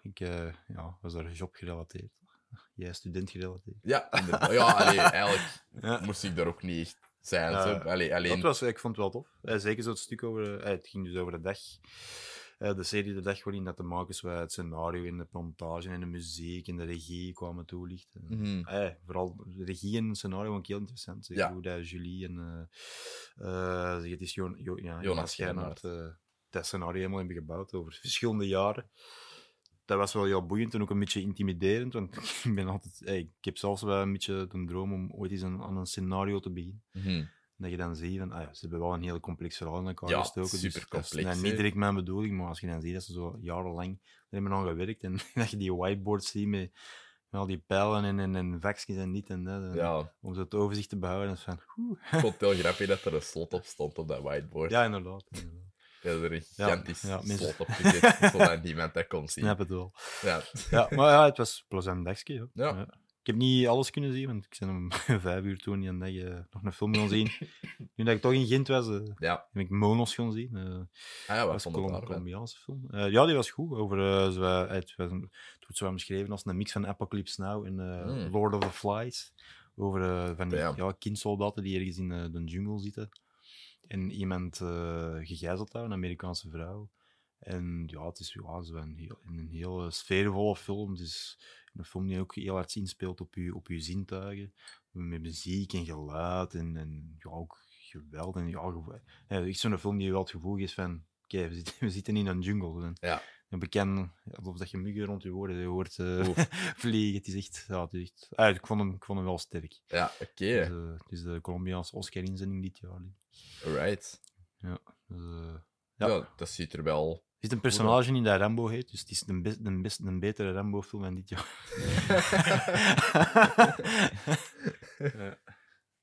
Speaker 2: Ik eh, ja, was daar job gerelateerd. Jij student gerelateerd.
Speaker 1: Ja, inderdaad. Ja, allee, eigenlijk
Speaker 2: Ja.
Speaker 1: moest ik daar ook niet echt zijn.
Speaker 2: Ja.
Speaker 1: zo. Allee, alleen...
Speaker 2: Dat was, ik vond het wel tof. Eh, zeker zo'n stuk over. eh, het ging dus over de dag. Eh, de serie De Dag, waarin dat de makers wel het scenario en de montage en de muziek en de regie kwamen toelichten.
Speaker 1: Mhm.
Speaker 2: Eh, vooral de regie en het scenario vond ik heel interessant. Zeker
Speaker 1: Ja.
Speaker 2: hoe dat Julie en eh, eh, zeg, het is Jo- Jo- ja,
Speaker 1: Jonas
Speaker 2: Jonas Schijnaert eh, dat scenario helemaal hebben gebouwd over verschillende jaren. Dat was wel heel boeiend en ook een beetje intimiderend, want ik ben altijd... eh, ik heb zelfs wel een beetje de droom om ooit eens aan, aan een scenario te beginnen.
Speaker 1: Mhm.
Speaker 2: Dat je dan ziet, van, ah ja, ze hebben wel een hele complex verhaal in elkaar
Speaker 1: Ja,
Speaker 2: gestoken. dus
Speaker 1: super
Speaker 2: dat is
Speaker 1: complex,
Speaker 2: dan
Speaker 1: hè.
Speaker 2: niet direct mijn bedoeling, maar als je dan ziet dat ze zo jarenlang er hebben aan gewerkt en dat je die whiteboards ziet met, met al die pijlen en, en, en vakjes en dit en dat. en
Speaker 1: Ja,
Speaker 2: Om zo het overzicht te behouden. dat is van, oeh.
Speaker 1: ik vond het heel grappig dat er een slot op stond op dat whiteboard.
Speaker 2: Ja, inderdaad. inderdaad.
Speaker 1: Dat er een
Speaker 2: Ja,
Speaker 1: gigantisch
Speaker 2: ja, mensen-
Speaker 1: slot op gezet, zodat niemand dat kon zien.
Speaker 2: Snap het wel.
Speaker 1: Ja.
Speaker 2: Ja, maar ja, het was een plezant dagje. Ja.
Speaker 1: Ja.
Speaker 2: Ik heb niet alles kunnen zien, want ik ben om vijf uur toen en dat je nog een film kon zien. nu dat ik toch in Gent was, eh,
Speaker 1: Ja,
Speaker 2: heb ik Monos gaan zien. eh,
Speaker 1: ah, ja wat
Speaker 2: was een
Speaker 1: vond je
Speaker 2: Colom-
Speaker 1: daarvan?
Speaker 2: Colombiaanse film. Eh, ja, die was goed. Over, eh, zo, eh, het, was een- het wordt zo omschreven als een mix van Apocalypse Now en eh,
Speaker 1: Hmm.
Speaker 2: Lord of the Flies. Over eh, van die,
Speaker 1: Damn.
Speaker 2: ja, kindsoldaten die ergens in eh, de jungle zitten. En iemand eh, gegijzeld daar, een Amerikaanse vrouw. En ja, het is ja, zo een, heel, een heel eh, sfeervolle film. Het is een film die ook heel hard inspeelt op je, op je zintuigen. Met muziek en geluid en, en ja, ook geweld. En, ja, gevo- ja, echt zo'n film die wel het gevoel is van... Oké, we, zitten, we zitten in een jungle. En,
Speaker 1: Ja.
Speaker 2: Een bekend... Alsof dat je muggen rond je hoort, je hoort eh,
Speaker 1: Oeh.
Speaker 2: vliegen. Het is echt... Ja, het is echt ah, ik, vond hem, ik vond hem wel sterk.
Speaker 1: Ja, oké.
Speaker 2: Dus, eh, het is de Colombiaanse Oscar-inzending dit jaar.
Speaker 1: Alright.
Speaker 2: Dus, eh,
Speaker 1: Ja.
Speaker 2: Ja.
Speaker 1: dat ziet er wel.
Speaker 2: Er zit een personage in dat Rambo heet, dus het is de, best, de, best, de betere Rambo-film van dit jaar.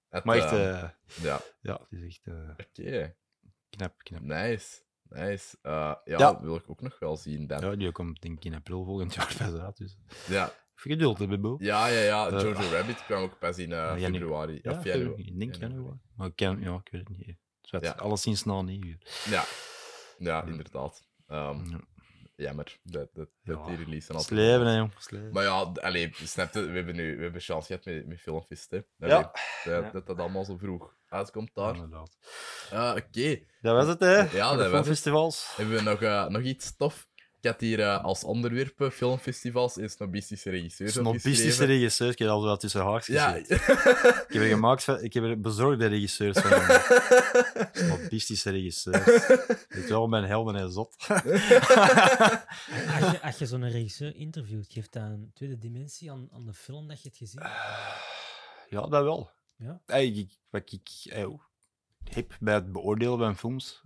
Speaker 1: Het,
Speaker 2: maar echt,
Speaker 1: eh,
Speaker 2: eh,
Speaker 1: ja,
Speaker 2: ja, het is echt eh,
Speaker 1: oké.
Speaker 2: knap, knap.
Speaker 1: Nice. Nice. Eh, ja,
Speaker 2: Ja.
Speaker 1: wil ik ook nog wel zien. Dan. Ja.
Speaker 2: Ja, die komt denk ik in april volgend jaar pas uit, dus
Speaker 1: Ja.
Speaker 2: even geduld hebben, Bo.
Speaker 1: ja, ja,
Speaker 2: Eh, ah,
Speaker 1: Jojo Rabbit kwam ook pas in eh,
Speaker 2: januari.
Speaker 1: februari. Ja, januari.
Speaker 2: ik denk
Speaker 1: Januari.
Speaker 2: januari. Maar ik, kan, ja, ik weet het niet. Het werd
Speaker 1: Ja.
Speaker 2: alleszins na negen uur.
Speaker 1: Ja, ja
Speaker 2: Hmm.
Speaker 1: inderdaad. Ehm,
Speaker 2: Ja.
Speaker 1: Jammer dat, dat, dat
Speaker 2: Ja.
Speaker 1: die release
Speaker 2: Het
Speaker 1: altijd...
Speaker 2: is leven, hè, jong. Het is leven.
Speaker 1: Maar ja, d- allee, snap je, we hebben nu we hebben chance gehad met, met filmfest, hè. Allee,
Speaker 2: Ja.
Speaker 1: Dat,
Speaker 2: Ja.
Speaker 1: dat dat allemaal zo vroeg uitkomt daar.
Speaker 2: Inderdaad.
Speaker 1: Eh, Oké,
Speaker 2: Dat was het, hè?
Speaker 1: Ja,
Speaker 2: voor de
Speaker 1: dat was het.
Speaker 2: filmfestivals.
Speaker 1: hebben we nog, eh, nog iets tof? Ik had hier eh, als onderwerpen filmfestivals en snobistische regisseurs
Speaker 2: Snobistische
Speaker 1: opgeschreven.
Speaker 2: regisseurs, ik heb al wel tussen haaks
Speaker 1: Ja.
Speaker 2: gezet. Ik heb er gemaakt van, ik heb er bezorgde regisseurs van. Snobistische regisseurs. Weet je wel, mijn helden en zot.
Speaker 3: Als je, als je zo'n regisseur interviewt, geeft dat een tweede dimensie aan, aan de film dat je het gezien hebt.
Speaker 2: Ah. Ja, dat wel.
Speaker 3: Ja.
Speaker 2: Ey, ik, wat ik ey, ook heb bij het beoordelen van films,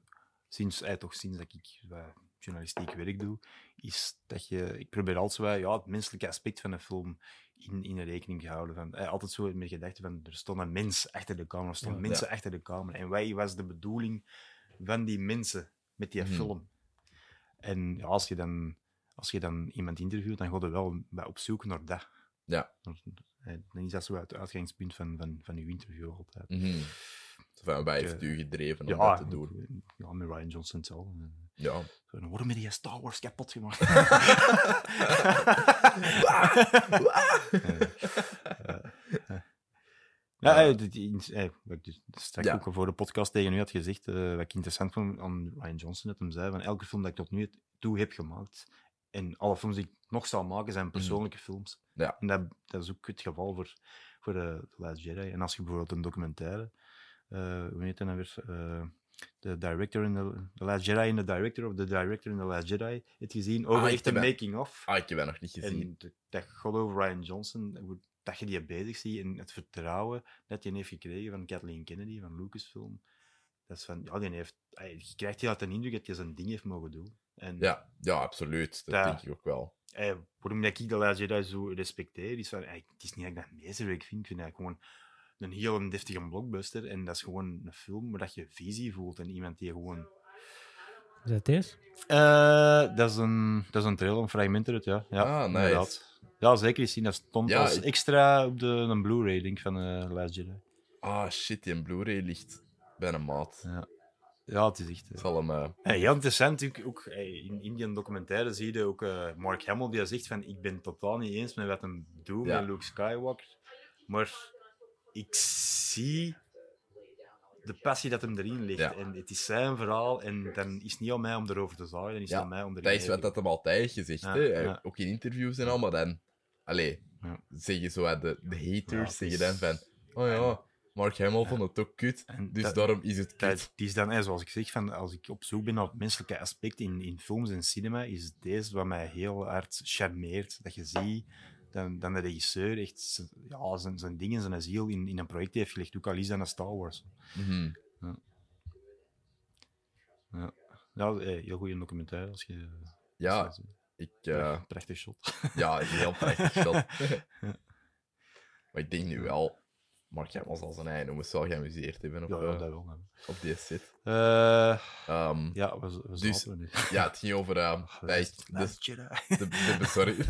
Speaker 2: sinds, ey, toch sinds dat ik wat journalistiek werk doe, is dat je, ik probeer altijd zo wat, ja, het menselijke aspect van een film in, in rekening te houden. Van, ey, altijd zo met gedachte van, er stond een mens achter de camera, er stonden
Speaker 3: Ja.
Speaker 2: mensen achter de camera. En wat was de bedoeling van die mensen met die
Speaker 3: Hmm.
Speaker 1: Mhm.
Speaker 2: film? En ja, als je dan... Als je dan iemand interviewt, dan ga je wel wat op zoek naar dat.
Speaker 1: Ja.
Speaker 2: Eh, Dan is dat zo het uitgangspunt van, van, van uw interview altijd.
Speaker 1: Mhm. Zo van, Wij
Speaker 2: Ik,
Speaker 1: heeft
Speaker 2: eh,
Speaker 1: u gedreven om dat te doen?
Speaker 2: Ja, met Ryan Johnson zelf. Eh,
Speaker 1: Ja.
Speaker 2: zo, en Waarom heb je Star Wars kapot gemaakt? Ah! Ja, eh, dit- dit- eh, wat ik dus straks
Speaker 1: Ja.
Speaker 2: ook voor de podcast tegen u had gezegd, eh, wat ik interessant vond aan Ryan Johnson, dat hem zei van elke film dat ik tot nu toe heb gemaakt, en alle films die ik nog zal maken, zijn persoonlijke films.
Speaker 1: Mhm. Ja.
Speaker 2: En dat, dat is ook het geval voor, voor eh, The Last Jedi. En als je bijvoorbeeld een documentaire, eh hoe heet dat nou weer, Eh, The Director in the, the Last Jedi in The Director of The Director in The Last Jedi, het gezien over
Speaker 1: Ah, ik
Speaker 2: echt de
Speaker 1: heb dat-
Speaker 2: making-of.
Speaker 1: Ah, ik heb dat nog niet gezien.
Speaker 2: En de- dat god over Ryan Johnson, hoe- dat je die bezig ziet en het vertrouwen dat je heeft gekregen van Kathleen Kennedy, van Lucasfilm. Dat is van, ja, die heeft, ey, je krijgt heel uit de indruk dat je zijn ding heeft mogen doen. En
Speaker 1: Ja, ja, absoluut. Dat
Speaker 2: Ja.
Speaker 1: denk ik ook wel.
Speaker 2: ey, waarom dat ik de Last Jedi zo respecteer, is van, ey, het is niet dat ik dat meesterwerk vind, ik vind dat gewoon een heel deftige blockbuster. En dat is gewoon een film waar dat je visie voelt en iemand die gewoon...
Speaker 3: Is dat deze?
Speaker 2: Eh, dat, is een, dat is een trailer, een fragment eruit, ja. ja
Speaker 1: Ah, nice.
Speaker 2: inderdaad. Ja, zeker zien. Dat stond
Speaker 1: Ja,
Speaker 2: als
Speaker 1: ik-
Speaker 2: extra op de een Blu-ray, denk ik, van eh Last Jedi.
Speaker 1: Ah, shit, die Blu-ray ligt bij een maat.
Speaker 2: Ja, het is echt...
Speaker 1: Ik
Speaker 2: eh,
Speaker 1: zal hem... eh,
Speaker 2: eh, heel interessant, ook, ook eh, in Indian documentaire zie je ook eh, Mark Hamill die zegt van ik ben totaal niet eens met wat hem doet
Speaker 1: Ja.
Speaker 2: met Luke Skywalker, maar ik zie de passie dat hem erin ligt.
Speaker 1: Ja.
Speaker 2: En het is zijn verhaal en dan is het niet aan mij om erover te zaaien, dan is
Speaker 1: Ja,
Speaker 2: het aan mij om erin
Speaker 1: dat is
Speaker 2: mee
Speaker 1: wat
Speaker 2: te-
Speaker 1: dat hem altijd heeft gezegd,
Speaker 2: Ja,
Speaker 1: hè. Hij-
Speaker 2: ja.
Speaker 1: Ook in interviews en al, maar dan... Allee,
Speaker 2: Ja.
Speaker 1: zeggen zo wat de, de
Speaker 2: Ja,
Speaker 1: haters,
Speaker 2: het
Speaker 1: zeggen
Speaker 2: is-
Speaker 1: dan van... Oh ja, Mark Hamill vond het ook kut,
Speaker 2: En
Speaker 1: dus
Speaker 2: dat-
Speaker 1: daarom is het kut.
Speaker 2: Dat, die is dan, hè, zoals ik zeg, van, als ik op zoek ben naar het menselijke aspect in, in films en cinema, is deze wat mij heel hard charmeert. Dat je ziet dan, dan de regisseur echt z- ja, zijn, zijn dingen, zijn ziel in, in een project heeft gelegd. Ook al is dat een Star Wars.
Speaker 1: Mhm.
Speaker 2: Ja, eh, heel goede documentaire. Als je,
Speaker 1: Ja,
Speaker 2: als je-
Speaker 1: ik, eh,
Speaker 2: Prachtig shot.
Speaker 1: ja, een heel prachtig shot. maar ik denk nu wel, Mark Hamill zal zijn eigen noemen, wel geamuseerd hebben op,
Speaker 2: Ja, ja,
Speaker 1: eh,
Speaker 2: dat wel. dat wel.
Speaker 1: op deze set.
Speaker 2: Eh,
Speaker 1: Ehm, ja.
Speaker 2: ja, we, we
Speaker 1: Dus-
Speaker 2: zaten er nu.
Speaker 1: het ging over ehm, bij,
Speaker 2: Last-
Speaker 1: de,
Speaker 2: Last Jedi.
Speaker 1: de, de- de- Sorry.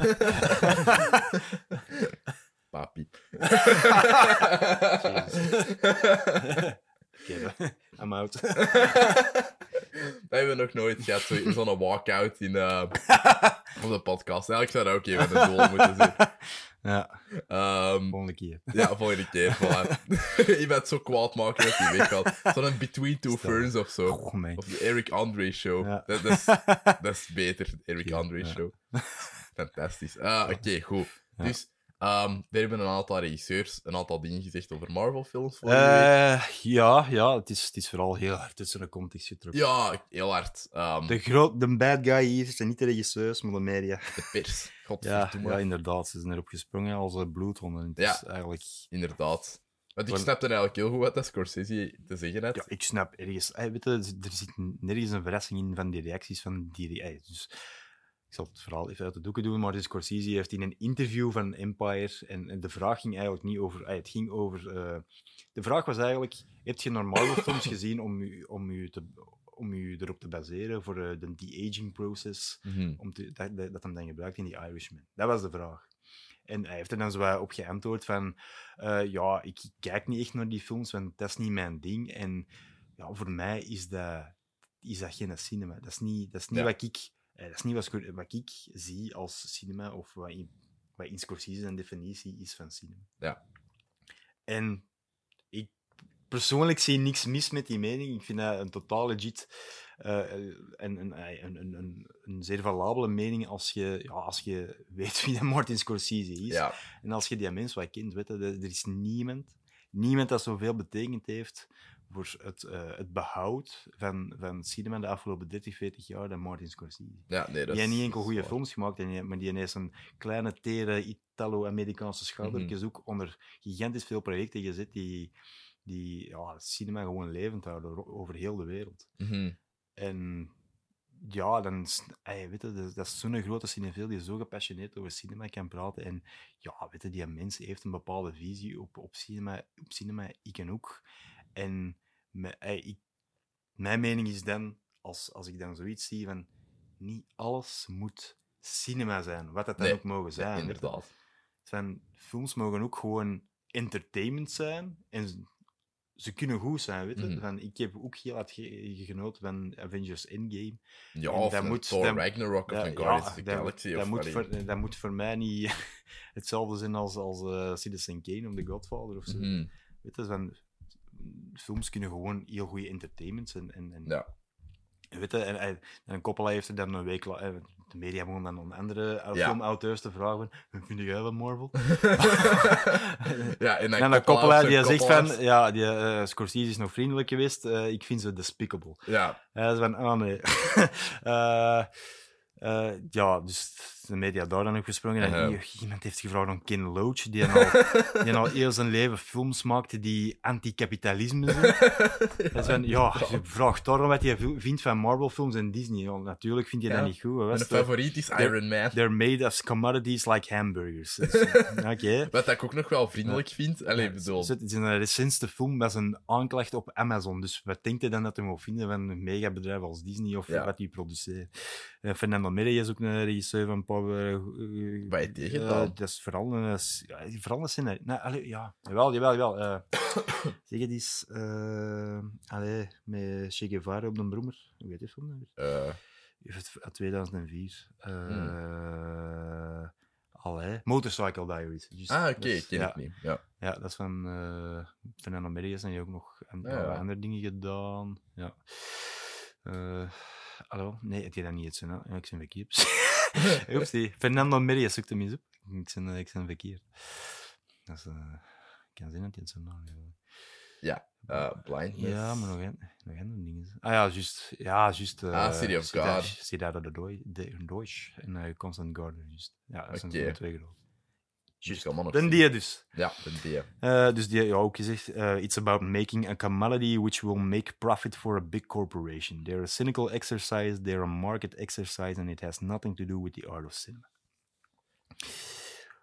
Speaker 1: Papi.
Speaker 2: Oké, dan. I'm out.
Speaker 1: Dat hebben we nog nooit gehad, zo- zo'n walkout in, eh, op de podcast. Eigenlijk zou dat ook even een doel moeten zijn.
Speaker 2: ja,
Speaker 1: Ehm,
Speaker 2: volgende keer.
Speaker 1: Ja, volgende keer. Voilà. je bent zo kwaad maken dat hij weggaat. Zo'n Between Two
Speaker 2: Stel.
Speaker 1: Ferns of zo.
Speaker 2: Oh, mijn.
Speaker 1: Of de Eric Andre Show.
Speaker 2: Ja.
Speaker 1: Dat, dat is, dat is beter, de Eric
Speaker 2: Ja,
Speaker 1: Andre
Speaker 2: ja.
Speaker 1: Show. Fantastisch. Ah, Oké, goed.
Speaker 2: Ja.
Speaker 1: Dus, ehm er hebben een aantal regisseurs een aantal dingen gezegd over Marvel-films vorige week.
Speaker 2: Eh, ja, ja het, is, het is vooral heel hard uit zijn context getrokken.
Speaker 1: Ja, heel hard. Ehm,
Speaker 2: De, groot, de bad guy hier zijn niet de regisseurs, maar de media.
Speaker 1: de pers.
Speaker 2: Ja,
Speaker 1: Godverdomme.
Speaker 2: ja, inderdaad. Ze zijn erop gesprongen als eh, bloedhonden. Het
Speaker 1: Ja.
Speaker 2: is eigenlijk...
Speaker 1: Inderdaad. Want ik
Speaker 2: Want-
Speaker 1: snapte eigenlijk heel goed wat dat Scorsese te zeggen had.
Speaker 2: Ja, ik snap ergens... eh, weet je, er zit nergens een verrassing in van die reacties van die... eh, dus ik zal het verhaal even uit de doeken doen, maar dus Scorsese heeft in een interview van Empire... En, en de vraag ging eigenlijk niet over... eh, het ging over... eh, de vraag was eigenlijk, heb je naar Marvel-films gezien om je om u te... Om je erop te baseren voor eh, de de-aging process.
Speaker 1: Mhm.
Speaker 2: om te, dat, dat, dat hem dan gebruikt in die Irishman. Dat was de vraag. En hij heeft er dan zo wat op geantwoord van... eh, ja, ik kijk niet echt naar die films, want dat is niet mijn ding. En ja, voor mij is dat, is dat geen cinema. Dat is niet, dat is niet
Speaker 1: Ja.
Speaker 2: wat ik... eh, dat is niet wat, Scor- wat ik zie als cinema, of wat in, wat in Scorsese zijn definitie is van cinema.
Speaker 1: Ja.
Speaker 2: En ik persoonlijk zie niks mis met die mening. Ik vind dat een totaal legit eh, en een, eh, een, een, een, een zeer valabele mening als je, ja, als je weet wie dat Martin Scorsese is.
Speaker 1: Ja,
Speaker 2: En als je die mens wat kent, weet je, er er is niemand, niemand dat zoveel betekend heeft voor het, eh, het behoud van, van cinema de afgelopen 30, 40 jaar dan Martin Scorsese.
Speaker 1: ja nee, dat
Speaker 2: Die heeft
Speaker 1: is-
Speaker 2: niet
Speaker 1: dat
Speaker 2: enkel
Speaker 1: is
Speaker 2: goede
Speaker 1: waar.
Speaker 2: films gemaakt, en die- maar die heeft een kleine, tere Italo-Amerikaanse schoudertjes
Speaker 1: Mhm.
Speaker 2: ook onder gigantisch veel projecten gezet die, die ja, het cinema gewoon levend houden ro- over heel de wereld.
Speaker 1: Mhm.
Speaker 2: En ja, dan, s- ey, weet je, dat is- dat is zo'n grote cinefiel die zo gepassioneerd over cinema kan praten. En ja, weet je, die mens heeft een bepaalde visie op, op, cinema, op cinema, ik en ook. En me- ey, ik, mijn mening is dan, als, als ik dan zoiets zie van, niet alles moet cinema zijn, wat dat dan
Speaker 1: Nee,
Speaker 2: ook mogen zijn.
Speaker 1: Ja,
Speaker 2: weet je.
Speaker 1: inderdaad.
Speaker 2: Van, films mogen ook gewoon entertainment zijn. En ze- ze kunnen goed zijn, weet je.
Speaker 1: Mhm.
Speaker 2: Van, ik heb ook heel hard ge- genoten van Avengers Endgame.
Speaker 1: Ja,
Speaker 2: En
Speaker 1: of
Speaker 2: dat
Speaker 1: een
Speaker 2: moet-
Speaker 1: Thor
Speaker 2: dat-
Speaker 1: Ragnarok of een Guardians of the
Speaker 2: dat-
Speaker 1: Galaxy.
Speaker 2: dat
Speaker 1: of
Speaker 2: moet
Speaker 1: allee.
Speaker 2: voor, dat moet voor mij niet hetzelfde zijn als, als eh, Citizen Kane of The Godfather of zo.
Speaker 1: Mhm.
Speaker 2: Weet je, van, films kunnen gewoon heel goede entertainment zijn. En, en,
Speaker 1: Ja.
Speaker 2: en weet je, en, en, en een koppel heeft er dan een week la- eh, De media begon dan aan andere eh,
Speaker 1: Ja.
Speaker 2: filmauteurs te vragen: Wat vind jij van Marvel?
Speaker 1: ja, en dan,
Speaker 2: En
Speaker 1: koppelaars
Speaker 2: dan Coppola,
Speaker 1: en
Speaker 2: die zegt
Speaker 1: koppelaars.
Speaker 2: van, ja, die, eh, Scorsese is nog vriendelijk geweest, eh, ik vind ze despicable.
Speaker 1: Ja,
Speaker 2: Hij is van, ah nee. Eh, eh, ja, dus de media daar dan op gesprongen. En
Speaker 1: Ja.
Speaker 2: hier- iemand heeft gevraagd om Ken Loach, die al, die al heel zijn leven films maakte die anticapitalisme zijn. Hij is van, ja, je vraagt daarom wat je vindt van Marvel-films en Disney. Ja, natuurlijk vind je
Speaker 1: Ja.
Speaker 2: dat niet goed. Wat was
Speaker 1: mijn
Speaker 2: het?
Speaker 1: favoriet is Iron Man.
Speaker 2: They're made as commodities like hamburgers. Dus, Oké.
Speaker 1: Wat ik ook nog wel vriendelijk vind. Allee,
Speaker 2: Ja,
Speaker 1: bedoel,
Speaker 2: zo- Het is een recentste film met een aanklacht op Amazon. Dus wat denkt je dan dat hij moet vinden van een megabedrijf als Disney of
Speaker 1: Ja.
Speaker 2: wat die produceert? Eh, Fernando Meri is ook een regisseur van Power. eh, eh,
Speaker 1: Wat je tegen
Speaker 2: eh,
Speaker 1: dan?
Speaker 2: Dat is vooral een, eh, s- ja, vooral een scenario. Nou, allee, ja, jawel, jawel, jawel. eh, zeg het eens. eh, allee, met Che Guevara op de brommer. Hoe heet die film nou weer?
Speaker 1: eh,
Speaker 2: Uit 2004. Eh allee, Motorcycle Diaries. juist.
Speaker 1: Hmm. ah, oké,
Speaker 2: Dat is-
Speaker 1: ik ken
Speaker 2: dus- ja.
Speaker 1: het niet. Ja.
Speaker 2: Ja, dat is van eh Fernando Merias en die heeft ook nog een
Speaker 1: Ah,
Speaker 2: paar
Speaker 1: ja.
Speaker 2: andere dingen gedaan. Ja. Eh, hallo? Nee, het is dat niet het zijn. hè? Ja, ik ben verkeerd. Oeps, die Fernando Merias zoekt hem eens op. Ik ben, eh, ik ben verkeerd. Dat is, eh, ik kan zien dat hij het zijn naam heeft.
Speaker 1: Eh, blindness.
Speaker 2: Ja, maar nog een, nog een ding is. Ah ja, juist. Ja, juist. eh,
Speaker 1: Ah, City of
Speaker 2: Cidade-
Speaker 1: God.
Speaker 2: Cidade de Doi- de Deutsch en eh, Constant Garden, juist. Ja, dat zijn
Speaker 1: Oké.
Speaker 2: de twee grote.
Speaker 1: Just man of
Speaker 2: Dan
Speaker 1: Steel.
Speaker 2: die dus.
Speaker 1: Ja, de die.
Speaker 2: Eh, dus die, ja, ook gezegd, eh, it's about making a commodity which will make profit for a big corporation. They're a cynical exercise, they're a market exercise, and it has nothing to do with the art of cinema.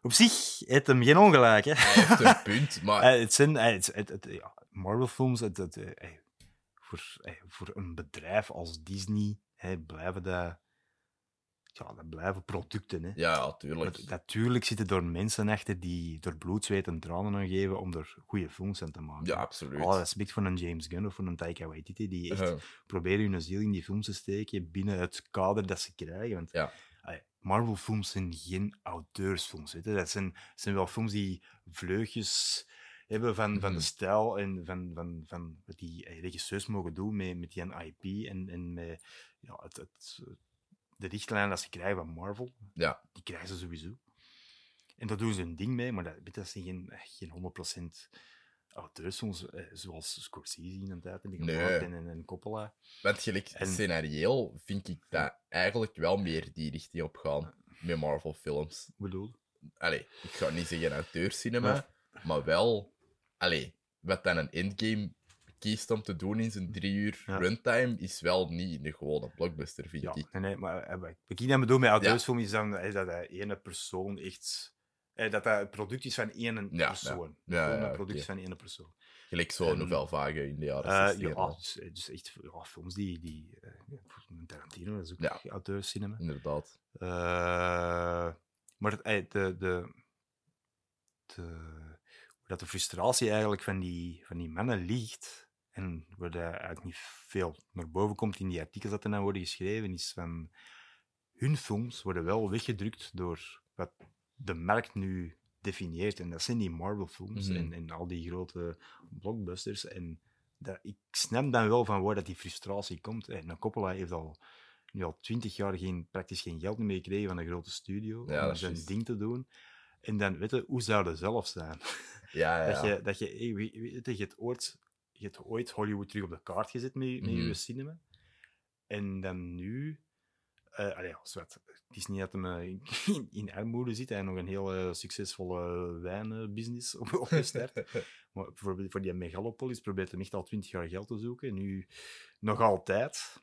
Speaker 2: Op zich heeft hem geen ongelijk, hè?
Speaker 1: Hij heeft een punt, maar
Speaker 2: Eh, het zijn eh, het, het, het- ja, Marvel-films. Het, het, eh, eh, voor, eh, voor een bedrijf als Disney hè, blijven dat, ja, dat blijven producten. Hè.
Speaker 1: ja, ja, tuurlijk.
Speaker 2: Want Natuurlijk zitten er mensen achter die er bloed, zweet en tranen aan geven om er goede films aan te maken.
Speaker 1: Ja, absoluut.
Speaker 2: Alle respect voor een James Gunn of voor een Taika Waititi, die oh, echt
Speaker 1: Eh,
Speaker 2: proberen hun ziel in die films te steken binnen het kader dat ze krijgen. Want
Speaker 1: Ja.
Speaker 2: allee, Marvel-films zijn geen auteursfilms. Weet je. Dat zijn, zijn wel films die vleugjes hebben van, van de
Speaker 1: Mhm.
Speaker 2: stijl en van, van, van wat die eh, regisseurs mogen doen met, met die IP en, en met ja, het, het, de richtlijn dat ze krijgen van Marvel.
Speaker 1: Ja.
Speaker 2: Die krijgen ze sowieso. En daar doen ze hun ding mee, maar dat, weet je, dat zijn geen, geen 100% auteursfilms eh, zoals Scorsese in een tijd hebben
Speaker 1: Nee.
Speaker 2: gemaakt en, en, en Coppola.
Speaker 1: Want gelijk
Speaker 2: En-
Speaker 1: scenarioel vind ik dat eigenlijk wel meer die richting op gaan met Marvel films.
Speaker 2: bedoel.
Speaker 1: Allee, ik ga niet zeggen auteurcinema, maar wel... Allee, wat dan een endgame kiest om te doen in zijn drie uur
Speaker 2: Ja.
Speaker 1: runtime, is wel niet een gewone blockbuster, vind
Speaker 2: Ja,
Speaker 1: ik.
Speaker 2: nee, nee, maar eh, wat ik niet aan bedoel met auteursfilm is dan eh, dat de ene persoon echt... eh, dat dat het product is van één
Speaker 1: ja.
Speaker 2: persoon.
Speaker 1: Ja, ja,
Speaker 2: Gewoon een
Speaker 1: ja,
Speaker 2: product is
Speaker 1: oké.
Speaker 2: van één persoon.
Speaker 1: Gelijk zo'n
Speaker 2: En-
Speaker 1: novel vage in de jaren
Speaker 2: Eh,
Speaker 1: 60 en
Speaker 2: ja,
Speaker 1: al.
Speaker 2: dus, eh, dus echt ja, films die... die eh, bijvoorbeeld Tarantino, dat is ook
Speaker 1: Ja.
Speaker 2: auteurscinema.
Speaker 1: Inderdaad.
Speaker 2: Eh, maar het- eh, de, de, de, hoe dat de frustratie eigenlijk van die, van die mannen ligt, en waar dat eigenlijk niet veel naar boven komt in die artikels dat er dan worden geschreven, is van hun films worden wel weggedrukt door wat de markt nu definieert. En dat zijn die Marvel-films
Speaker 1: Mhm.
Speaker 2: en, en al die grote blockbusters. En dat, ik snap dan wel van waar dat die frustratie komt. En Coppola heeft al nu al twintig jaar geen, praktisch geen geld meer gekregen van een grote studio
Speaker 1: Ja, dat
Speaker 2: om
Speaker 1: is
Speaker 2: zijn
Speaker 1: juist.
Speaker 2: ding te doen. En dan, weet je, hoe zou dat zelf zijn?
Speaker 1: Ja, ja.
Speaker 2: Dat je, dat je, hey, wie- weet je, je hebt ooit, je hebt ooit Hollywood terug op de kaart gezet met, je- met
Speaker 1: Mhm.
Speaker 2: je cinema. En dan nu... eh allee, ja, zwart. Het is niet dat hem eh, in, in armoede zit. Hij heeft nog een heel eh, succesvolle wijnbusiness op, opgestart. Maar bijvoorbeeld voor die megalopolis probeert hem echt al twintig jaar geld te zoeken. Nu nog altijd.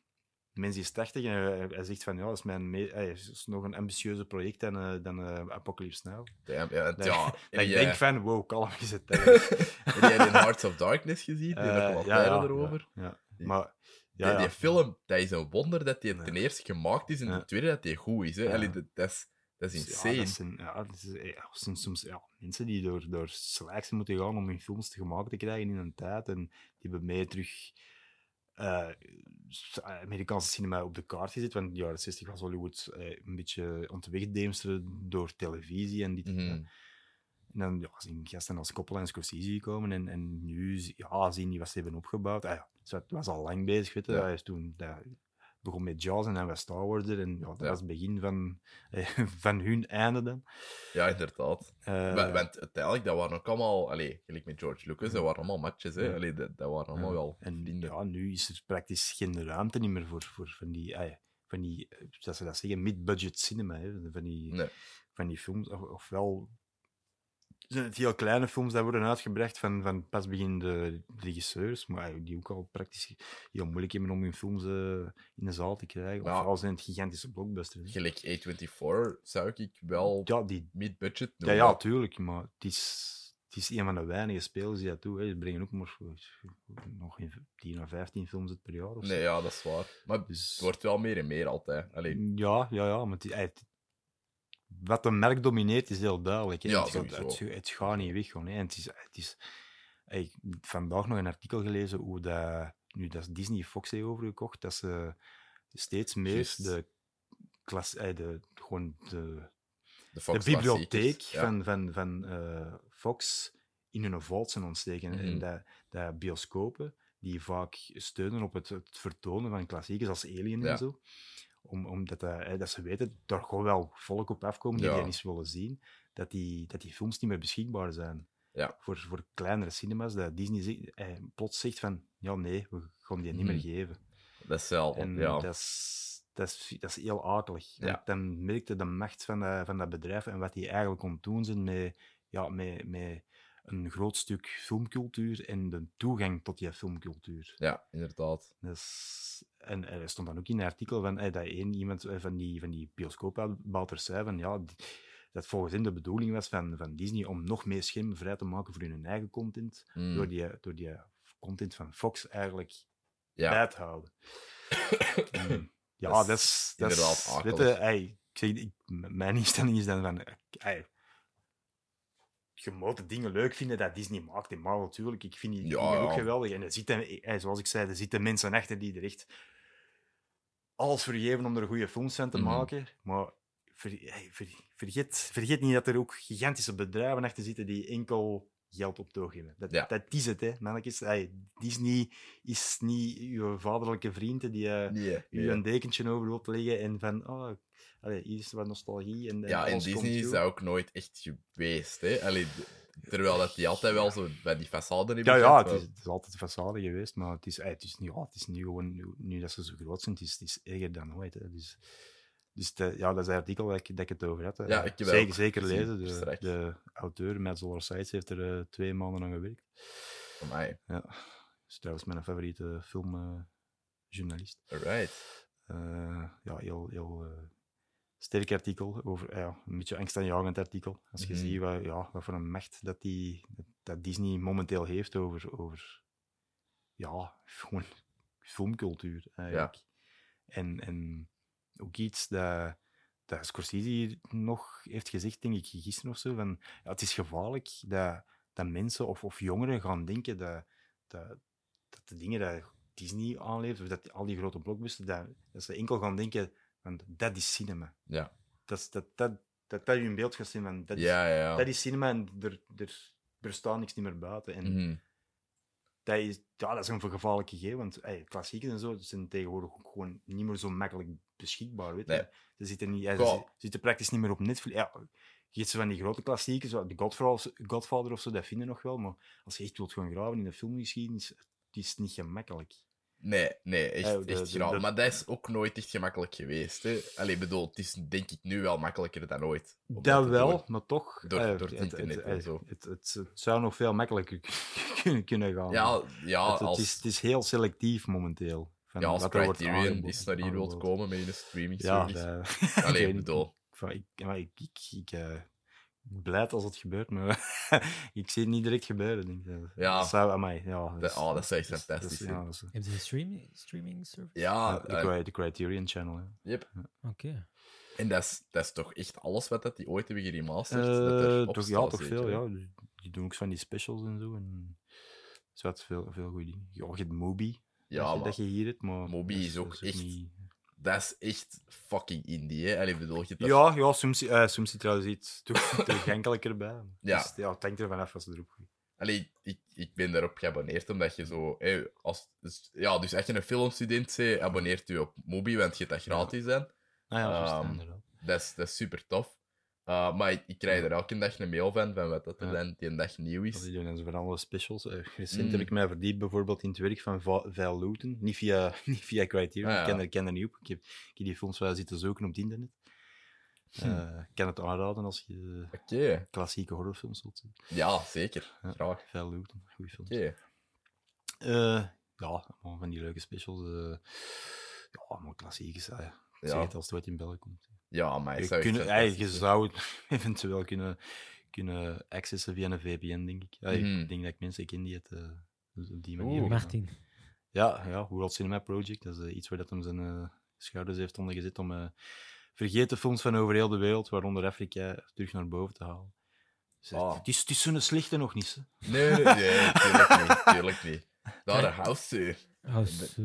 Speaker 2: Mensen is 80 en eh, hij zegt van ja, dat is, mijn me- eh, is nog een ambitieuzer project dan, eh, dan eh, Apocalypse Now.
Speaker 1: Damn, ja, want
Speaker 2: Dat-
Speaker 1: ja,
Speaker 2: Dat
Speaker 1: heb
Speaker 2: ik
Speaker 1: je-
Speaker 2: denk van wow, kalm is het. eh.
Speaker 1: Heb jij in Hearts of Darkness gezien? Die
Speaker 2: Eh,
Speaker 1: documentaire erover?
Speaker 2: Ja,
Speaker 1: Die-
Speaker 2: Maar
Speaker 1: Die-
Speaker 2: ja, ja.
Speaker 1: Die film, dat is een wonder dat die
Speaker 2: Ja.
Speaker 1: ten eerste gemaakt is en
Speaker 2: Ja.
Speaker 1: ten tweede dat die goed is. Hè?
Speaker 2: Ja.
Speaker 1: Allee, dat, dat is, dat is
Speaker 2: Dus ja,
Speaker 1: insane.
Speaker 2: dat zijn, ja, dat is, eh, ja, soms, soms ja, mensen die door, door slijks moeten gaan om hun films te gemaakt te krijgen in een tijd. En die hebben mij terug eh, s- eh, Amerikaanse cinema op de kaart gezet. Want in de jaren 60 was Hollywood eh, een beetje aan het wegdeemsteren door televisie en dit en dat.
Speaker 1: Mhm.
Speaker 2: En dan ja, zien gasten als Coppola en Scorsese komen en, en nu z- ja, zien die wat ze hebben opgebouwd. Ah, ja, ze was al lang bezig, weet je.
Speaker 1: Ja.
Speaker 2: Hij is toen dat begon met Jaws en dan was Star Wars er. En ja, dat
Speaker 1: Ja.
Speaker 2: was het begin van, eh, van hun einde dan.
Speaker 1: Ja, inderdaad.
Speaker 2: Eh,
Speaker 1: Wa- Want uiteindelijk, dat waren ook allemaal, allee, gelijk met George Lucas, dat waren allemaal matches. Hè?
Speaker 2: Ja.
Speaker 1: Allee, dat, dat waren allemaal
Speaker 2: ja.
Speaker 1: wel
Speaker 2: en
Speaker 1: vrienden.
Speaker 2: ja, nu is er praktisch geen ruimte niet meer voor, voor van die, ah ja, van die eh, dat ze dat zeggen, mid-budget cinema. Hè, van, die,
Speaker 1: Nee.
Speaker 2: van die films. Of, ofwel zijn het heel kleine films die worden uitgebracht van, van pas beginnende regisseurs, maar ja, die ook al praktisch heel moeilijk hebben om hun films eh, in de zaal te krijgen.
Speaker 1: Ja.
Speaker 2: Ofwel zijn het gigantische blockbusters. hè.
Speaker 1: Gelijk A24 zou ik wel
Speaker 2: Ja, die,
Speaker 1: mid-budget
Speaker 2: ja,
Speaker 1: noemen.
Speaker 2: ja, tuurlijk, maar het is, het is een van de weinige spelers die dat doet. Hè. Ze brengen ook maar eh, nog geen 10 à 15 films uit per jaar. Of zo.
Speaker 1: Nee, ja, dat is waar. Maar
Speaker 2: Dus- Mm.
Speaker 1: het wordt wel meer en meer altijd. Allee,
Speaker 2: Ja, ja, ja. Maar het, het- wat de merk domineert is heel duidelijk. Hè.
Speaker 1: Ja,
Speaker 2: het, gaat, het,
Speaker 1: sowieso.
Speaker 2: het gaat niet weg. Gewoon, hè. En het is, het is, ik heb vandaag nog een artikel gelezen hoe dat, nu, dat is Disney Fox heeft overgekocht. Dat ze steeds meer
Speaker 1: Juist.
Speaker 2: de, klas, eh, de, gewoon de,
Speaker 1: de,
Speaker 2: de
Speaker 1: Fox
Speaker 2: bibliotheek
Speaker 1: klassiekers, ja.
Speaker 2: van, van, van eh, Fox in hun vault zijn ontsteken. En
Speaker 1: Mhm.
Speaker 2: dat, dat bioscopen, die vaak steunen op het, het vertonen van klassiekers als Alien
Speaker 1: Ja.
Speaker 2: en zo, om, omdat dat, eh, dat ze weten, daar gewoon wel volk op afkomen die
Speaker 1: Ja.
Speaker 2: die eens willen zien, dat die, dat die films niet meer beschikbaar zijn.
Speaker 1: Ja.
Speaker 2: Voor, voor kleinere cinemas, dat Disney zegt- eh, plots zegt van, ja nee, we gaan die niet meer
Speaker 1: Mhm.
Speaker 2: geven.
Speaker 1: Dat is wel,
Speaker 2: En
Speaker 1: ja.
Speaker 2: dat, is, Dat is, dat is heel akelig.
Speaker 1: Ja.
Speaker 2: Want Dan merkte de macht van, dat- van dat bedrijf en wat die eigenlijk kon doen zijn met, ja, met, met een groot stuk filmcultuur en de toegang tot die filmcultuur.
Speaker 1: Ja, inderdaad.
Speaker 2: Dus, en er stond dan ook in een artikel van, eh, dat één iemand eh, van die, van die bioscoopbouters zei van, ja, d- dat volgens hen de bedoeling was van, van Disney om nog meer scherm vrij te maken voor hun eigen content,
Speaker 1: Mm,
Speaker 2: door, die, door die content van Fox eigenlijk
Speaker 1: ja.
Speaker 2: bij te houden. Mm. ja,
Speaker 1: Dat is
Speaker 2: dat is... Dat is
Speaker 1: inderdaad akelig.
Speaker 2: weet je, ey, ik zeg, ik- m- mijn instelling is dan van... eh, ey, je moet de dingen leuk vinden dat Disney maakt in Marvel, natuurlijk. Ik vind die
Speaker 1: Ja,
Speaker 2: dingen ook
Speaker 1: ja.
Speaker 2: geweldig. En er zitten, ey, zoals ik zei, er zitten mensen achter die er echt alles voor geven om er goede films van te
Speaker 1: Mhm.
Speaker 2: maken. Maar ver- ey, ver- vergeet, vergeet niet dat er ook gigantische bedrijven achter zitten die enkel geld op het oog hebben. Dat,
Speaker 1: Ja.
Speaker 2: dat is het, hè. Mannetjes, ey, Disney is niet uw vaderlijke vriend die... eh,
Speaker 1: Nee,
Speaker 2: u
Speaker 1: nee.
Speaker 2: een dekentje over loopt liggen en van, oh, allee, hier is wat nostalgie. En, en
Speaker 1: Ja, in
Speaker 2: alles komt
Speaker 1: Disney is
Speaker 2: goed.
Speaker 1: dat ook nooit echt geweest. Hè? Allee, d- terwijl dat die altijd wel zo bij die façade hebben
Speaker 2: Ja, ja,
Speaker 1: gehad,
Speaker 2: het is,
Speaker 1: maar-
Speaker 2: het is altijd façade geweest, maar het is, eh, het is, nu, ja, het is nu gewoon, nu, nu dat ze zo groot zijn, het is, het is erger dan ooit. Hè. Dus, dus de- ja, dat is het artikel dat ik, dat ik het over had. hè.
Speaker 1: Ja, ik heb dat
Speaker 2: zeker,
Speaker 1: ook
Speaker 2: zeker
Speaker 1: gezien,
Speaker 2: lezen. De,
Speaker 1: straks.
Speaker 2: de auteur, Matt Zoller Sites, heeft er eh, twee maanden aan gewerkt.
Speaker 1: Amai.
Speaker 2: Ja, is trouwens mijn favoriete eh, filmjournalist.
Speaker 1: Alright.
Speaker 2: Eh, ja, heel, heel eh, sterk artikel. Over, eh, ja, een beetje angstaanjagend artikel. Als je
Speaker 1: Mhm.
Speaker 2: ziet wat, ja, wat voor een macht dat, die, dat Disney momenteel heeft over, over ja, gewoon filmcultuur eigenlijk. En, en ook iets dat, dat Scorsese hier nog heeft gezegd, denk ik, gisteren of zo, van ja, het is gevaarlijk dat, dat mensen of, of jongeren gaan denken dat, dat, dat de dingen dat Disney aanlevert, of dat die- al die grote blockbusters, dat, dat ze enkel gaan denken, want dat is cinema.
Speaker 1: Ja.
Speaker 2: Dat is- dat, dat, dat, dat je in beeld gaat zien, van dat, is-
Speaker 1: Ja, ja, ja.
Speaker 2: dat is cinema en er, er, er staat niks niet meer buiten. En
Speaker 1: Mhm.
Speaker 2: dat, is, ja, dat is een gevaarlijk gegeven, want ey, klassieken en zo zijn tegenwoordig ook gewoon niet meer zo makkelijk beschikbaar. Weet je.
Speaker 1: Nee.
Speaker 2: Ze, zitten niet, ey,
Speaker 1: Goh.
Speaker 2: ze zitten praktisch niet meer op Netflix. Ja, je hebt zo van die grote klassieken, zoals The Godfather, Godfather of zo, dat vinden nog wel, maar als je echt wilt gaan graven in de filmgeschiedenis, het is niet gemakkelijk.
Speaker 1: Nee, nee, echt,
Speaker 2: Eh, de-
Speaker 1: echt
Speaker 2: de-
Speaker 1: graag.
Speaker 2: de-
Speaker 1: Maar dat is ook nooit echt gemakkelijk geweest. Hè? Allee, ik bedoel, het is denk ik nu wel makkelijker dan ooit. om
Speaker 2: Dat
Speaker 1: te
Speaker 2: wel,
Speaker 1: doen.
Speaker 2: maar toch...
Speaker 1: door-
Speaker 2: eh,
Speaker 1: door het internet en
Speaker 2: het,
Speaker 1: zo.
Speaker 2: Het, het, het zou nog veel makkelijker kunnen- kunnen gaan.
Speaker 1: Ja, ja,
Speaker 2: het, het
Speaker 1: als,
Speaker 2: is, het is heel selectief momenteel. Van
Speaker 1: ja, als
Speaker 2: wat er wordt
Speaker 1: Criterion
Speaker 2: aangeboden-
Speaker 1: is naar hier wilt
Speaker 2: aangeboden.
Speaker 1: komen met een streaming
Speaker 2: Ja,
Speaker 1: service.
Speaker 2: dat- ik
Speaker 1: Allee,
Speaker 2: weet
Speaker 1: ik
Speaker 2: niet.
Speaker 1: bedoel,
Speaker 2: van, ik, maar ik, ik, ik eh, ik blijd als het gebeurt, maar ik zie het niet direct gebeuren. Denk ik.
Speaker 1: Ja.
Speaker 2: Dat zou aan mij. Ja, dat
Speaker 1: dat,
Speaker 2: is-
Speaker 1: oh, dat zou echt
Speaker 2: dat is- dat is-
Speaker 1: fantastisch
Speaker 2: ja,
Speaker 1: zijn.
Speaker 2: dat is-
Speaker 3: Heb je een streaming, streaming service?
Speaker 1: Ja,
Speaker 2: de,
Speaker 1: eh,
Speaker 2: cri- de Criterion Channel. ja.
Speaker 3: Oké.
Speaker 1: en dat is, dat is toch echt alles wat dat die ooit hebben geremasterd? dat
Speaker 2: Eh,
Speaker 1: erop
Speaker 2: toch, ja,
Speaker 1: staat,
Speaker 2: toch
Speaker 1: zeker,
Speaker 2: veel.
Speaker 1: hè?
Speaker 2: Ja. Die- Die doen ook zo van die specials en zo. En... Dus wat veel, veel goede dingen. Ja, je hebt Moby. dat,
Speaker 1: Ja,
Speaker 2: je,
Speaker 1: maar
Speaker 2: dat je hier hebt, maar...
Speaker 1: Moby
Speaker 2: dat
Speaker 1: is ook
Speaker 2: dat
Speaker 1: echt-
Speaker 2: niet-
Speaker 1: dat is echt fucking indie, hè? Allee, ik bedoel, je hebt dat-
Speaker 2: Ja, ja, soms, eh, soms zit trouwens iets toe- toegankelijker bij.
Speaker 1: Ja.
Speaker 2: Dus, ja, het hangt ervan af als ze erop gaan.
Speaker 1: Allee, ik, ik ben daarop geabonneerd omdat je zo. Hé, als, dus- ja, dus als je een filmstudent bent, abonneert u op Mobi, want je hebt dat gratis dan.
Speaker 2: Ah ja, juist,
Speaker 1: Ehm,
Speaker 2: inderdaad.
Speaker 1: Dat is, dat is super tof. Uh, maar ik, ik krijg er elke dag een mail van, van wat dat er
Speaker 2: Ja.
Speaker 1: dan die dag nieuw
Speaker 2: Want
Speaker 1: is.
Speaker 2: Die doen dan zo van alle specials. Eh, recent
Speaker 1: Mm.
Speaker 2: heb ik mij verdiept bijvoorbeeld in het werk van Va- Val Looten. Niet via, niet via Criterion,
Speaker 1: Ah,
Speaker 2: ik ken
Speaker 1: ja.
Speaker 2: er, ken er niet op. Ik heb, ik heb die films wel zitten zoeken op het internet.
Speaker 1: Hm.
Speaker 2: Eh, Ik kan het aanraden als je eh,
Speaker 1: Oké,
Speaker 2: klassieke horrorfilms wilt zien.
Speaker 1: ja, zeker.
Speaker 2: Ja.
Speaker 1: Graag.
Speaker 2: Val Looten, goede film.
Speaker 1: Oké.
Speaker 2: Eh, ja, allemaal van die leuke specials. eh ja, allemaal klassiekers. eh. Ik zeg
Speaker 1: Ja,
Speaker 2: het als het ooit in België komt.
Speaker 1: ja maar
Speaker 2: Je,
Speaker 1: zou echt
Speaker 2: kunnen,
Speaker 1: fantastisch
Speaker 2: eh, je
Speaker 1: zijn.
Speaker 2: zou het eventueel kunnen, kunnen accessen via een VPN, denk ik. Ja,
Speaker 1: Mhm.
Speaker 2: Ik denk dat ik mensen ken die het eh, op die manier
Speaker 1: Oeh.
Speaker 2: doen.
Speaker 3: Martin.
Speaker 2: Ja, ja, World Cinema Project. Dat is eh, iets waar dat hem zijn eh, schouders heeft ondergezet om eh, vergeten films van over heel de wereld, waaronder Afrika, terug naar boven te halen. Dus, eh,
Speaker 1: Ah.
Speaker 2: het, is, het is zo'n slechte nog niet. hè.
Speaker 1: Nee, nee, nee, tuurlijk niet. Tuurlijk niet. Daar de house. eh.
Speaker 3: Oh, zo.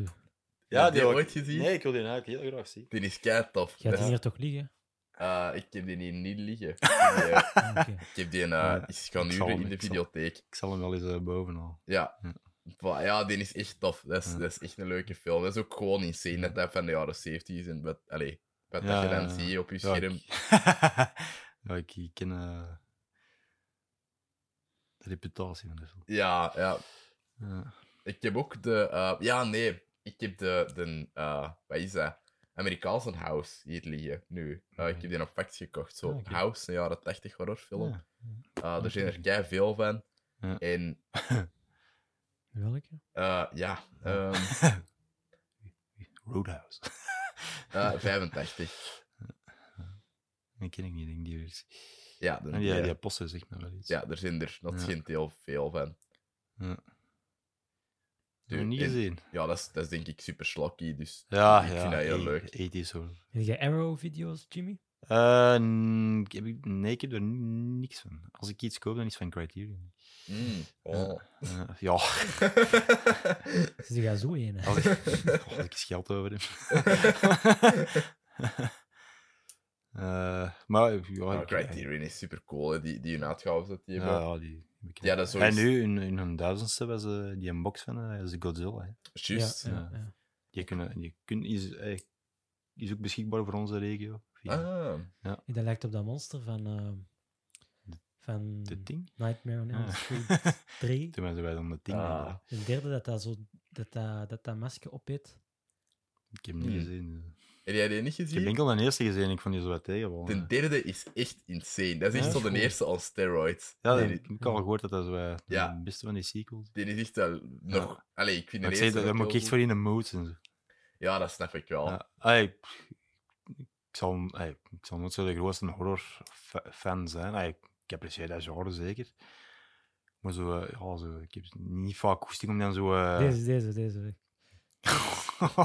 Speaker 1: Ja, die
Speaker 2: wil ik-
Speaker 1: ooit gezien?
Speaker 2: Nee, ik wil die eigenlijk heel graag zien.
Speaker 1: Die is kei tof.
Speaker 3: Gaat
Speaker 1: Dat
Speaker 3: die
Speaker 1: is-
Speaker 3: hier toch liggen?
Speaker 1: eh, ik heb die hier niet liggen. Ik heb die, eh,
Speaker 3: Ah, Oké.
Speaker 1: Ik heb die
Speaker 2: Ja,
Speaker 1: eh is gaan
Speaker 2: ik zal
Speaker 1: huren
Speaker 2: hem-
Speaker 1: in de
Speaker 2: ik zal-
Speaker 1: videotheek.
Speaker 2: Ik zal hem wel eens eh, bovenhalen.
Speaker 1: Ja.
Speaker 2: Ja.
Speaker 1: Wa- Ja, die is echt tof. Dat is,
Speaker 2: Ja.
Speaker 1: dat is echt een leuke film. Dat is ook gewoon insane dat dat van de jaren 70 is. En wat, allee, wat
Speaker 2: Ja,
Speaker 1: dat je
Speaker 2: ja,
Speaker 1: dan
Speaker 2: ja.
Speaker 1: ziet op je
Speaker 2: Ja,
Speaker 1: scherm.
Speaker 2: ik- ja, ik, ik ken eh, de reputatie van de film.
Speaker 1: Ja, ja.
Speaker 2: Ja.
Speaker 1: Ik heb ook de... eh, ja, nee. Ik heb de... de eh, wat is dat? Amerikaanse House hier liggen nu. Eh, ik heb die op facts gekocht. Zo.
Speaker 3: Ah, oké.
Speaker 1: House, een jaren 80 horrorfilm.
Speaker 2: Ja.
Speaker 1: Eh, er zijn er
Speaker 3: Oké.
Speaker 1: kei veel van.
Speaker 2: Ja.
Speaker 1: En
Speaker 3: Welke?
Speaker 1: eh, ja, ehm,
Speaker 2: Roadhouse.
Speaker 1: eh, 85.
Speaker 2: Die ken ik niet, denk ik. Die versie.
Speaker 1: Ja, dan-
Speaker 2: Ah, die,
Speaker 1: ja.
Speaker 2: die apostel zegt me wel iets.
Speaker 1: Ja, er zijn er nog
Speaker 2: Ja.
Speaker 1: geen heel veel van.
Speaker 2: Heb ik
Speaker 1: Dude,
Speaker 2: niet
Speaker 1: en-
Speaker 2: gezien.
Speaker 1: Ja, dat is, dat is denk ik super slokky, dus
Speaker 2: Ja,
Speaker 1: ik
Speaker 2: ja.
Speaker 1: vind dat heel
Speaker 2: eh,
Speaker 1: leuk.
Speaker 2: 80s horror.
Speaker 3: Heb jij Arrow-video's, Jimmy?
Speaker 2: Eh, n- ik heb, ik- nee, ik heb er n- niks van. Als ik iets koop, dan is het van Criterion.
Speaker 1: Mm, oh.
Speaker 2: Eh, ja,
Speaker 3: Ze gaan Dus zo in.
Speaker 2: als ik, als ik eens geld over heb. Eh, maar eh, ja,
Speaker 1: Maar
Speaker 2: ik-
Speaker 1: Oh, nou, Criterion is super cool, hè, die, die hun uitgaven dat die
Speaker 2: Ja,
Speaker 1: hebben.
Speaker 2: ja, die heb ik
Speaker 1: Ja, dat is
Speaker 2: En
Speaker 1: zoiets-
Speaker 2: nu, in, in hun duizendste, was eh, die een box van eh, is Godzilla. Hè.
Speaker 1: Juist.
Speaker 3: Ja, ja,
Speaker 2: ja.
Speaker 3: ja.
Speaker 2: Die, kunnen, die kun, is, eh, is ook beschikbaar voor onze regio. Via
Speaker 1: Ah,
Speaker 3: Dat lijkt op dat monster van, eh, van
Speaker 2: de ding.
Speaker 3: Nightmare on Elm
Speaker 2: Ah.
Speaker 3: Street 3.
Speaker 2: Toen waren wij dan de ding.
Speaker 1: Ah.
Speaker 2: inderdaad.
Speaker 3: De derde dat dat, zo, dat, dat, dat, dat masker opeet.
Speaker 2: Ik heb hem niet
Speaker 1: Hmm.
Speaker 2: gezien. dus.
Speaker 1: heb jij die niet
Speaker 2: Ik heb
Speaker 1: gezien?
Speaker 2: enkel de eerste gezien en ik vond die zo wat tegenvallen.
Speaker 1: De derde is echt insane. Dat is
Speaker 2: Ja,
Speaker 1: echt zo
Speaker 2: cool.
Speaker 1: de eerste on steroids.
Speaker 2: Ja,
Speaker 1: die,
Speaker 2: dat heb ik al gehoord dat dat zo eh, de
Speaker 1: Ja.
Speaker 2: beste van die sequels.
Speaker 1: die is echt wel nog... Allee, ik vind
Speaker 2: Maar
Speaker 1: de
Speaker 2: ik zei,
Speaker 1: eerste...
Speaker 2: dat- daar
Speaker 1: nog
Speaker 2: moet ik
Speaker 1: heel goed.
Speaker 2: echt
Speaker 1: Oh.
Speaker 2: voor in de mood en zo.
Speaker 1: Ja, dat snap ik wel.
Speaker 2: Ja. Allee, ik, ik zal, allee, ik zal nooit zo de grootste horrorfan zijn. Allee, ik apprecieer dat genre zeker. Maar zo, eh, ja, zo, ik heb niet vaak koesting om dan zo... eh,
Speaker 3: Deze, deze, deze.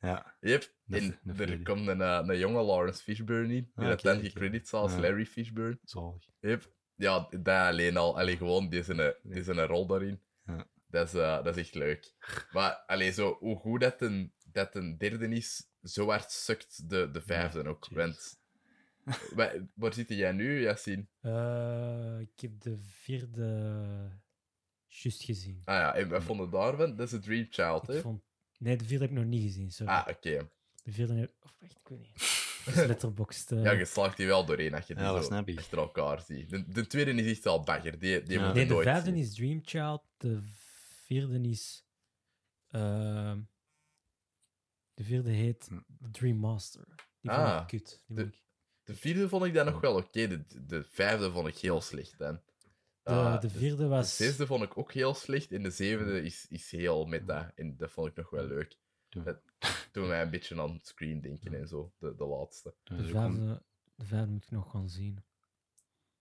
Speaker 2: ja,
Speaker 1: Yep.
Speaker 2: Dat-
Speaker 1: en
Speaker 2: dat vind
Speaker 1: er
Speaker 2: ik.
Speaker 1: komt een, eh, een jonge Lawrence Fishburne in, die
Speaker 2: Ah,
Speaker 1: dat
Speaker 2: oké,
Speaker 1: dan
Speaker 2: oké.
Speaker 1: gecrediteerd zal als
Speaker 2: Ja.
Speaker 1: Larry Fishburne.
Speaker 2: zalig.
Speaker 1: Yep. Ja, daar alleen al. Allee, gewoon deze, deze rol daarin.
Speaker 2: Ja.
Speaker 1: Dat, is, eh, dat is echt leuk. Maar allee, zo, hoe goed dat een, dat een derde is, zo hard sukt de, de vijfde ook.
Speaker 2: jeez.
Speaker 1: Want, waar, waar zit jij nu, Yassine?
Speaker 3: Eh, ik heb de vierde juist gezien.
Speaker 1: Ah ja, en wat vonden we daarvan? Dat is een Dream Child,
Speaker 3: Ik
Speaker 1: hè?
Speaker 3: vond... Nee, de vierde heb ik nog niet gezien, sorry.
Speaker 1: Ah, oké.
Speaker 3: De vierde heb Of wacht, ik weet niet. Dat is Letterboxd. eh.
Speaker 1: Ja, je slaagt die wel doorheen als je die
Speaker 2: Ja, dat
Speaker 1: zo
Speaker 2: snap ik.
Speaker 1: achter elkaar ziet. De, de tweede is echt al bagger. Die, die
Speaker 2: Ja.
Speaker 1: moet je
Speaker 3: nee, de
Speaker 1: nooit
Speaker 3: vijfde
Speaker 1: zien.
Speaker 3: is Dream Child. De vierde is... ehm, de vierde heet Dream Master. Die vond
Speaker 1: Hm. Ah,
Speaker 3: ik kut. Die
Speaker 1: de-
Speaker 3: vond ik-
Speaker 1: De vierde vond ik dan nog wel oké. De, de vijfde vond ik heel slecht dan.
Speaker 3: De,
Speaker 1: Ah,
Speaker 3: de
Speaker 1: dus-
Speaker 3: vierde
Speaker 1: De
Speaker 3: was...
Speaker 1: zesde vond ik ook heel slecht en de
Speaker 2: Mm.
Speaker 1: zevende is, is heel meta. En dat vond ik nog wel leuk.
Speaker 2: Toen-
Speaker 1: Dat toen wij een beetje aan Scream
Speaker 2: Mm.
Speaker 1: denken en zo, de, de laatste.
Speaker 2: Toen
Speaker 3: De
Speaker 2: we er ook om-
Speaker 3: vijfde, de vijfde moet ik nog gaan zien.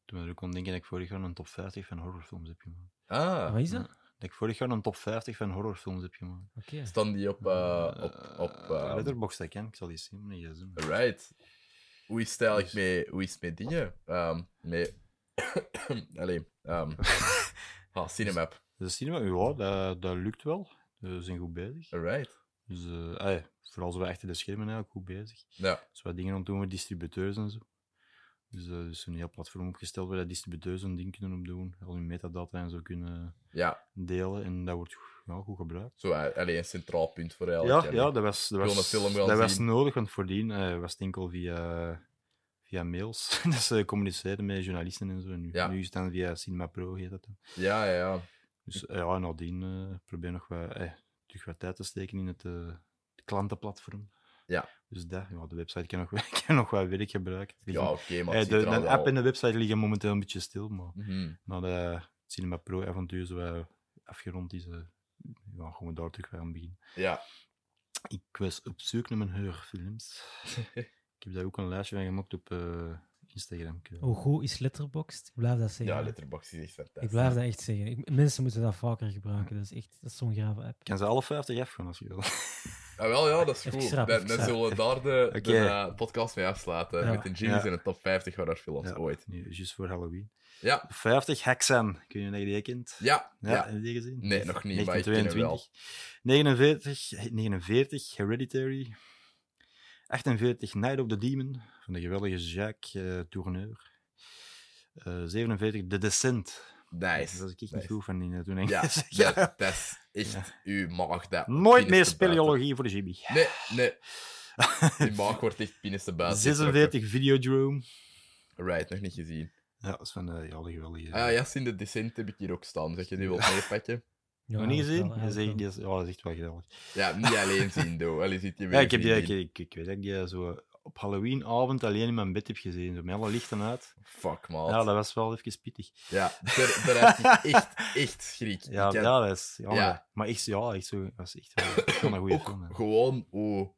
Speaker 2: toen we er ook om denken dat ik vorig jaar een top 50 van horrorfilms heb gemaakt.
Speaker 1: Ah,
Speaker 3: Wat is dat?
Speaker 2: ja. Dat ik vorig jaar een top 50 van horrorfilms heb gemaakt.
Speaker 3: Oké.
Speaker 1: staan die op... eh, op, op
Speaker 2: eh,
Speaker 1: eh,
Speaker 2: Letterboxd, dat ken ik. Ik zal die eens zien, maar niet gezien.
Speaker 1: right. Hoe is het eigenlijk
Speaker 2: Dus-
Speaker 1: mee, hoe is het met dingen? Ehm met... Allee, ehm ah, Cinemap.
Speaker 2: De cinema, ja, dat, dat lukt wel. We zijn goed bezig.
Speaker 1: Alright.
Speaker 2: Dus, eh, ah ja, vooral zijn we achter de schermen eigenlijk goed bezig.
Speaker 1: Ja,
Speaker 2: Dus wat dingen aan het doen met distributeurs en zo. Dus eh, er is een heel platform opgesteld waar dat distributeurs een ding kunnen op doen. Al hun metadata en zo kunnen
Speaker 1: ja.
Speaker 2: delen. En dat wordt ja, goed gebruikt.
Speaker 1: Zo, eh, allee, een centraal punt voor eigenlijk.
Speaker 2: Ja,
Speaker 1: hè.
Speaker 2: ja dat was, dat
Speaker 1: wil
Speaker 2: was,
Speaker 1: een film wel
Speaker 2: dat was
Speaker 1: zien.
Speaker 2: nodig, want voordien eh, was het enkel via, via mails. dat ze communiceerden met journalisten en zo. En nu,
Speaker 1: Ja.
Speaker 2: nu is het dan via Cinema Pro, heet dat dan.
Speaker 1: ja, ja, ja.
Speaker 2: Dus eh, ja, nadien eh, probeer nog wat, eh, terug wat tijd te steken in het eh, klantenplatform.
Speaker 1: Ja.
Speaker 2: Dus dat, ja, de website kan nog, kan nog wat werk gebruiken. Het
Speaker 1: Ja,
Speaker 2: ligt-
Speaker 1: oké, maar
Speaker 2: eh,
Speaker 1: het
Speaker 2: de,
Speaker 1: ziet er
Speaker 2: de
Speaker 1: allemaal-
Speaker 2: app en de website liggen momenteel een beetje stil, maar
Speaker 1: Mhm.
Speaker 2: na de Cinema Pro avontuur zo wat afgerond is, eh, ja, gaan we daar terug weer aan beginnen.
Speaker 1: Ja.
Speaker 2: Ik was op zoek naar mijn heurfilms. ik heb daar ook een lijstje van gemaakt op eh, Instagram. eh,
Speaker 1: Oh.
Speaker 3: Hoe goed is Letterboxd? Ik blijf dat zeggen.
Speaker 1: ja,
Speaker 3: hè.
Speaker 1: Letterboxd is echt fantastisch.
Speaker 3: ik blijf dat echt zeggen. Ik- mensen moeten dat vaker gebruiken. Dat is echt dat is zo'n grave app.
Speaker 2: Ik kan ze alle 50 afgaan als je wil.
Speaker 1: Ah, wel, ja, dat is
Speaker 3: Even
Speaker 1: goed.
Speaker 3: schrap,
Speaker 1: dan
Speaker 3: even
Speaker 1: dan
Speaker 3: schrap.
Speaker 1: zullen we daar de, de,
Speaker 2: Oké.
Speaker 1: eh, podcast mee afsluiten.
Speaker 3: Ja.
Speaker 1: Met de Jimmy's
Speaker 2: Ja.
Speaker 1: in de top 50 horrorfilms
Speaker 2: Ja.
Speaker 1: ooit.
Speaker 2: Nu, juist voor Halloween.
Speaker 1: Ja,
Speaker 2: 50 Hexen, kun je dat je kent?
Speaker 1: ja,
Speaker 2: Ja,
Speaker 1: ja.
Speaker 2: heb je die gezien?
Speaker 1: Nee, nog niet, maar ik ken hem wel.
Speaker 2: 49, 49, eh, Hereditary. 48, Night of the Demon, van de geweldige Jacques eh, Tourneur. Eh, 47, The Descent.
Speaker 1: Nice.
Speaker 2: Dat was ik echt niet
Speaker 1: nice.
Speaker 2: goed van die eh, toen
Speaker 1: Ja,
Speaker 2: Engels.
Speaker 1: dat, dat is echt uw maag. Dat binnenste
Speaker 2: Nooit meer
Speaker 1: buiten-
Speaker 2: speleologie voor de Jimmy.
Speaker 1: Nee, nee. Die maag wordt echt binnenste buiten. getrokken.
Speaker 2: 46, Videodrome.
Speaker 1: Right, nog niet gezien.
Speaker 2: eh, Ja, dat is van de ja, de geweldige...
Speaker 1: Ah ja, Jas in de Descent heb ik hier ook staan. Zeg je die wilt meepakken?
Speaker 3: Ja,
Speaker 2: Nog niet
Speaker 3: dat is
Speaker 2: gezien?
Speaker 3: wel
Speaker 2: Dan zeg ik,
Speaker 3: eigenlijk
Speaker 2: die is- oh, dat is echt wel geweldig.
Speaker 1: Ja, niet alleen zien, doe. Allee, zit je weer
Speaker 2: Ja, ik, heb die, ik,
Speaker 1: vriendin.
Speaker 2: ik, ik weet dat ik die eh, zo op Halloweenavond alleen in mijn bed heb gezien, zo met alle lichten uit.
Speaker 1: Fuck, man.
Speaker 2: Ja,
Speaker 1: Ja,
Speaker 2: dat was wel even pittig.
Speaker 1: daar, daar had ik echt, echt schrik.
Speaker 2: Ja,
Speaker 1: ik had
Speaker 2: ja, dat is jammer.
Speaker 1: Ja.
Speaker 2: Maar echt, ja, echt zo, dat was echt wel dat is wel een goede
Speaker 1: ook
Speaker 2: film. hè.
Speaker 1: gewoon hoe...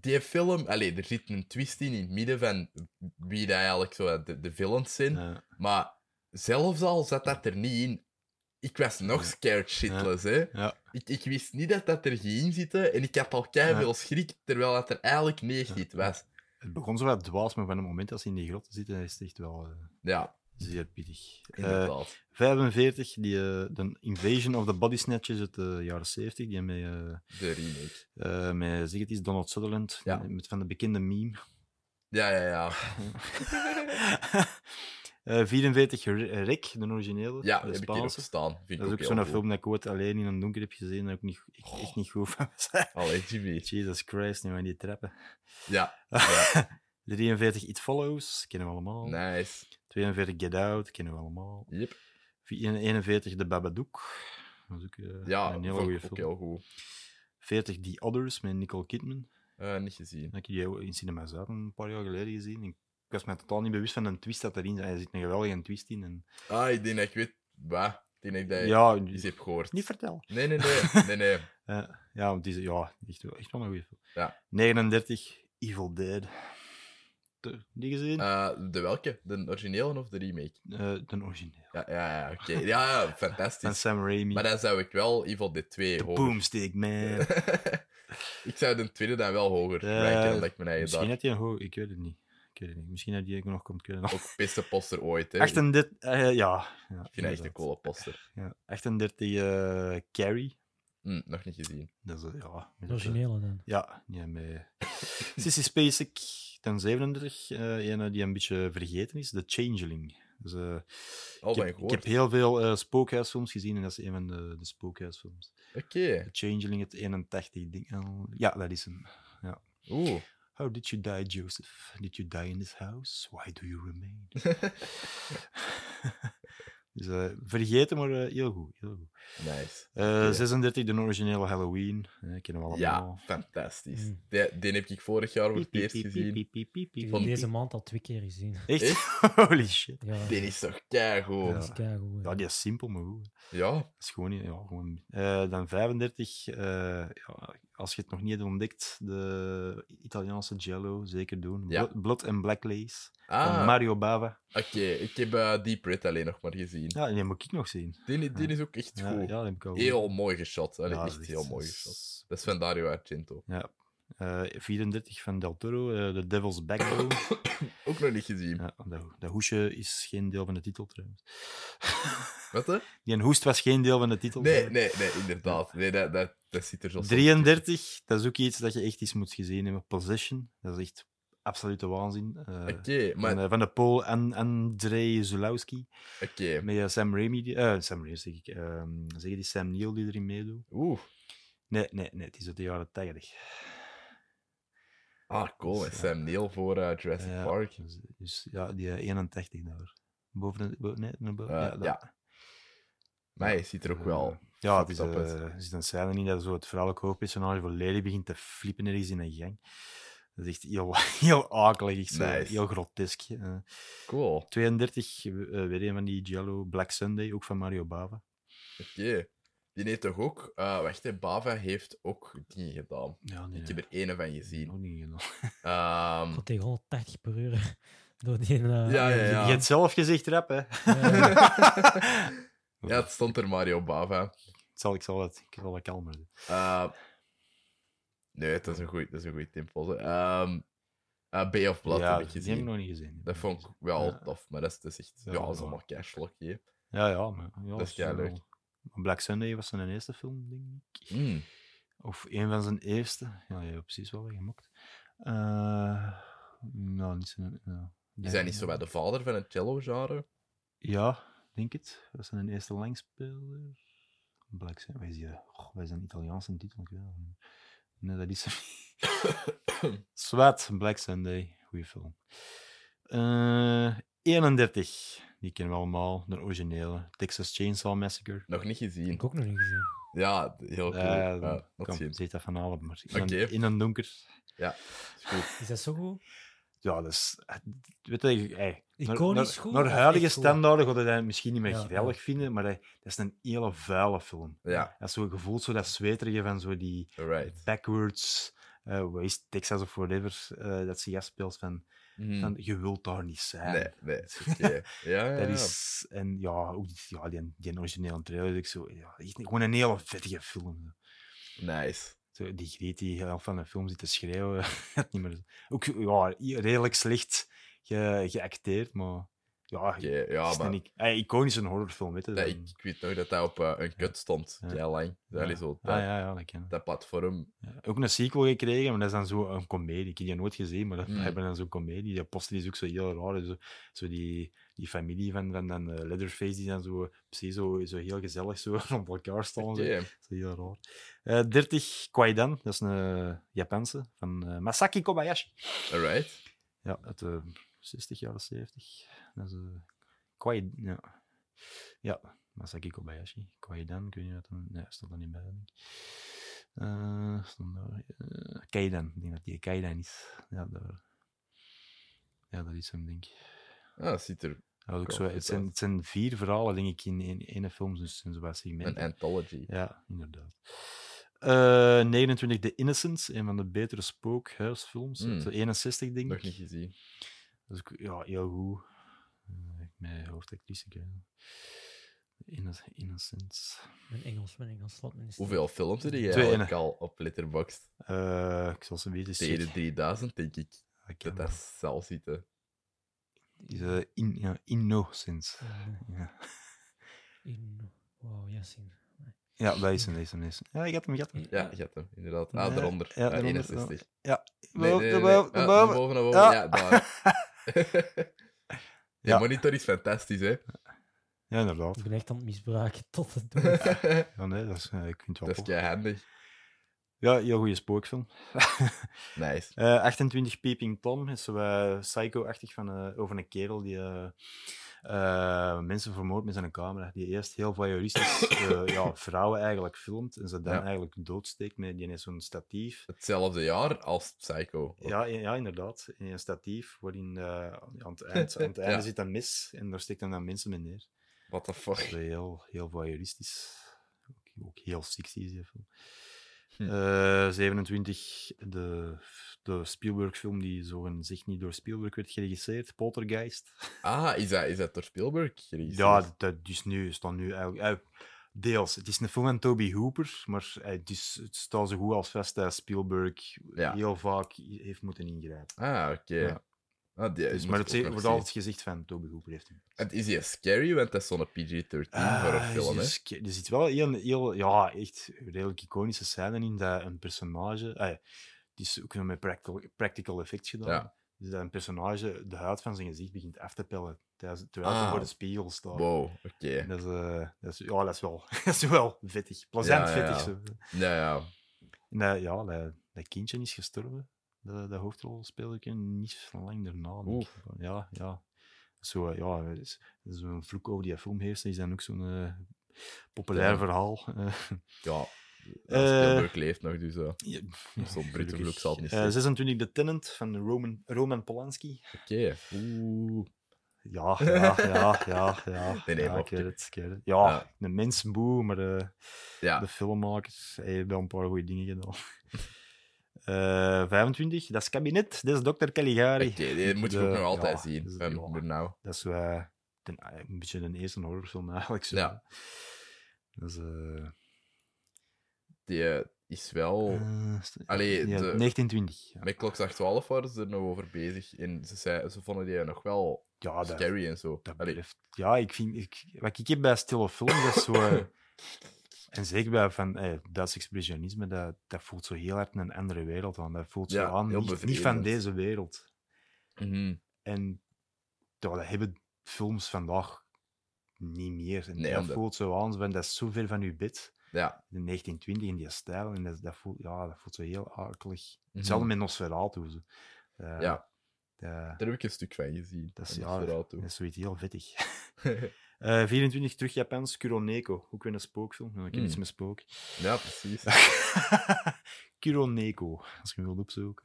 Speaker 1: Die film... Allee, er zit een twist in, in het midden van wie dat eigenlijk zo de, de villains zijn.
Speaker 2: Ja.
Speaker 1: Maar zelfs al zat dat er niet in, ik was nog scared shitless, hè.
Speaker 2: Ja.
Speaker 1: Ik, ik wist niet dat dat er ging zitten en ik had al keihard veel schrik, terwijl dat er eigenlijk niet echt
Speaker 2: Ja.
Speaker 1: iets was.
Speaker 2: Het begon zo wat dwaas, maar van het moment dat ze in die grot zitten, is het echt wel eh,
Speaker 1: Ja,
Speaker 2: zeer pittig. Eh,
Speaker 1: inderdaad.
Speaker 2: 45, die, eh, de Invasion of the Body Snatchers uit de jaren 70, die met, eh
Speaker 1: de remake.
Speaker 2: eh, met zeg het is Donald Sutherland,
Speaker 1: Ja.
Speaker 2: met van de bekende meme.
Speaker 1: Ja, ja, ja.
Speaker 2: Eh, 44, Re- Rek, de originele,
Speaker 1: Ja,
Speaker 2: de
Speaker 1: heb ik hier ook
Speaker 2: Spaanse.
Speaker 1: staan. Vind
Speaker 2: Dat is
Speaker 1: ik
Speaker 2: ook
Speaker 1: heel
Speaker 2: zo'n
Speaker 1: goed.
Speaker 2: film dat ik ooit alleen in een donker heb gezien en ook niet, echt,
Speaker 1: Oh.
Speaker 2: echt niet goed van was.
Speaker 1: Allee, alsjeblieft.
Speaker 2: Jesus Christ, nu aan die trappen.
Speaker 1: Ja, Ja.
Speaker 2: 43 It Follows, kennen we allemaal.
Speaker 1: nice.
Speaker 2: 42 Get Out, kennen we allemaal.
Speaker 1: Yep.
Speaker 2: 41 De Babadook. Dat is ook eh,
Speaker 1: Ja,
Speaker 2: een
Speaker 1: vond
Speaker 2: hele
Speaker 1: ik
Speaker 2: goede
Speaker 1: ook
Speaker 2: film.
Speaker 1: heel goed.
Speaker 2: 40 The Others met Nicole Kidman.
Speaker 1: Eh, niet gezien.
Speaker 2: Dat heb ik die ook in Cinema Zuid een paar jaar geleden gezien. Ik ik was me totaal niet bewust van een twist dat erin zit. Er zit een geweldige twist in. En...
Speaker 1: Ah, ik denk dat ik weet... Bah, ik denk dat ik ja.
Speaker 2: ja,
Speaker 1: iets
Speaker 2: niet
Speaker 1: heb gehoord.
Speaker 2: vertel.
Speaker 1: Nee, nee, nee. nee, nee.
Speaker 2: Eh, ja, want die is ja, echt, wel- echt wel een goede film.
Speaker 1: Ja.
Speaker 2: 39 Evil Dead. De- Die gezien? Eh
Speaker 1: Eh, de welke? De originele of de remake?
Speaker 2: de origineel.
Speaker 1: Ja, ja, ja, oké. Ja, ja,
Speaker 2: Van
Speaker 1: fantastisch.
Speaker 2: Sam Raimi.
Speaker 1: Maar dan zou ik wel Evil Dead 2
Speaker 2: De
Speaker 1: hoger...
Speaker 2: Boomstick Man.
Speaker 1: ik zou de tweede dan wel hoger
Speaker 2: Eh,
Speaker 1: ranken dan dat ik mijn eigen
Speaker 2: Misschien
Speaker 1: daar.
Speaker 2: had hij een hoog... Ik weet het niet. Ik weet het niet. Misschien had hij ook nog komt kunnen.
Speaker 1: Ook beste poster ooit, hè. Ik
Speaker 2: 38... eh, ja. ja
Speaker 1: vind dat echt
Speaker 2: inderdaad.
Speaker 1: een coole poster.
Speaker 2: Ja. 38 eh, Carrie.
Speaker 1: Hm, nog niet gezien.
Speaker 2: Dat is... eh, Ja.
Speaker 3: De
Speaker 2: met, eh,
Speaker 3: originele dan.
Speaker 2: Ja, ja met... Sissy Spacek, ten 37. eh ene die een beetje vergeten is. The Changeling. Dus, eh, ik,
Speaker 1: mijn
Speaker 2: heb, ik
Speaker 1: gehoord.
Speaker 2: heb heel veel eh, spookhuisfilms gezien en dat is een van de, de spookhuisfilms.
Speaker 1: Oké.
Speaker 2: The Changeling, het 81 ding. eh, Ja, dat is hem.
Speaker 1: Oeh.
Speaker 2: How did you die, Joseph? Did you die in this house? Why do you remain? dus eh, vergeten, maar eh, heel goed. Heel goed.
Speaker 1: Nice.
Speaker 2: Eh,
Speaker 1: Oké.
Speaker 2: 36, de originele Halloween. Eh, kennen we allemaal.
Speaker 1: Ja, fantastisch.
Speaker 3: Mm.
Speaker 1: Die, die heb ik vorig jaar voor
Speaker 2: Hm. Piep,
Speaker 1: het
Speaker 2: piep,
Speaker 1: eerst
Speaker 2: piep,
Speaker 1: gezien.
Speaker 2: piep, piep, piep,
Speaker 3: Ik
Speaker 2: piep,
Speaker 3: heb
Speaker 1: Van-
Speaker 3: die
Speaker 2: piep.
Speaker 3: deze maand al twee keer gezien.
Speaker 2: Echt? Holy shit.
Speaker 3: Ja,
Speaker 1: Die is toch keigoed.
Speaker 3: dat is keigoed.
Speaker 2: Ja, die is simpel, maar goed.
Speaker 1: Ja,
Speaker 2: Dat is gewoon... Ja, gewoon eh, dan 35, eh, ja, als je het nog niet hebt ontdekt, de Italiaanse Jello, zeker doen.
Speaker 1: Ja.
Speaker 2: Blood, Blood and Black Lace van
Speaker 1: ah,
Speaker 2: Mario Bava.
Speaker 1: oké. Ik heb eh, Deep Red alleen nog maar gezien.
Speaker 2: Ja, die moet ik nog zien.
Speaker 1: Die, die is ook echt
Speaker 2: Ah. Ja,
Speaker 1: goed.
Speaker 2: ja, dat heb ik al
Speaker 1: Heel mooi geschot. Allee,
Speaker 2: Ja, dat is
Speaker 1: echt heel mooi
Speaker 2: dat is-
Speaker 1: geschot. Dat is van Dario Argento.
Speaker 2: Ja. Eh, 34 van Del Toro, eh, The Devil's Backbone.
Speaker 1: Ook nog niet gezien.
Speaker 2: ja, dat, dat hoesje is geen deel van de titel trouwens.
Speaker 1: Wat hè?
Speaker 2: Die een hoest was geen deel van de titel.
Speaker 1: Nee, nee, nee, inderdaad. Nee, dat, dat, dat zit er zo. soms
Speaker 2: 33, dat is ook iets dat je echt eens moet gezien hebben. Possession, dat is echt absolute waanzin. Eh,
Speaker 1: tussen. Oké,
Speaker 2: van,
Speaker 1: maar
Speaker 2: eh, van de Pool en Andrei Zulowski.
Speaker 1: oké.
Speaker 2: Met eh, Sam Raimi, die- eh, Sam Raimi zeg ik. ehm, zeg je die Sam Neill die erin meedoet?
Speaker 1: Oeh.
Speaker 2: Nee, nee, nee, het is uit de jaren 80.
Speaker 1: Ah, cool.
Speaker 2: Dus,
Speaker 1: met
Speaker 2: ja.
Speaker 1: Sam Neill voor eh, Jurassic
Speaker 2: Ja,
Speaker 1: Park.
Speaker 2: Dus, dus ja, die eh, 81 daar. Boven de. bo- nee, naar boven.
Speaker 1: Eh,
Speaker 2: ja, dat-
Speaker 1: ja. Maar hij ziet er ook wel.
Speaker 2: Ja, het is,
Speaker 1: fucked up
Speaker 2: eh,
Speaker 1: uit.
Speaker 2: er zit een scène in dat zo het vrouwelijke hoofdpersonage volledig begint te flippen ergens in een gang. Dat is echt heel, heel akelig, echt zo,
Speaker 1: Nice.
Speaker 2: heel grotesk. eh.
Speaker 1: Cool. Oké.
Speaker 2: 32, eh, weer een van die Giallo, Black Sunday, ook van Mario Bava.
Speaker 1: Die heeft toch ook. eh, wacht, hè, Bava heeft ook dingen gedaan.
Speaker 2: Ja, nee,
Speaker 1: Ik heb er ene van gezien.
Speaker 2: Nog niet gedaan.
Speaker 1: Ehm,
Speaker 3: Ik had tegen 180 per uur door die...
Speaker 1: ja,
Speaker 3: eh,
Speaker 1: ja,
Speaker 2: Je
Speaker 1: ja.
Speaker 2: hebt zelf gezegd rap, hè?
Speaker 3: eh,
Speaker 1: Ja, het stond er Mario Bava.
Speaker 2: Ik zal, ik zal dat, ik zal dat kalmer doen.
Speaker 1: Eh, nee, dat is een goeie, dat is een goeie timpel. Ehm eh, Bay of Blood heb ik
Speaker 2: die heb ik
Speaker 1: gezien.
Speaker 2: nog niet gezien.
Speaker 1: Dat vond ik wel
Speaker 2: Ja.
Speaker 1: tof, maar dat is dus echt... Ja,
Speaker 2: Ja,
Speaker 1: dat
Speaker 2: maar-
Speaker 1: is allemaal cashlock, hè.
Speaker 2: Ja, ja, maar... Ja,
Speaker 1: Dat is keileuk.
Speaker 2: wel- maar Black Sunday was zijn eerste film, denk ik.
Speaker 1: Mm.
Speaker 2: Of een van zijn eerste. Ja, je hebt precies wel weggemokt. Eh nou, niet zijn. ja.
Speaker 1: Die zijn niet zo bij de vader van het cello-genre.
Speaker 2: Ja, denk het. Dat zijn een eerste langspeler. Black zijn. Wij zijn, oh, wij zijn Italiaanse titel. Ik weet het niet. Nee, dat is hem niet. Zwart, Black Sunday. Goeie film. Eh, 31. Die kennen we allemaal, de originele. Texas Chainsaw Massacre.
Speaker 1: Nog niet gezien.
Speaker 3: Ik ook nog niet gezien.
Speaker 1: Ja, heel cool.
Speaker 2: Eh,
Speaker 1: Ja, dat
Speaker 2: kom,
Speaker 1: zien.
Speaker 2: zet dat van allen maar in,
Speaker 1: Oké.
Speaker 2: een, in een donker.
Speaker 1: Is goed.
Speaker 3: Is dat zo goed?
Speaker 2: Ja, dat is... eh, Weet je, ey, naar-
Speaker 3: Iconisch
Speaker 2: naar,
Speaker 3: goed.
Speaker 2: Naar
Speaker 3: of
Speaker 2: huidige
Speaker 3: echt goed?
Speaker 2: standaarden gaat je dat misschien niet meer
Speaker 3: Ja,
Speaker 2: geweldig vinden, maar eh, dat, dat is een hele vuile film.
Speaker 1: Ja,
Speaker 2: Dat is zo gevoeld, zo dat zweterige van zo die
Speaker 1: alright.
Speaker 2: backwards, eh wat is het, Texas of whatever, eh, dat ze ja speelt van,
Speaker 1: Mhm.
Speaker 2: van je wilt daar niet zijn.
Speaker 1: Nee, nee. Oké. Ja, ja,
Speaker 2: Dat
Speaker 1: ja.
Speaker 2: is, en ja, ook die, ja, die, die originele trailer, ik zo, ja, echt gewoon een hele vettige film.
Speaker 1: Nice.
Speaker 2: Zo, die Greet die helft van de film zit te schreeuwen, het niet meer. Ook ja, redelijk slecht ge, geacteerd, maar ja,
Speaker 1: Oké, ja,
Speaker 2: is
Speaker 1: maar...
Speaker 2: een ic- eh, iconisch een horrorfilm, weet je.
Speaker 1: Ja,
Speaker 2: dan-
Speaker 1: ik, ik weet nog dat dat op eh, een kut stond.
Speaker 2: Ja.
Speaker 1: Ja, lang. Dat
Speaker 2: Ja.
Speaker 1: is zo. Dat,
Speaker 2: Ah, ja, ja, dat ken ik.
Speaker 1: dat platform.
Speaker 2: Ja, Ook een sequel gekregen, maar dat is dan zo een komedie. Ik heb die nooit gezien, maar dat
Speaker 1: Mm.
Speaker 2: hebben dan zo'n komedie. Die posten is ook zo heel raar. dus Zo, zo die, die familie van, van dan, eh, Leatherface, die dan zo, precies zo, zo heel gezellig zo rond elkaar staan.
Speaker 1: Oké.
Speaker 2: Zo. Zo heel raar. Eh 30 Kwaidan, dat is een Japanse, van eh, Masaki Kobayashi.
Speaker 1: Alright.
Speaker 2: Ja, uit de 60 jaren 70. Dat is eh Kwai... Ja. ja, Masaki Kobayashi. Kwaidan, kun je dat dan... Nee, stond er niet bij, denk ik. Eh, stond daar... eh, Kaidan, ik denk dat die Kaidan is. Ja, daar... Ja, dat is hem, denk ik.
Speaker 1: Ah, dat ziet er
Speaker 2: Dat is ook
Speaker 1: Cool,
Speaker 2: zo, het,
Speaker 1: vet
Speaker 2: zijn,
Speaker 1: uit.
Speaker 2: het zijn vier verhalen, denk ik, in één ene film, dus het zijn zo'n
Speaker 1: een
Speaker 2: segmenten.
Speaker 1: anthology.
Speaker 2: Ja, inderdaad. Eh, 29 The Innocents, een van de betere spookhuisfilms.
Speaker 1: Mm.
Speaker 2: Zo 61, denk ik.
Speaker 1: Nog niet gezien.
Speaker 2: Dat is ook, Dus ja, heel goed. Eh, Mijn hoofdactrice, ik weet niet. Inno- Innocence.
Speaker 3: Mijn Engels, mijn Engels. Laat me niet staan.
Speaker 1: Hoeveel films heb je
Speaker 2: Twee
Speaker 1: eigenlijk al op Letterboxd?
Speaker 2: Eh, ik zal ze weten.
Speaker 1: Tegen de 3000, denk ik.
Speaker 2: Ah,
Speaker 1: Dat dat zelf ziet. hè.
Speaker 2: Is, eh, in, ja, innocence.
Speaker 3: Eh,
Speaker 2: Ja.
Speaker 3: in- Wauw, Yassine.
Speaker 2: ja, dat is hem, dat is hem, dat is hem. Ja, ik had hem, ik had hem.
Speaker 1: Ja, je hebt hem, inderdaad. Ah,
Speaker 2: Nee,
Speaker 1: daaronder.
Speaker 2: ja,
Speaker 1: Ja,
Speaker 2: daaronder,
Speaker 1: 61. Nee,
Speaker 2: Wel,
Speaker 1: nee, nee,
Speaker 2: wel,
Speaker 1: nee. Ah,
Speaker 2: wel.
Speaker 1: naar boven, naar boven.
Speaker 2: Ja.
Speaker 1: Ja, daar. Die
Speaker 2: Ja.
Speaker 1: monitor is fantastisch, hè?
Speaker 2: Ja, inderdaad.
Speaker 3: Ik ben echt aan het misbruiken tot het dood.
Speaker 2: Ja, nee, dat is, eh, ik vind het
Speaker 1: dat
Speaker 2: wel
Speaker 1: is
Speaker 2: tof.
Speaker 1: kei handig.
Speaker 2: Ja, heel goede spookfilm.
Speaker 1: Nice.
Speaker 2: Eh, 28 Peeping Tom is zo eh, psycho-achtig van, eh, over een kerel die eh, eh, mensen vermoordt met zijn camera. Die eerst heel voyeuristisch eh, ja, vrouwen eigenlijk filmt en ze dan
Speaker 1: Ja.
Speaker 2: eigenlijk doodsteekt met die heeft zo'n statief.
Speaker 1: Hetzelfde jaar als Psycho.
Speaker 2: Ja, i- ja, inderdaad. In een statief waarin eh, aan het eind, aan het
Speaker 1: Ja.
Speaker 2: einde zit een mis en daar steekt dan, dan mensen mee neer.
Speaker 1: What the
Speaker 2: Dat is
Speaker 1: fuck?
Speaker 2: heel, heel voyeuristisch. Ook, ook heel sexy is die film.
Speaker 1: Hm.
Speaker 2: Eh, 27, de, de Spielberg-film die zo in zich niet door Spielberg werd geregisseerd, Poltergeist.
Speaker 1: Ah, is dat, is dat door Spielberg geregisseerd?
Speaker 2: Ja, dat, dat is nu, staat nu eigenlijk... eh, Deels. Het is een film van Toby Hooper, maar eh, het, is, het staat zo goed als vast dat Spielberg
Speaker 1: Ja.
Speaker 2: heel vaak i- heeft moeten ingrijpen.
Speaker 1: Ah, oké.
Speaker 2: Ja.
Speaker 1: Ah, die,
Speaker 2: Dus,
Speaker 1: die
Speaker 2: maar
Speaker 1: moet
Speaker 2: het
Speaker 1: ik
Speaker 2: wordt
Speaker 1: ook nog
Speaker 2: altijd
Speaker 1: zien.
Speaker 2: het gezicht van Toby Hooper heeft hem.
Speaker 1: En is die scary? Want dat is zo'n PG-13 horrorfilm,
Speaker 2: Ah,
Speaker 1: hè?
Speaker 2: is ske- Er zit wel heel, heel, ja, echt redelijk iconische scène in dat een personage. ah ja, het is ook nog met practical, practical effects gedaan.
Speaker 1: Ja.
Speaker 2: Dus dat een personage de huid van zijn gezicht begint af te pellen tijdens- terwijl ze
Speaker 1: Ah.
Speaker 2: voor de spiegel staat.
Speaker 1: Wow, oké.
Speaker 2: Dat is, eh, dat is, ja, dat is wel, dat is wel vettig. Plezant
Speaker 1: Ja, ja,
Speaker 2: vettig.
Speaker 1: ja.
Speaker 2: Zo.
Speaker 1: Nou ja,
Speaker 2: En dat, ja, dat, dat kindje is gestorven. Dat, dat hoofdrolspeler niet lang daarna. denk ik. Ja, ja. Zo, eh, ja, er is- er is zo'n vloek over die film heerst. Dat is dan ook zo'n eh, populair
Speaker 1: Ja.
Speaker 2: verhaal. Eh,
Speaker 1: ja.
Speaker 2: Eh,
Speaker 1: Spielberg leeft nog, dus eh,
Speaker 2: ja,
Speaker 1: zo'n Britse
Speaker 2: gelukkig.
Speaker 1: vloek zal het niet
Speaker 2: Eh,
Speaker 1: zijn.
Speaker 2: 26 De Tenant van Roman, Roman Polanski.
Speaker 1: Oké. Oeh.
Speaker 2: Ja, ja, ja, ja. ja.
Speaker 1: Nee, nee,
Speaker 2: ja, ik
Speaker 1: mopje.
Speaker 2: weet het, ik weet het. Ja,
Speaker 1: Ja.
Speaker 2: een mensboe, maar eh,
Speaker 1: Ja,
Speaker 2: Ah, de filmmaker hij heeft wel een paar goede dingen gedaan. Eh, 25, dat is kabinet, dat is dokter Caligari.
Speaker 1: oké, die moeten we ook
Speaker 2: De-
Speaker 1: nog altijd
Speaker 2: ja,
Speaker 1: zien.
Speaker 2: dus-
Speaker 1: van
Speaker 2: ja.
Speaker 1: voor nou.
Speaker 2: Dat is eh, ten- een beetje de eerste horrorfilm eigenlijk. Zo.
Speaker 1: Ja.
Speaker 2: Dat is, eh,
Speaker 1: Die eh, is wel...
Speaker 2: eh, st-
Speaker 1: Allee,
Speaker 2: ja,
Speaker 1: de-
Speaker 2: 1920. Ja,
Speaker 1: Met klokslag 12 waren ze er nog over bezig. En ze, zei, ze vonden die nog wel
Speaker 2: Ja, Ah, dat,
Speaker 1: scary en zo.
Speaker 2: dat
Speaker 1: Allee,
Speaker 2: blijft- Ja, ik vind, ik, wat ik heb bij stille films, dat is zo... eh, en zeker bij van, eh, Duits expressionisme, dat, dat voelt zo heel hard een andere wereld aan. Dat voelt
Speaker 1: Ja,
Speaker 2: zo aan,
Speaker 1: heel
Speaker 2: niet, niet van
Speaker 1: bevredigend.
Speaker 2: deze wereld.
Speaker 1: mhm.
Speaker 2: En ja, dat hebben films vandaag niet meer. En
Speaker 1: Nee,
Speaker 2: dat
Speaker 1: omdat-
Speaker 2: voelt zo aan, zo van, dat is zo ver van je bed.
Speaker 1: Ja,
Speaker 2: de 1920 in die stijl. En dat, dat, voelt, ja, dat voelt zo heel akelig.
Speaker 1: Mhm.
Speaker 2: Hetzelfde met Nosferatu. Zo. Eh,
Speaker 1: Ja.
Speaker 2: Dat,
Speaker 1: Daar heb ik een stuk van gezien.
Speaker 2: dat, is,
Speaker 1: En
Speaker 2: ja,
Speaker 1: vooral
Speaker 2: dat
Speaker 1: toe.
Speaker 2: is zoiets heel vettig. Eh, 24 terug Japans, Kuroneko. Ook weer een spookfilm. Nou, ik heb
Speaker 1: Hmm.
Speaker 2: iets met spook.
Speaker 1: Ja, precies.
Speaker 2: Kuroneko, als je hem wilt opzoeken.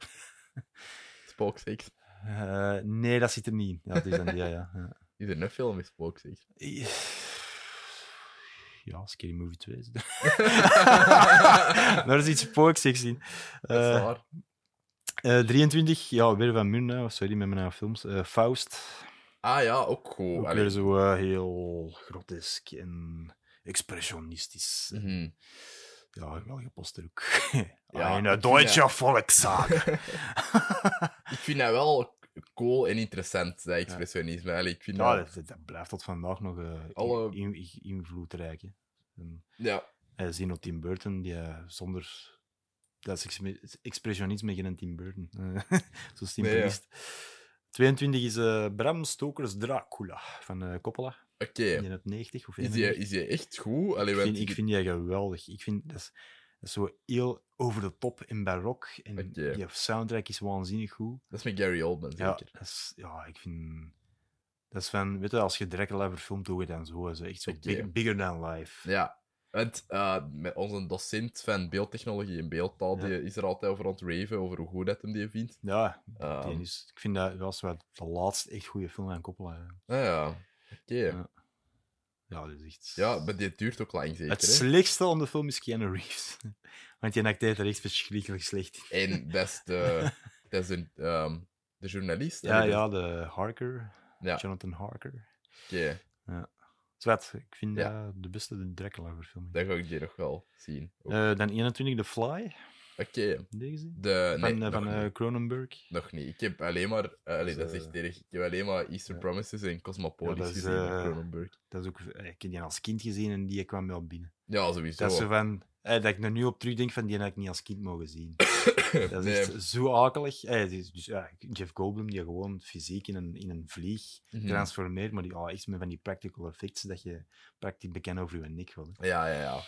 Speaker 1: Spooksex.
Speaker 2: Eh, nee, dat zit er niet in. Ja, het is dan die, ja, ja. ja.
Speaker 1: Is er een film met Spooksex?
Speaker 2: Ja, Scary Movie 2 is er. Daar is iets spooksigs in.
Speaker 1: Dat is
Speaker 2: Eh,
Speaker 1: waar.
Speaker 2: eh, 23, ja, weer van Mun, hè. sorry, met mijn oude films. Eh, Faust,
Speaker 1: Ah ja, ook goed.
Speaker 2: ook
Speaker 1: Allee,
Speaker 2: weer zo eh, heel grotesk en expressionistisch.
Speaker 1: mhm.
Speaker 2: Ja, wel gepost ook.
Speaker 1: Ja,
Speaker 2: Ja, in
Speaker 1: ik vind
Speaker 2: een Deutsche
Speaker 1: dat-
Speaker 2: Volkszaak.
Speaker 1: Ik vind dat wel cool en interessant, dat expressionisme. Allee, ik vind
Speaker 2: ja,
Speaker 1: dat...
Speaker 2: Nou, dat, dat blijft tot vandaag nog eh, in-
Speaker 1: Alle-
Speaker 2: in, in- invloedrijk. Hè. En-
Speaker 1: Ja,
Speaker 2: eh Zeno Tim Burton, die eh, zonder. Dat is ex- expressionisme geen Tim Burton. Eh, Zo simpel
Speaker 1: Nee, ja.
Speaker 2: is het. 22 is eh, Bram Stoker's Dracula van eh, Coppola.
Speaker 1: oké.
Speaker 2: In het 90 of
Speaker 1: Is,
Speaker 2: 91.
Speaker 1: die- is die echt goed? Allee,
Speaker 2: ik,
Speaker 1: want
Speaker 2: vind, ik vind die geweldig. Ik vind dat is, dat is zo heel over de top en barok. En
Speaker 1: Oké.
Speaker 2: die soundtrack is waanzinnig goed.
Speaker 1: Dat is met Gary Oldman,
Speaker 2: Ja,
Speaker 1: zeker?
Speaker 2: dat is, ja, ik vind. Dat is van, weet je, als je Dracula verfilmt, doe je dan zo. hè, zo echt zo
Speaker 1: Oké.
Speaker 2: big- bigger than life.
Speaker 1: Ja. Want eh, met onze docent van beeldtechnologie en beeldtaal
Speaker 2: Ja.
Speaker 1: die is er altijd over aan het raven, over hoe goed dat hem die vindt.
Speaker 2: Ja,
Speaker 1: Ehm,
Speaker 2: Die is- ik vind dat was wel de laatste echt goede film aan koppelen. hè.
Speaker 1: ah ja, oké. Ja.
Speaker 2: Ja. Ja, dat is echt...
Speaker 1: maar die duurt ook lang, zeker?
Speaker 2: het
Speaker 1: hè?
Speaker 2: slechtste aan de film is Keanu Reeves. Want die acteert er echt verschrikkelijk slecht in.
Speaker 1: En dat is de, dat is een, ehm, de journalist.
Speaker 2: Ja,
Speaker 1: hè?
Speaker 2: ja, de Harker.
Speaker 1: Ja.
Speaker 2: Jonathan Harker.
Speaker 1: Oké,
Speaker 2: Zwet, ik vind
Speaker 1: Ja.
Speaker 2: dat de beste de Dracula-verfilming.
Speaker 1: dat ga ik die nog wel zien. Ook.
Speaker 2: Eh, dan 21, The Fly.
Speaker 1: Oké,
Speaker 2: Deze.
Speaker 1: de...
Speaker 2: Van,
Speaker 1: Nee,
Speaker 2: eh,
Speaker 1: nog
Speaker 2: van eh,
Speaker 1: niet.
Speaker 2: Cronenberg.
Speaker 1: Nog niet. Ik heb alleen maar... eh, allee, dat is
Speaker 2: Dus,
Speaker 1: echt
Speaker 2: eh,
Speaker 1: erg. Ik heb alleen maar Easter
Speaker 2: ja.
Speaker 1: Promises en Cosmopolis
Speaker 2: Ja, dat is,
Speaker 1: gezien in
Speaker 2: eh,
Speaker 1: Cronenberg.
Speaker 2: Dat is ook, eh, ik heb die als kind gezien en die kwam wel binnen.
Speaker 1: Ja, sowieso.
Speaker 2: Dat is zo van... eh, dat ik er nu op terugdenk van die had ik niet als kind mogen zien. Dat is
Speaker 1: Nee.
Speaker 2: echt zo akelig. Eh, het is- dus, ja, Jeff Goldblum, die gewoon fysiek in een, in een vlieg
Speaker 1: Mhm.
Speaker 2: transformeert, maar die ah, iets met van die practical effects dat je praktisch bekend over je nek wil. hè.
Speaker 1: Ja, ja, ja.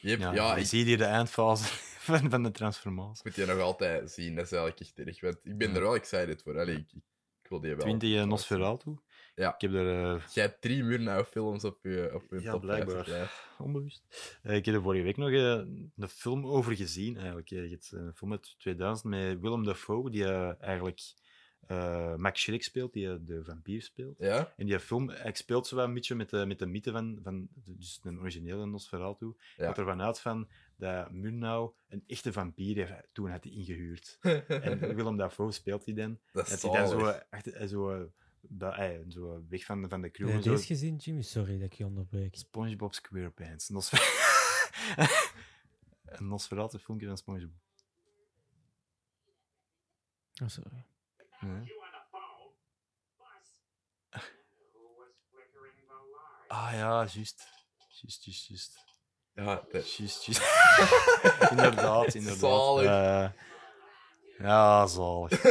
Speaker 1: Yep, ja,
Speaker 2: Ja, je
Speaker 1: ik
Speaker 2: ziet hier de eindfase van, van de transformatie.
Speaker 1: moet je nog altijd zien. Dat is eigenlijk echt erg. Want ik ben
Speaker 2: Ja.
Speaker 1: er wel excited voor. Allee, ik, ik wil die wel.
Speaker 2: 20 eh, Nosferatu.
Speaker 1: Ja.
Speaker 2: Ik heb er eh,
Speaker 1: Jij hebt drie murnau films op je, op je
Speaker 2: Ja,
Speaker 1: top 50
Speaker 2: blijkbaar.
Speaker 1: lijst.
Speaker 2: onbewust. eh, ik heb er vorige week nog eh, een film over gezien. Eigenlijk. Eh, het, eh, een film uit 2000 met Willem Dafoe, die eh, eigenlijk eh Max Schreck speelt, die eh, de vampier speelt.
Speaker 1: Ja?
Speaker 2: En die film, ik speelt zo wel een beetje met de, met de mythe van, van de- dus een originele Nosferatu.
Speaker 1: Ja.
Speaker 2: Gaat ervan uit van dat Murnau een echte vampier heeft, eh, toen had hij ingehuurd. En Willem Dafoe speelt hij dan.
Speaker 1: dat
Speaker 2: Dat
Speaker 1: is
Speaker 2: hij dan
Speaker 1: zalig.
Speaker 2: zo, echt, eh, zo, eh, bij- eh, zo weg van, van de crew.
Speaker 3: Heb
Speaker 2: en
Speaker 3: je
Speaker 2: zo.
Speaker 3: deze gezien, Jimmy? Sorry dat ik je onderbreek.
Speaker 2: SpongeBob SquarePants. Nos... een Nosferatu filmpje van SpongeBob.
Speaker 3: Oh, sorry.
Speaker 2: Ja.
Speaker 4: You on the phone? Bus? Who was flickering the light?
Speaker 2: Ah ja, juist. Juist, juist, juist.
Speaker 1: Ja, dat...
Speaker 2: Juist, juist. inderdaad, inderdaad.
Speaker 1: Zalig.
Speaker 2: Eh, ja, zalig.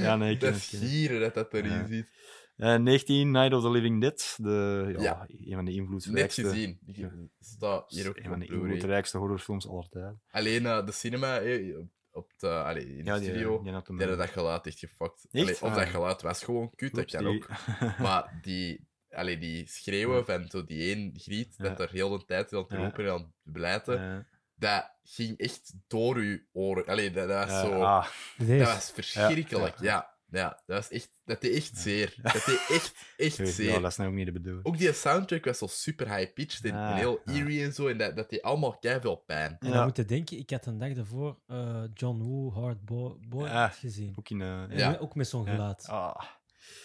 Speaker 2: Ja, nee, ik ken
Speaker 1: dat
Speaker 2: het,
Speaker 1: is
Speaker 2: ken het.
Speaker 1: gieren dat dat erin
Speaker 2: Ja.
Speaker 1: zit.
Speaker 2: Eh, 19, Night of the Living Dead. De, ja,
Speaker 1: Ja.
Speaker 2: Een van de
Speaker 1: Net
Speaker 2: invloedrijkste...
Speaker 1: gezien.
Speaker 2: Ja.
Speaker 1: Ik sta hier ook
Speaker 2: een van de
Speaker 1: op Blu-ray.
Speaker 2: invloedrijkste horrorfilms aller tijden.
Speaker 1: Alleen eh, de cinema eh, op, op de, allee, in de studio,
Speaker 2: had hem-
Speaker 1: die hadden dat geluid echt gefokt.
Speaker 2: eh, Echt?
Speaker 1: Allee, of dat
Speaker 2: Ah.
Speaker 1: geluid was gewoon kut, dat
Speaker 2: Oeps,
Speaker 1: kan
Speaker 2: die-
Speaker 1: ook. Maar die, allee, die schreeuwen
Speaker 2: Ja.
Speaker 1: van zo die één griet,
Speaker 2: Ja.
Speaker 1: dat er heel de tijd aan het
Speaker 2: Ja.
Speaker 1: roepen en aan het blijten,
Speaker 2: Eh,
Speaker 1: dat ging echt door uw oren. Allee, dat, dat was
Speaker 2: eh,
Speaker 1: zo...
Speaker 2: ah,
Speaker 3: Deze.
Speaker 1: Dat was verschrikkelijk, ja. ja. dat was echt... Dat deed echt zeer. Dat deed echt, echt
Speaker 2: ja,
Speaker 1: zeer.
Speaker 2: dat is nou ook niet de bedoeling.
Speaker 1: Ook die soundtrack was zo super high-pitched en, en
Speaker 2: Ah,
Speaker 1: heel
Speaker 2: ja.
Speaker 1: eerie en zo. En dat, dat deed allemaal veel pijn.
Speaker 3: En
Speaker 2: Ja.
Speaker 3: dan moet je denken, ik had een dag daarvoor eh, John Woo Hard Bo- Boy
Speaker 2: Ah.
Speaker 3: gezien.
Speaker 2: Ook in... eh,
Speaker 1: Ja.
Speaker 3: En ook met zo'n
Speaker 2: ja.
Speaker 3: geluid.
Speaker 2: Ah,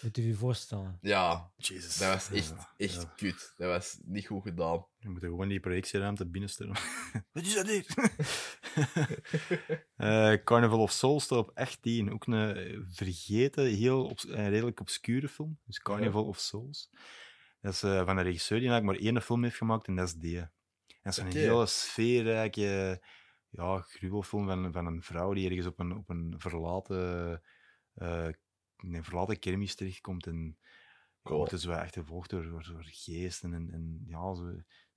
Speaker 3: Moet je je voorstellen.
Speaker 1: Ja,
Speaker 2: Jesus.
Speaker 1: dat was echt,
Speaker 2: Ja,
Speaker 1: echt
Speaker 2: ja.
Speaker 1: kut. Dat was niet goed gedaan.
Speaker 2: Je moet gewoon die projectieruimte binnenstellen. Wat is dat hier? Eh, Carnival of Souls staat op 18. Ook een eh, vergeten, heel obs- eh, redelijk obscure film. Dus Carnival of Souls. Dat is eh, van een regisseur die eigenlijk maar één film heeft gemaakt en dat is die. En dat is een
Speaker 1: Oké.
Speaker 2: hele sfeerrijke ja, gruwelfilm van, van een vrouw die ergens op een, op een verlaten, eh in een verlaten kermis terechtkomt en
Speaker 1: Cool.
Speaker 2: wordt dus wel achtervolgd door, door, door geesten. En, en ja, zo,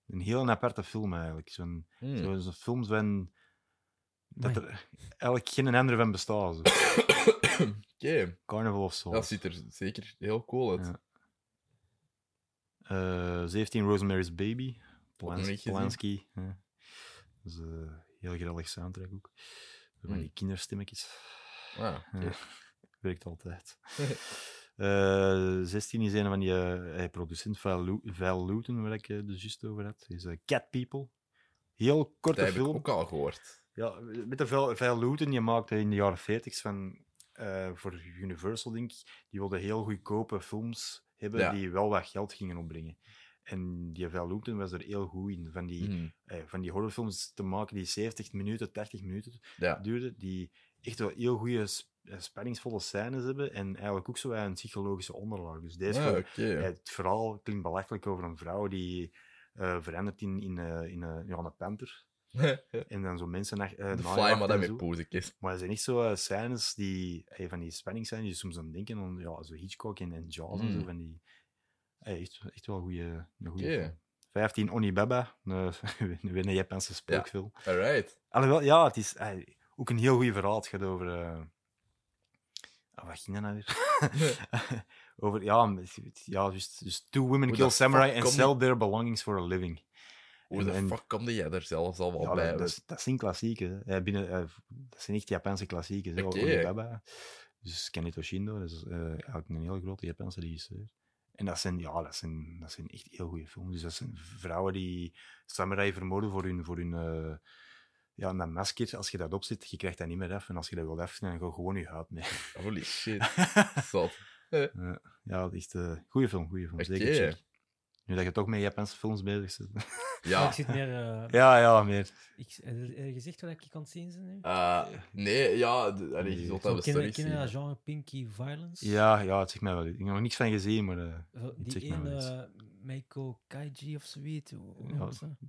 Speaker 2: een heel aparte film eigenlijk. Zo'n
Speaker 1: Hmm.
Speaker 2: zo, zo'n film van Dat
Speaker 3: Amai.
Speaker 2: er eigenlijk geen andere van bestaat. zo.
Speaker 1: Oké,
Speaker 2: Carnival of Souls.
Speaker 1: dat ziet er zeker heel cool uit.
Speaker 2: Ja. Eh, 17 Rosemary's Baby.
Speaker 1: nog niet
Speaker 2: Polans
Speaker 1: gezien.
Speaker 2: Polanski. Ja. Dat is eh, heel grellig soundtrack ook. Zo Van
Speaker 1: Hmm.
Speaker 2: die kinderstemmetjes.
Speaker 1: Ah, oké.
Speaker 2: Ja. Werkt altijd. Eh, 16 is een van die eh, eh, producent van Lu- Val Looten, waar ik eh, dus juist over had. Is eh, Cat People. Heel
Speaker 1: Dat
Speaker 2: korte
Speaker 1: heb ik
Speaker 2: film.
Speaker 1: ook al gehoord.
Speaker 2: Ja, met de Val, Val Looten, die maakte in de jaren 40 van, eh, voor Universal, denk ik. Die wilde heel goedkope films hebben
Speaker 1: Ja.
Speaker 2: die wel wat geld gingen opbrengen. En die Val Looten was er heel goed in. Van die,
Speaker 1: Mhm.
Speaker 2: eh, van die horrorfilms te maken die 70 minuten, 80 minuten
Speaker 1: Ja.
Speaker 2: duurden, die echt wel heel goede spanningsvolle scènes hebben en eigenlijk ook zo wat een psychologische onderlaag. Dus deze
Speaker 1: Ah,
Speaker 2: film-
Speaker 1: oké.
Speaker 2: ja, het verhaal klinkt belachelijk over een vrouw die eh, verandert in, in, eh, in eh, ja, een panter. En dan zo mensen naar. eh,
Speaker 1: De fly,
Speaker 2: najaagt
Speaker 1: maar
Speaker 2: en
Speaker 1: dat met
Speaker 2: zo.
Speaker 1: poezekjes.
Speaker 2: Maar er zijn echt zo eh, scènes die eh, van die spanning zijn, die je soms aan denken aan ja, zo Hitchcock en, en Jaws en zo.
Speaker 1: Mm.
Speaker 2: Van die, eh, echt, echt wel goede.
Speaker 1: Oké.
Speaker 2: 15 Onibaba, een, een Japanse spookfilm.
Speaker 1: Alright.
Speaker 2: Alhoewel, ja, het is eh, ook een heel goed verhaal. Het gaat over. eh, ah, wat ging dat nou weer? over, ja, met- ja dus, dus Two Women
Speaker 1: Hoe
Speaker 2: Kill
Speaker 1: de
Speaker 2: Samurai
Speaker 1: fuck
Speaker 2: and
Speaker 1: kom
Speaker 2: Sell
Speaker 1: die-
Speaker 2: Their Belongings for a Living.
Speaker 1: Hoe
Speaker 2: En- en-
Speaker 1: de fuck kom jij er zelfs al wel
Speaker 2: Ja,
Speaker 1: bij?
Speaker 2: dat, dat, is- dat zijn klassieken. hè. Eh, binnen, eh, dat zijn echt Japanse klassieken. zo,
Speaker 1: Oké.
Speaker 2: Alibaba. Dus Kanito Shindo, dat is eh, eigenlijk een heel grote Japanse regisseur. En dat zijn, ja, dat zijn, dat zijn echt heel goede films. Dus dat zijn vrouwen die samurai vermoorden voor hun, voor hun eh, ja, dat masker. Als je dat opzet, je krijgt dat niet meer af. En als je dat wilt afzetten, dan ga je gewoon je huid mee.
Speaker 1: Holy shit. Zot.
Speaker 2: ja, dat is echt een goede film, goede film. Zeker.
Speaker 1: Oké.
Speaker 2: check. Nu dat je toch met Japanse films bezig bent.
Speaker 3: Maar
Speaker 1: Ja.
Speaker 3: Ik zit meer... eh,
Speaker 2: ja, ja, meer.
Speaker 3: ik, er gezegd wat ik kan zien ze nu?
Speaker 1: Eh, nee, ja, d- allee,
Speaker 2: Nee.
Speaker 1: je zult dat
Speaker 2: Zo
Speaker 1: wel
Speaker 3: Kennen
Speaker 1: sorry
Speaker 3: kennen dat
Speaker 1: zien.
Speaker 3: genre Pinky Violence?
Speaker 2: Ja, ja, het zegt mij wel. iets. Ik heb er nog niks van gezien, maar... eh,
Speaker 3: Zo,
Speaker 2: het zegt
Speaker 3: Die
Speaker 2: mij wel
Speaker 3: ene
Speaker 2: iets.
Speaker 3: eh, Meiko Kaiji of zoiets. hoe- hoe
Speaker 2: Ja,
Speaker 3: noemt ze?
Speaker 2: de-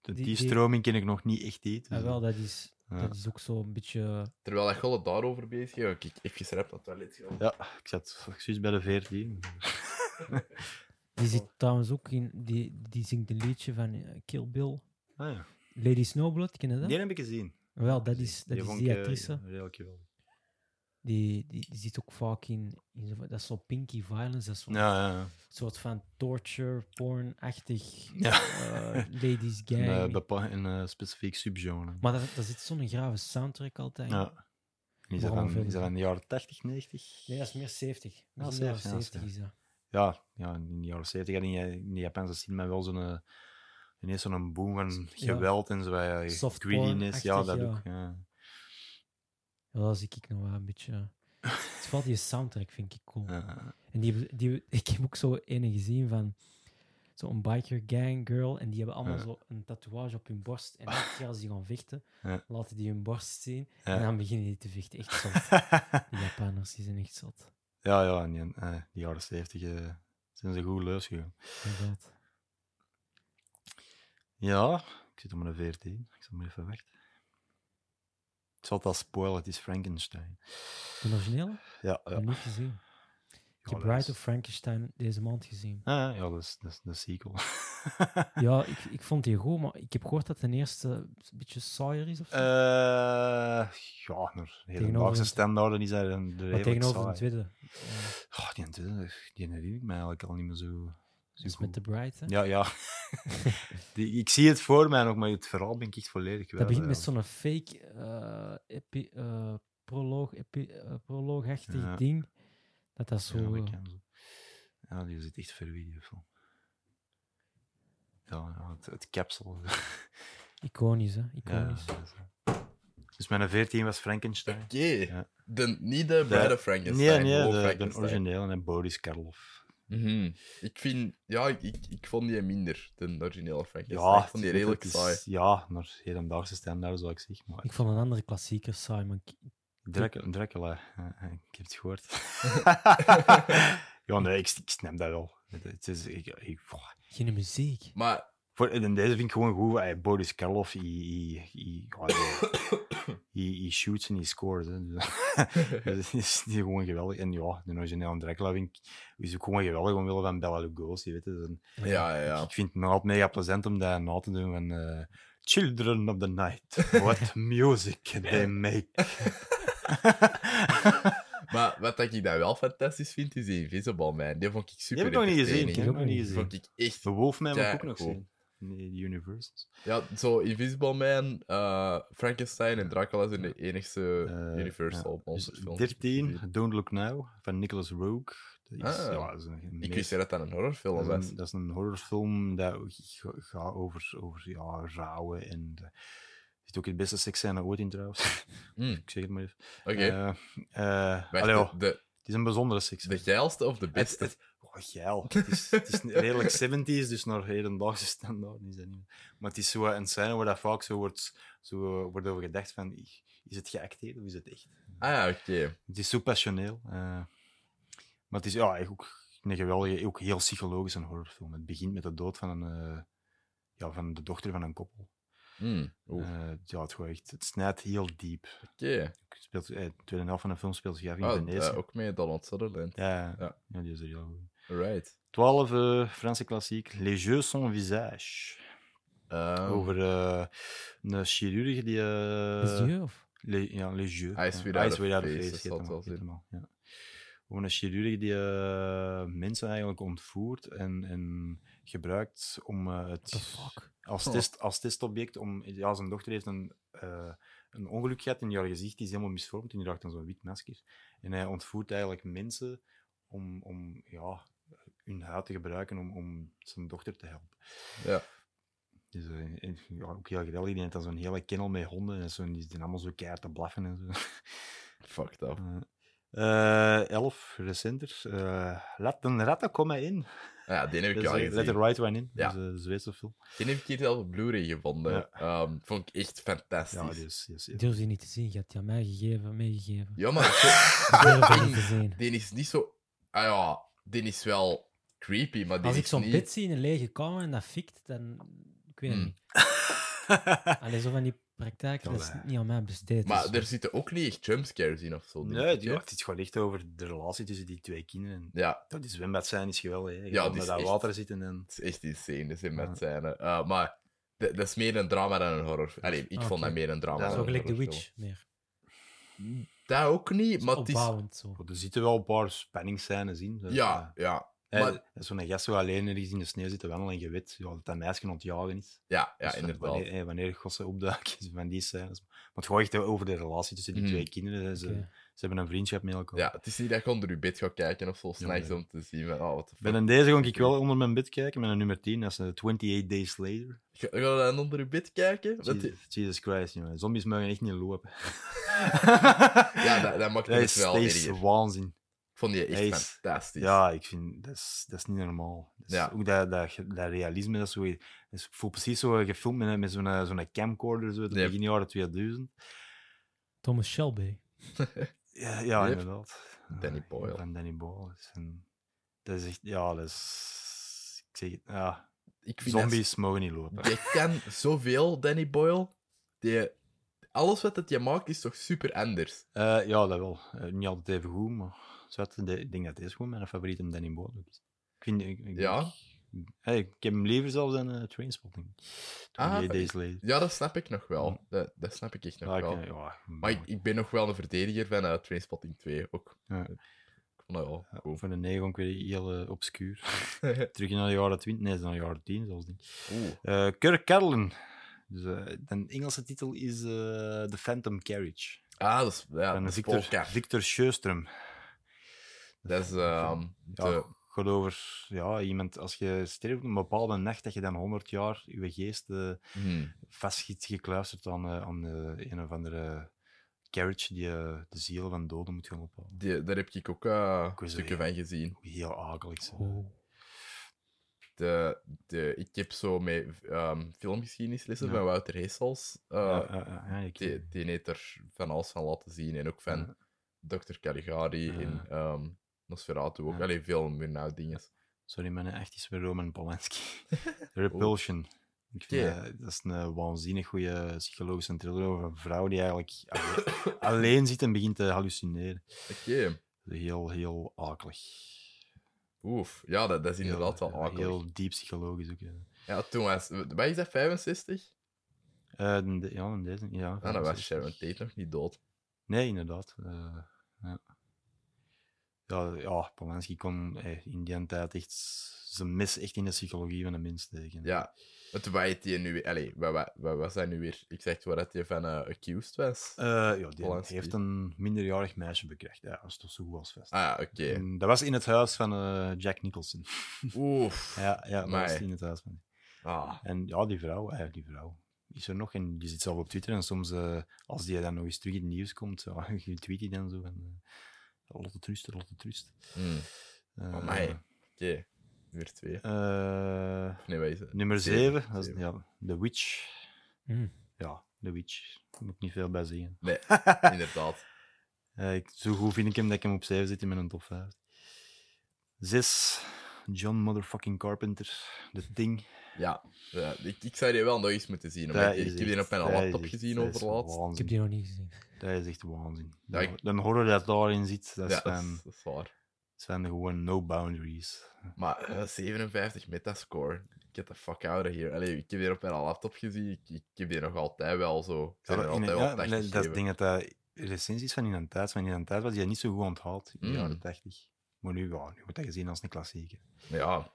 Speaker 2: de-
Speaker 3: Die-
Speaker 2: die
Speaker 3: die-
Speaker 2: stroming ken ik nog niet echt eten.
Speaker 3: Ah, wel, dat is,
Speaker 2: Ja.
Speaker 3: dat is ook zo'n beetje...
Speaker 1: Terwijl dat Golle daarover bezig is, ik ik even rap dat toilet gaan.
Speaker 2: Ja, ik zat precies bij de 14.
Speaker 3: Die zit trouwens ook in... Die, die zingt een liedje van eh, Kill Bill.
Speaker 2: Ah, ja.
Speaker 3: Lady Snowblood, ken je dat?
Speaker 2: Die heb ik gezien.
Speaker 3: Wel, dat is, dat is
Speaker 2: vond
Speaker 3: die
Speaker 2: ik, eh,
Speaker 3: actrice.
Speaker 2: redelijk geweldig.
Speaker 3: Die, die, die zit ook vaak in... in zo, dat is zo Pinky Violence. Dat is zo'n
Speaker 2: Ja, ja, ja.
Speaker 3: soort van torture, porn-achtig...
Speaker 2: Ja.
Speaker 3: eh, ladies gang.
Speaker 2: Een, eh, bepa- een eh, specifiek subgenre.
Speaker 3: Maar daar, daar zit zo'n grave soundtrack altijd. in.
Speaker 2: Ja. En Is dat,
Speaker 3: Waarom
Speaker 2: dan,
Speaker 3: vind
Speaker 2: is dat
Speaker 3: je-
Speaker 2: van de jaren 80, 90?
Speaker 3: Nee, dat is meer 70. Dat is
Speaker 2: Ja,
Speaker 3: meer
Speaker 2: 70, ja,
Speaker 3: 70 is dat.
Speaker 2: Ja, ja, in de jaren 70 had je in, in de Japanse cinema wel zo'n... eh, ineens zo'n boom van
Speaker 3: Ja.
Speaker 2: geweld en zo. eh,
Speaker 3: Soft
Speaker 2: greediness. Ja, dat
Speaker 3: porn-achtig, ja.
Speaker 2: ook. Ja.
Speaker 3: Ja, dat zie ik nog wel een beetje. Het valt die soundtrack vind ik cool.
Speaker 2: Ja.
Speaker 3: En die, die, ik heb ook zo ene gezien van zo'n biker gang girl. En die hebben allemaal
Speaker 2: Ja.
Speaker 3: zo een tatoeage op hun borst. En elke keer als die gaan vechten,
Speaker 2: Ja.
Speaker 3: laten die hun borst zien.
Speaker 2: Ja.
Speaker 3: En dan beginnen die te vechten. Echt zot. Die Japanners die zijn echt zot.
Speaker 2: Ja, ja, in die, eh, die jaren 70 eh, zijn ze goed leus gegaan.
Speaker 3: Inderdaad.
Speaker 2: Ja, ik zit op mijn 14. Ik zal maar even wachten. Ik zal het al spoilen, het is Frankenstein.
Speaker 3: De originele?
Speaker 2: Ja,
Speaker 3: Ik
Speaker 2: ja.
Speaker 3: heb niet gezien. Ik
Speaker 2: Ja,
Speaker 3: heb
Speaker 2: dat
Speaker 3: Bride
Speaker 2: is-
Speaker 3: of Frankenstein deze maand gezien.
Speaker 2: Ah, ja, dat is, dat is de sequel.
Speaker 3: Ja, ik, ik vond die goed, maar ik heb gehoord dat de eerste een beetje saaier is. Of zo.
Speaker 2: Eh ja, naar
Speaker 3: Tegenover
Speaker 2: hedendaagse
Speaker 3: een-
Speaker 2: standaarden is dat een de
Speaker 3: maar
Speaker 2: redelijk
Speaker 3: tegenover de
Speaker 2: saai.
Speaker 3: tweede. eh,
Speaker 2: Oh, die, tweede, die herinner ik me eigenlijk al niet meer zo, zo
Speaker 3: Dus met
Speaker 2: goed.
Speaker 3: de Bright, hè?
Speaker 2: Ja, ja. die, ik zie het voor mij nog, maar het verhaal ben ik echt volledig kwijt.
Speaker 3: dat begint met
Speaker 2: eigenlijk.
Speaker 3: zo'n fake eh, epi- eh, proloog, epi- eh, proloogachtig
Speaker 2: Ja.
Speaker 3: ding. Dat dat zo...
Speaker 2: Ja, dat
Speaker 3: eh,
Speaker 2: kan zo. Ja, die zit echt ver wie die film. Ja, ja, het, het capsule.
Speaker 3: iconisch, hè?
Speaker 2: Ja,
Speaker 3: Iconisch.
Speaker 2: dat is, eh. Dus mijn 14 was Frankenstein.
Speaker 1: Oké.
Speaker 2: Ja.
Speaker 1: De, niet de Bride of Frankenstein.
Speaker 2: Nee, nee,
Speaker 1: gewoon
Speaker 2: de, de
Speaker 1: Frankenstein.
Speaker 2: originele en Boris Karloff.
Speaker 1: Mhm. Ik vind, ja, ik, ik, ik vond die minder, de originele Frankenstein.
Speaker 2: Ja,
Speaker 1: ik vond die
Speaker 2: het is-
Speaker 1: redelijk
Speaker 2: het
Speaker 1: saai.
Speaker 2: is- Ja, naar hedendaagse standaard, zou ik zeggen. Maar
Speaker 3: Ik vond een andere klassieker saai, maar ik-
Speaker 2: Dracula, Dracula, eh, eh, ik heb het gehoord. ja, nee, ik, ik snap dat wel. Het, het is, ik, ik- goh.
Speaker 3: geen muziek.
Speaker 1: Maar,
Speaker 2: Voor, en deze vind ik gewoon goed. eh, Boris Karloff, hij- hij- hij- ja, hij- hij hij shoots en hij scores. Hè. Dus- Dus het is niet gewoon geweldig. En ja, de originele Dracula vind ik, is ook gewoon geweldig omwille van Bella Lugosi. Weet je. Dus een-
Speaker 1: ja, ja, ja.
Speaker 2: Ik vind het nog altijd mega plezant om dat na te doen van eh, Children of the night, what music they make.
Speaker 1: Maar wat dat ik daar wel fantastisch vind, is die Invisible Man. Die vond ik
Speaker 2: Die
Speaker 1: super
Speaker 2: heb ik nog niet gezien.
Speaker 1: entertaining.
Speaker 2: Die heb ik nog niet
Speaker 1: Die
Speaker 2: gezien.
Speaker 1: vond ik echt...
Speaker 2: De Wolfman moet ik ook
Speaker 1: Ja,
Speaker 2: nog
Speaker 1: cool.
Speaker 2: zien. Nee, de Universals.
Speaker 1: Ja, zo Invisible Man, eh, Frankenstein en Dracula zijn de enigste
Speaker 2: Eh,
Speaker 1: Universal monsterfilms.
Speaker 2: 13, Don't Look Now, van Nicholas Rogue. Dat is,
Speaker 1: Ah.
Speaker 2: ja, dat is
Speaker 1: Ik
Speaker 2: een meest-
Speaker 1: wist niet dat dat een horrorfilm
Speaker 2: dat is
Speaker 1: was.
Speaker 2: een, dat is een horrorfilm dat ga- gaat over, over ja, rouwen en... eh, Er zit ook in de beste seksscène ooit in trouwens.
Speaker 1: Mm,
Speaker 2: ik zeg het maar even.
Speaker 1: Oké.
Speaker 2: Eh, eh,
Speaker 1: Wacht,
Speaker 2: allee, ja,
Speaker 1: de, de,
Speaker 2: het is een bijzondere seksscène.
Speaker 1: de geilste of de
Speaker 2: Het,
Speaker 1: beste?
Speaker 2: het, oh, geil. Het is, het is redelijk 70s, dus naar hedendaagse standaard is dat niet meer. Maar het is zo een scène waar dat vaak zo wordt, zo eh, wordt over gedacht van, "Ih, is het geacteerd of is het echt?
Speaker 1: Ah ja, oké.
Speaker 2: Het is zo passioneel. eh. maar het is ja, eigenlijk ook een geweldige, ook heel psychologisch een horrorfilm. Het begint met de dood van, een, eh, ja, van de dochter van een koppel.
Speaker 1: Mm, oeh, Oké.
Speaker 2: Eh, ja, het, gaat echt, het snijdt heel diep. Het speelt, eh, de tweede helft van de film speelt zich af in
Speaker 1: Ah,
Speaker 2: Venetië.
Speaker 1: eh, ook mee Donald Sutherland.
Speaker 2: ja,
Speaker 1: ja.
Speaker 2: ja. die is er heel goed.
Speaker 1: Right.
Speaker 2: 12 eh, Franse klassiek, Les Jeux sans visage.
Speaker 1: Ehm,
Speaker 2: Over eh, een chirurg die. eh,
Speaker 3: Is die of?
Speaker 2: le- ja, Les Jeux.
Speaker 1: Eyes
Speaker 2: Ja,
Speaker 1: without
Speaker 2: Eyes
Speaker 1: a face, dat
Speaker 2: heet
Speaker 1: zal
Speaker 2: hem
Speaker 1: het
Speaker 2: al,
Speaker 1: wel
Speaker 2: heet
Speaker 1: zijn.
Speaker 2: hem al, ja. Over een chirurg die eh, mensen eigenlijk ontvoert en, en gebruikt om eh,
Speaker 3: What the
Speaker 2: het
Speaker 3: fuck?
Speaker 2: als,
Speaker 1: Oh.
Speaker 2: test, als testobject om. Ja, zijn dochter heeft een, eh, een ongeluk gehad in haar gezicht, die is helemaal misvormd en die draagt dan zo'n wit masker. En hij ontvoert eigenlijk mensen om, om ja, hun huid te gebruiken om, om zijn dochter te helpen.
Speaker 1: Ja.
Speaker 2: Dus eh, en- ja, ook heel geweldig. Die heeft dan zo'n hele kennel met honden en zo, en die zijn allemaal zo keihard te blaffen en zo.
Speaker 1: Fucked up. Ah,
Speaker 2: Eh, elf, recenter. eh, laat de ratten komen in.
Speaker 1: Ja, die heb ik
Speaker 2: Dus,
Speaker 1: al
Speaker 2: eh,
Speaker 1: gezien.
Speaker 2: Let the right one in.
Speaker 1: Ja.
Speaker 2: Dat is eh, de Zweedse film.
Speaker 1: Die heb ik hier zelf op Blu-ray gevonden.
Speaker 2: Ja.
Speaker 1: Ehm, vond ik echt fantastisch.
Speaker 2: Ja, dus,
Speaker 1: Ja,
Speaker 2: die is, die is heel
Speaker 3: Ik durf die niet te zien. Je hebt die aan mij gegeven, meegegeven.
Speaker 1: maar zo-
Speaker 3: Ik durf die
Speaker 1: ding-
Speaker 3: niet te zien.
Speaker 1: die is niet zo... Ah ja, die is wel creepy, maar die
Speaker 3: Als
Speaker 1: is
Speaker 3: ik zo'n
Speaker 1: niet...
Speaker 3: bed zie in een lege kamer en dat fikt, dan... Ik weet het
Speaker 1: Hmm.
Speaker 3: niet. Allee, zo van die praktijken, dat is
Speaker 2: Allee.
Speaker 3: niet aan mij besteed.
Speaker 1: Maar
Speaker 3: dus-
Speaker 1: er zitten ook niet echt jumpscares in of zo. denk
Speaker 2: Nee,
Speaker 1: ik,
Speaker 2: die,
Speaker 1: hè?
Speaker 2: het is gewoon echt over de relatie tussen die twee kinderen. En
Speaker 1: Ja,
Speaker 2: Dat die zwembad zijn is geweldig. Hè. Je
Speaker 1: Ja,
Speaker 2: gaat
Speaker 1: die
Speaker 2: onder
Speaker 1: is
Speaker 2: dat
Speaker 1: echt-
Speaker 2: water zitten en...
Speaker 1: het is echt insane, dat zijn met
Speaker 2: Ja.
Speaker 1: zijn. maar d- dat is meer een drama dan een horror. Allee, ik
Speaker 3: Ah,
Speaker 1: vond dat
Speaker 3: oké.
Speaker 1: meer een drama.
Speaker 2: Ja,
Speaker 1: dan
Speaker 3: Zo
Speaker 1: een
Speaker 3: gelijk The
Speaker 1: horrorfilm.
Speaker 3: Witch meer.
Speaker 1: Dat ook niet, maar het is.
Speaker 3: Opbouwend zo.
Speaker 2: Oh, Er zitten wel een paar spanningsscènes in. Dat,
Speaker 1: Ja, ja,
Speaker 2: Dus, eh,
Speaker 1: maar-
Speaker 2: hè, dat Zo'n gast zo alleen ergens in de sneeuw zit te wandelen en je weet ja, dat dat meisje aan het jagen is.
Speaker 1: ja, ja,
Speaker 2: Dus van
Speaker 1: inderdaad.
Speaker 2: Wanneer, hè, wanneer gossen opduiken, is van die scènes. Maar het gaat echt over de relatie tussen die
Speaker 1: Mhm.
Speaker 2: twee kinderen. hè. Ze,
Speaker 3: Oké.
Speaker 2: ze hebben een vriendschap met elkaar.
Speaker 1: Ja, het is niet dat je onder je bed gaat kijken of zo, s'nachts
Speaker 2: nee.
Speaker 1: om te zien. Van, oh, wat de fuck.
Speaker 2: Bij een deze ging ik wel onder mijn bed kijken, met een nummer 10. Dat is eh, 28 Days Later.
Speaker 1: Ga ga je dan onder je bed kijken? Dat-
Speaker 2: Jesus, Jesus Christ, jongen. Zombies mogen echt niet lopen.
Speaker 1: ja, dat, dat maakt
Speaker 2: Dat
Speaker 1: het
Speaker 2: is,
Speaker 1: wel
Speaker 2: dat is
Speaker 1: erger. Ik
Speaker 2: waanzin.
Speaker 1: vond je echt
Speaker 2: hij is-
Speaker 1: fantastisch.
Speaker 2: Ja, ik vind dat is, dat is niet normaal. Dat is
Speaker 1: Ja.
Speaker 2: Ook dat, dat, ge- dat realisme, dat is zo. Dat is voel precies zo gefilmd met, een- met zo'n eh, zo'n camcorder, zo, uit het
Speaker 1: Yep.
Speaker 2: begin jaren 2000.
Speaker 3: Thomas Shelby.
Speaker 2: Ja, ja
Speaker 1: Yep.
Speaker 2: inderdaad.
Speaker 1: Danny
Speaker 2: Ja,
Speaker 1: Boyle.
Speaker 2: Van Danny Boyle. Dat is, een- dat is echt, ja, dat is. Ik zeg het, ja.
Speaker 1: ik vind dat-
Speaker 2: Zombies mogen niet lopen.
Speaker 1: Die kan zoveel, Danny Boyle. Die, alles wat dat je maakt is toch super anders.
Speaker 2: Eh, ja, dat wel. Eh, niet altijd even goed, maar zwart, de- ik denk dat deze gewoon mijn favoriete Danny Boyle ook is. Ik vind, ik, ik-
Speaker 1: Ja.
Speaker 2: ik- hey, ik heb hem liever zelfs dan eh, Trainspotting. 28
Speaker 1: Ah,
Speaker 2: Days Later.
Speaker 1: Ja, dat snap ik nog wel.
Speaker 2: Mm.
Speaker 1: Dat, dat snap ik echt nog
Speaker 2: Ja, ik,
Speaker 1: wel.
Speaker 2: eh, ja,
Speaker 1: Maar ik, ik ben nog wel een verdediger van eh, Trainspotting 2 ook.
Speaker 2: Ja.
Speaker 1: Ik vond dat wel cool.
Speaker 2: Van de negen ook weer heel eh, obscuur. Terug naar de jaren 20, nee, naar de jaren 10 zelfs niet.
Speaker 1: Oeh.
Speaker 2: Eh Kirk Carlin. Dus, eh, de Engelse titel is eh, The Phantom Carriage.
Speaker 1: Ah, dat is, ja,
Speaker 2: van
Speaker 1: dat is
Speaker 2: Victor,
Speaker 1: Polka.
Speaker 2: Victor Sjöström.
Speaker 1: Dat is ehm,
Speaker 2: Ja,
Speaker 1: de-
Speaker 2: gaat over ja, iemand, als je sterft op een bepaalde nacht, dat je dan 100 jaar je geest eh
Speaker 1: hmm,
Speaker 2: vastgiet gekluisterd aan, eh, aan eh, een of andere carriage die eh, de ziel van doden moet gaan ophalen.
Speaker 1: die- daar heb ik ook eh
Speaker 2: Ik was er
Speaker 1: stukken van gezien.
Speaker 2: Heel akelig. zeg.
Speaker 3: Oh.
Speaker 1: De, de, ik heb zo met ehm filmgeschiedenislessen
Speaker 2: Ja.
Speaker 1: van Wouter Heesels. eh,
Speaker 2: Ja, ja, ja, ja, ik-
Speaker 1: die, die heeft er van alles van laten zien. En ook van
Speaker 2: Ja.
Speaker 1: Dr. Caligari
Speaker 2: Ja.
Speaker 1: en ehm, Nosferatu ook.
Speaker 2: Ja.
Speaker 1: Allee, veel meer nou dingen.
Speaker 2: Sorry, mijn echt is weer Roman Polanski. Repulsion. Ik vind,
Speaker 1: Ja.
Speaker 2: eh, dat is een waanzinnig goede psychologische thriller over een vrouw die eigenlijk alle- alleen zit en begint te hallucineren.
Speaker 1: Oké.
Speaker 2: Heel, heel akelig.
Speaker 1: Oef. Ja, dat, dat is inderdaad
Speaker 2: Heel-
Speaker 1: wel akelig.
Speaker 2: Heel diep psychologisch ook. ja.
Speaker 1: Ja, toen was... Wat is dat, 65?
Speaker 2: Eh, de- de- ja, in deze. Ja,
Speaker 1: Ah, dan was
Speaker 2: 65.
Speaker 1: Sharon Tate nog niet dood.
Speaker 2: Nee, inderdaad. eh, ja. Ja, ja, Polanski kon eh, in die tijd echt zijn mes echt in de psychologie van de mens tegen.
Speaker 1: Ja. Want waar heet die nu weer? Allee, waar, waar, waar was hij nu weer? Ik zeg waar dat hij van eh, accused was.
Speaker 2: Eh, ja, die
Speaker 1: Polanski.
Speaker 2: heeft een minderjarig meisje bekrecht. Ja, dat is toch zo goed als vast.
Speaker 1: ah, ja, oké.
Speaker 2: En dat was in het huis van eh, Jack Nicholson.
Speaker 1: Oef.
Speaker 2: Ja, ja dat was
Speaker 1: Amai.
Speaker 2: in het huis van.
Speaker 1: Ah,
Speaker 2: En ja, die vrouw, eh, die vrouw is er nog. En die zit zelf op Twitter. En soms, eh, als die dan nog eens terug in het nieuws komt, ja, je tweet die dan zo. En, eh, lotte trust, lotte trust.
Speaker 1: hmm,
Speaker 2: Eh,
Speaker 1: Amai. oké. Nummer twee.
Speaker 2: eh,
Speaker 1: Of nee, wat is het?
Speaker 2: nummer
Speaker 1: Zeven,
Speaker 2: 7, dat is
Speaker 1: zeven.
Speaker 2: ja, The Witch.
Speaker 3: Mm.
Speaker 2: Ja, The Witch. Daar moet ik niet veel bij zeggen.
Speaker 1: Nee, inderdaad.
Speaker 2: Eh, ik, zo goed vind ik hem dat ik hem op 7 zit in mijn top 5. 6, John motherfucking Carpenter. The Thing.
Speaker 1: Ja, eh, ik, ik zou die wel nog eens moeten zien. omdat
Speaker 2: Dat
Speaker 1: ik,
Speaker 2: is
Speaker 1: ik heb die
Speaker 2: echt-
Speaker 1: op mijn
Speaker 2: dat is
Speaker 1: laptop
Speaker 2: echt-
Speaker 1: gezien
Speaker 2: dat is
Speaker 1: overlaatst.
Speaker 3: Ik heb
Speaker 2: waanzin.
Speaker 3: die nog niet gezien.
Speaker 2: Dat is echt waanzin.
Speaker 1: Ja,
Speaker 2: Dan
Speaker 1: ik-
Speaker 2: dan horror dat daarin zit, dat
Speaker 1: Ja,
Speaker 2: zijn,
Speaker 1: dat is, dat is waar.
Speaker 2: zijn gewoon no boundaries.
Speaker 1: Maar eh, 57 metascore. Get the fuck out of here. Allee, ik heb die op mijn laptop gezien. Ik, ik heb die nog altijd wel zo. Ik
Speaker 2: Ja,
Speaker 1: ben er
Speaker 2: in-
Speaker 1: altijd
Speaker 2: ja,
Speaker 1: wel
Speaker 2: dat
Speaker 1: tachtig
Speaker 2: is het
Speaker 1: gegeven.
Speaker 2: ding dat dat recensies van in een tijd, van in een tijd was die dat niet zo goed onthaald in de
Speaker 1: Mm.
Speaker 2: jaren 80. Maar nu, ja, nu wordt dat gezien als een klassieker.
Speaker 1: Ja.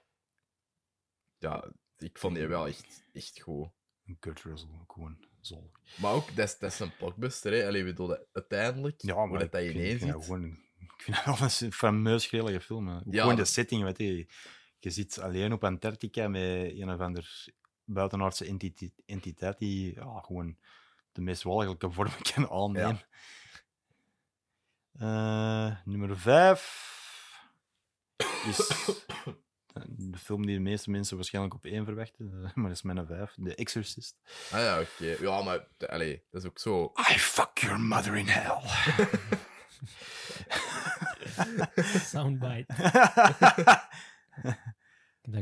Speaker 1: Ja, ik vond die wel echt, echt goed.
Speaker 2: Een Kurt Russell, ook gewoon zol.
Speaker 1: Maar ook, dat is, dat is een blockbuster, hè. Allee, ik bedoel, dat- uiteindelijk,
Speaker 2: Ja,
Speaker 1: hoe
Speaker 2: maar
Speaker 1: dat, dat
Speaker 2: ik vind-
Speaker 1: ineens
Speaker 2: ik vind dat
Speaker 1: ziet.
Speaker 2: gewoon- Ik vind dat wel een fameus grillige film. hè. Ook
Speaker 1: Ja,
Speaker 2: gewoon de
Speaker 1: dat-
Speaker 2: setting, weet je. Je zit alleen op Antarctica met een of ander buitenaardse entite- entiteit die ja, gewoon de meest walgelijke vormen kan aannemen. Eh, nummer 5 is de film die de meeste mensen waarschijnlijk op één verwachten, eh, maar dat is mijn 5, The Exorcist.
Speaker 1: Ah ja, oké. Ja, maar, de- allee, dat is ook zo.
Speaker 2: I fuck your mother in hell.
Speaker 3: Soundbite. Ik heb dat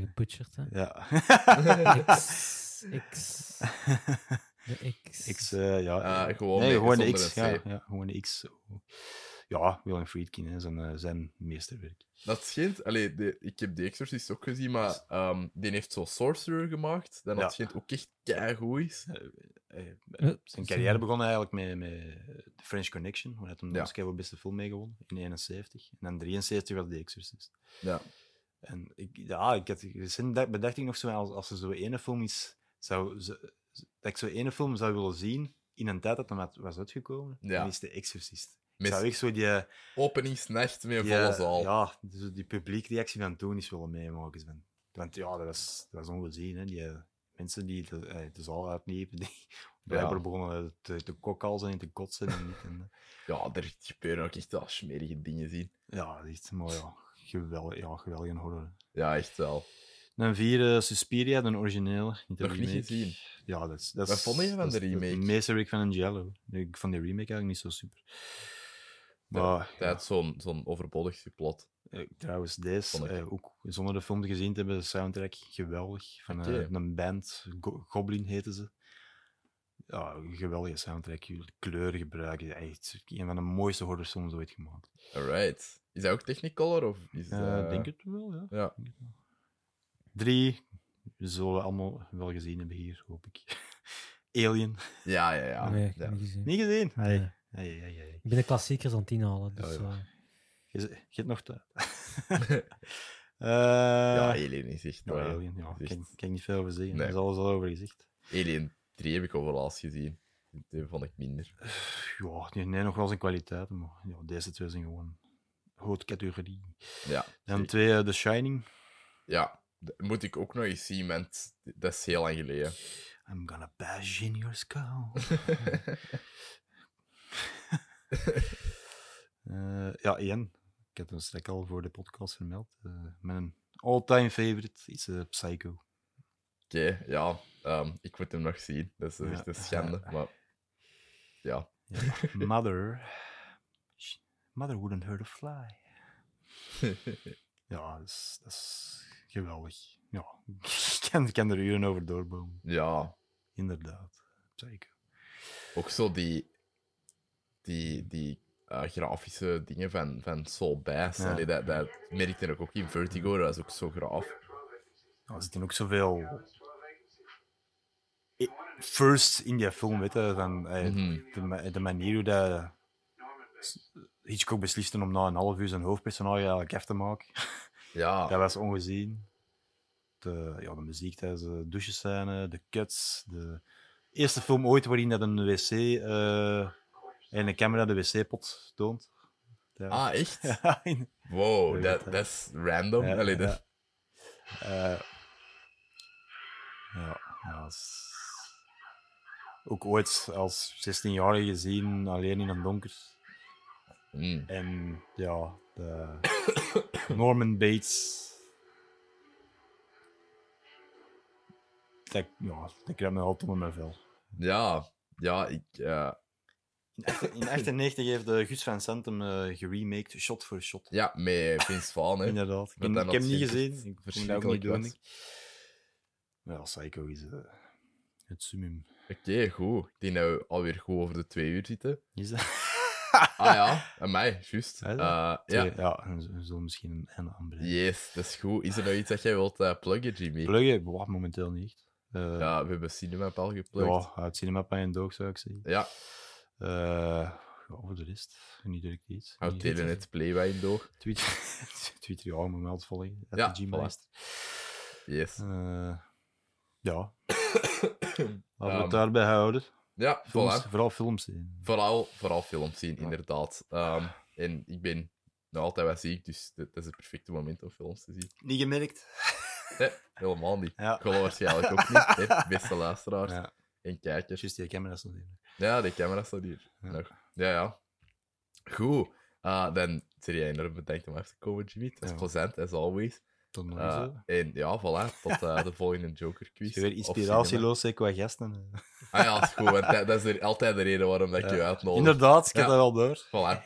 Speaker 3: gebutcherd, hè.
Speaker 2: ja.
Speaker 3: X. X. De X.
Speaker 2: X, eh, ja.
Speaker 1: Eh, gewoon
Speaker 2: nee,
Speaker 1: met-
Speaker 2: gewoon de
Speaker 1: zonder
Speaker 2: X.
Speaker 1: een
Speaker 2: Ja,
Speaker 1: C.
Speaker 2: ja, gewoon de X. Ja, Willem Friedkin, hè, zijn, eh, zijn meesterwerk.
Speaker 1: Dat schijnt, allee, de, ik heb The Exorcist ook gezien, maar ehm, die heeft zo Sorcerer gemaakt. Dat
Speaker 2: Ja.
Speaker 1: dat schijnt ook echt keigoed is.
Speaker 2: Eh, eh,
Speaker 3: Eh,
Speaker 2: zijn
Speaker 3: zo.
Speaker 2: carrière begon eigenlijk met, met The French Connection, waar hij toen
Speaker 1: Ja.
Speaker 2: de Oscar voor beste film mee gewonnen in 71. En dan 73 was The Exorcist.
Speaker 1: Ja.
Speaker 2: En ik, ja, ik had recent da- bedacht ik nog zo, als, als er zo ene film is, zou, ze- dat ik zo ene film zou willen zien in een tijd dat hem had- was uitgekomen,
Speaker 1: Ja.
Speaker 2: dan is The Exorcist. Ik
Speaker 1: Met
Speaker 2: zou echt zo die... eh,
Speaker 1: openingsnacht met een
Speaker 2: Ja,
Speaker 1: volle zaal.
Speaker 2: Ja, dus die publiekreactie van toen is wel meemaken. Sven. Want ja, dat was, dat was ongezien. Hè. Die eh, mensen die de, eh, de zaal uitliepen, die blijkbaar begonnen te, te kokhalzen en te kotsen. En, dit en, eh, dat.
Speaker 1: Ja, er gebeuren ook echt wel smerige dingen zien.
Speaker 2: ja, dat is echt mooi. Ja. Geweldig, ja, geweldige horror.
Speaker 1: Ja, echt wel.
Speaker 2: Dan vier, eh, Suspiria, de originele. Niet de
Speaker 1: Nog niet
Speaker 2: remake.
Speaker 1: gezien.
Speaker 2: Ja, dat is... Dat
Speaker 1: Wat
Speaker 2: is-
Speaker 1: vond je van
Speaker 2: dat
Speaker 1: de
Speaker 2: is het
Speaker 1: remake?
Speaker 2: meesterwerk van Angelo. Ik vond die remake eigenlijk niet zo super. Maar,
Speaker 1: Dat is zo'n zo'n overbodig plot.
Speaker 2: Eh, Trouwens, deze,
Speaker 1: Vond ik.
Speaker 2: eh, ook zonder de film gezien te hebben, de soundtrack geweldig. Van eh,
Speaker 1: Oké.
Speaker 2: een band, Go- Goblin heten ze. Ja, een geweldige soundtrack. jullie Kleuren gebruiken. Echt, een van de mooiste horrorfilms ooit gemaakt.
Speaker 1: Alright. Is dat ook Technicolor? Of is
Speaker 2: Eh
Speaker 1: dat-
Speaker 2: Denk het wel, ja.
Speaker 1: Ja.
Speaker 2: Denk het wel. Drie, we zullen allemaal wel gezien hebben hier, hoop ik. Alien.
Speaker 1: Ja, ja, ja.
Speaker 3: Nee, ik heb
Speaker 1: ja.
Speaker 3: niet gezien.
Speaker 2: Niet gezien? Nee.
Speaker 3: Nee.
Speaker 2: Ai, ai, ai.
Speaker 3: Ik ben de klassiekers aan het inhalen, dus...
Speaker 2: Ja, ja.
Speaker 3: eh,
Speaker 2: Je, z- je hebt nog tijd. Eh,
Speaker 1: Ja, Alien is echt...
Speaker 2: Ja,
Speaker 1: eh,
Speaker 2: Alien, ja.
Speaker 1: is
Speaker 2: Kan,
Speaker 1: echt-
Speaker 2: kan ik niet veel over zeggen.
Speaker 1: Nee.
Speaker 2: Er is alles al over gezegd.
Speaker 1: Alien 3 heb ik overlaatst gezien. Die vond ik minder.
Speaker 2: Ja, nee, nee, nog wel zijn kwaliteit, maar ja, deze twee zijn gewoon grote categorie.
Speaker 1: Ja.
Speaker 2: Dan
Speaker 1: zeker.
Speaker 2: twee, eh, The Shining.
Speaker 1: Ja, dat moet ik ook nog eens zien, want dat is heel lang geleden.
Speaker 2: I'm gonna bash in your skull. Eh, ja, één. Ik heb hem straks al voor de podcast vermeld. Eh, mijn all-time favorite is eh, Psycho.
Speaker 1: Oké, ja, ehm, ik moet hem nog zien. Dat is
Speaker 2: Ja.
Speaker 1: echt een schande, maar... Ja.
Speaker 2: Ja, mother. Sh- Mother wouldn't hurt a fly. Ja, dat is, dat is geweldig. Ja, ik kan, ik kan er uren over doorbomen.
Speaker 1: ja,
Speaker 2: Inderdaad. Psycho.
Speaker 1: ook zo die... Die, die eh, grafische dingen van, van Soul Bass,
Speaker 2: Ja.
Speaker 1: allee, dat, dat merkte ik ook in Vertigo, dat is ook zo graaf.
Speaker 2: Ja, er zitten ook zoveel
Speaker 4: Twelve vacancies.
Speaker 2: e- first in die film, weet je, van eh,
Speaker 1: Mhm.
Speaker 2: de, ma- de manier hoe dat Hitchcock besliste om na een half uur zijn hoofdpersonage eigenlijk af te maken.
Speaker 1: Ja,
Speaker 2: Dat was ongezien. De, ja, de muziek tijdens de douchescène, de cuts. De eerste film ooit waarin dat een wc eh, en een camera de wc-pot toont. Ja.
Speaker 1: ah, echt?
Speaker 2: Ja, in-
Speaker 1: Wow,
Speaker 2: Ja,
Speaker 1: dat
Speaker 2: ja.
Speaker 1: dat is random.
Speaker 2: ja,
Speaker 1: Allee, dat is-
Speaker 2: ja. Eh, ja, ja, s- ook ooit als 16-jarige gezien, alleen in het donker.
Speaker 1: Mm.
Speaker 2: En ja, de Norman Bates. Dat, ja, dat krijgt me altijd onder mijn vel.
Speaker 1: Ja, ja, ik... eh,
Speaker 2: In 1998 heeft de Guus van Santum eh, geremaked, shot voor shot.
Speaker 1: ja, met Vince Vaughn, hè.
Speaker 2: Inderdaad. Ik,
Speaker 1: Wat
Speaker 2: ik
Speaker 1: dan
Speaker 2: heb hem niet
Speaker 1: natuurlijk
Speaker 2: gezien. Ik moet dat ook
Speaker 1: verschrikkelijk
Speaker 2: niet doen.
Speaker 1: was.
Speaker 2: denk ik. Maar ja, Psycho is eh, het summum.
Speaker 1: Oké, goed. Ik denk dat we alweer goed over de twee uur zitten.
Speaker 2: Is dat?
Speaker 1: Ah ja, aan mij, juist.
Speaker 2: Ja,
Speaker 1: Eh,
Speaker 2: Ah, Ja,
Speaker 1: ja,
Speaker 2: ja en we zullen misschien een einde aanbrengen.
Speaker 1: yes, dat is goed. Is er nog iets dat jij wilt eh, pluggen, Jimmy?
Speaker 2: Pluggen? Boah, momenteel niet. echt. Eh,
Speaker 1: Ja, we hebben Cinemap al geplukt.
Speaker 2: ja, uit Cinema Pijn en Doog zou ik zeggen.
Speaker 1: Ja,
Speaker 2: Eh, ja, voor de rest, niet direct iets.
Speaker 1: houd
Speaker 2: Niet direct
Speaker 1: Telenet Playwine door.
Speaker 2: iets. Twitter, Twitter ja, moet me altijd volgen.
Speaker 1: Ja,
Speaker 2: Ja, Gmail.
Speaker 1: voilà.
Speaker 2: is het.
Speaker 1: Yes.
Speaker 2: Eh, ja. Laten we
Speaker 1: Ehm,
Speaker 2: het daarbij houden.
Speaker 1: Ja,
Speaker 2: Films,
Speaker 1: voilà.
Speaker 2: Vooral films zien.
Speaker 1: Vooral, vooral films zien,
Speaker 2: Ja.
Speaker 1: inderdaad. Ehm, en ik ben nog altijd wel ziek, dus dat, dat is het perfecte moment om films te zien.
Speaker 2: Niet gemerkt.
Speaker 1: Nee, helemaal niet.
Speaker 2: Ja.
Speaker 1: Ik wil waarschijnlijk ook niet, hè, beste luisteraars
Speaker 2: Ja,
Speaker 1: en kijkers.
Speaker 2: juist die camera's natuurlijk.
Speaker 1: Ja, de camera staat hier.
Speaker 2: Ja.
Speaker 1: Nog. Ja, ja. Goed. Ah, dan zit jij enorm bedankt om af te komen, Jimmy. Het was
Speaker 2: Ja.
Speaker 1: plezant, as always.
Speaker 2: Tot nog eens.
Speaker 1: Ah,
Speaker 2: hè.
Speaker 1: en ja, voilà. Tot eh, de volgende Joker
Speaker 2: Als
Speaker 1: quiz.
Speaker 2: je weer
Speaker 1: Of
Speaker 2: inspiratieloos zeg qua gasten. eh.
Speaker 1: cinema. Ah ja, is goed. Want dat, dat is er altijd de reden waarom dat ik je
Speaker 2: Oh. Ja.
Speaker 1: uitnodig.
Speaker 2: Inderdaad, ik heb
Speaker 1: Ja.
Speaker 2: dat wel door.
Speaker 1: Voilà.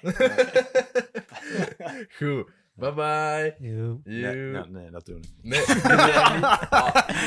Speaker 1: goed. Bye bye.
Speaker 3: Yo.
Speaker 1: You.
Speaker 3: eh,
Speaker 2: Nee, nee, nee, dat doen we niet.
Speaker 1: Nee, doe jij niet. Ah.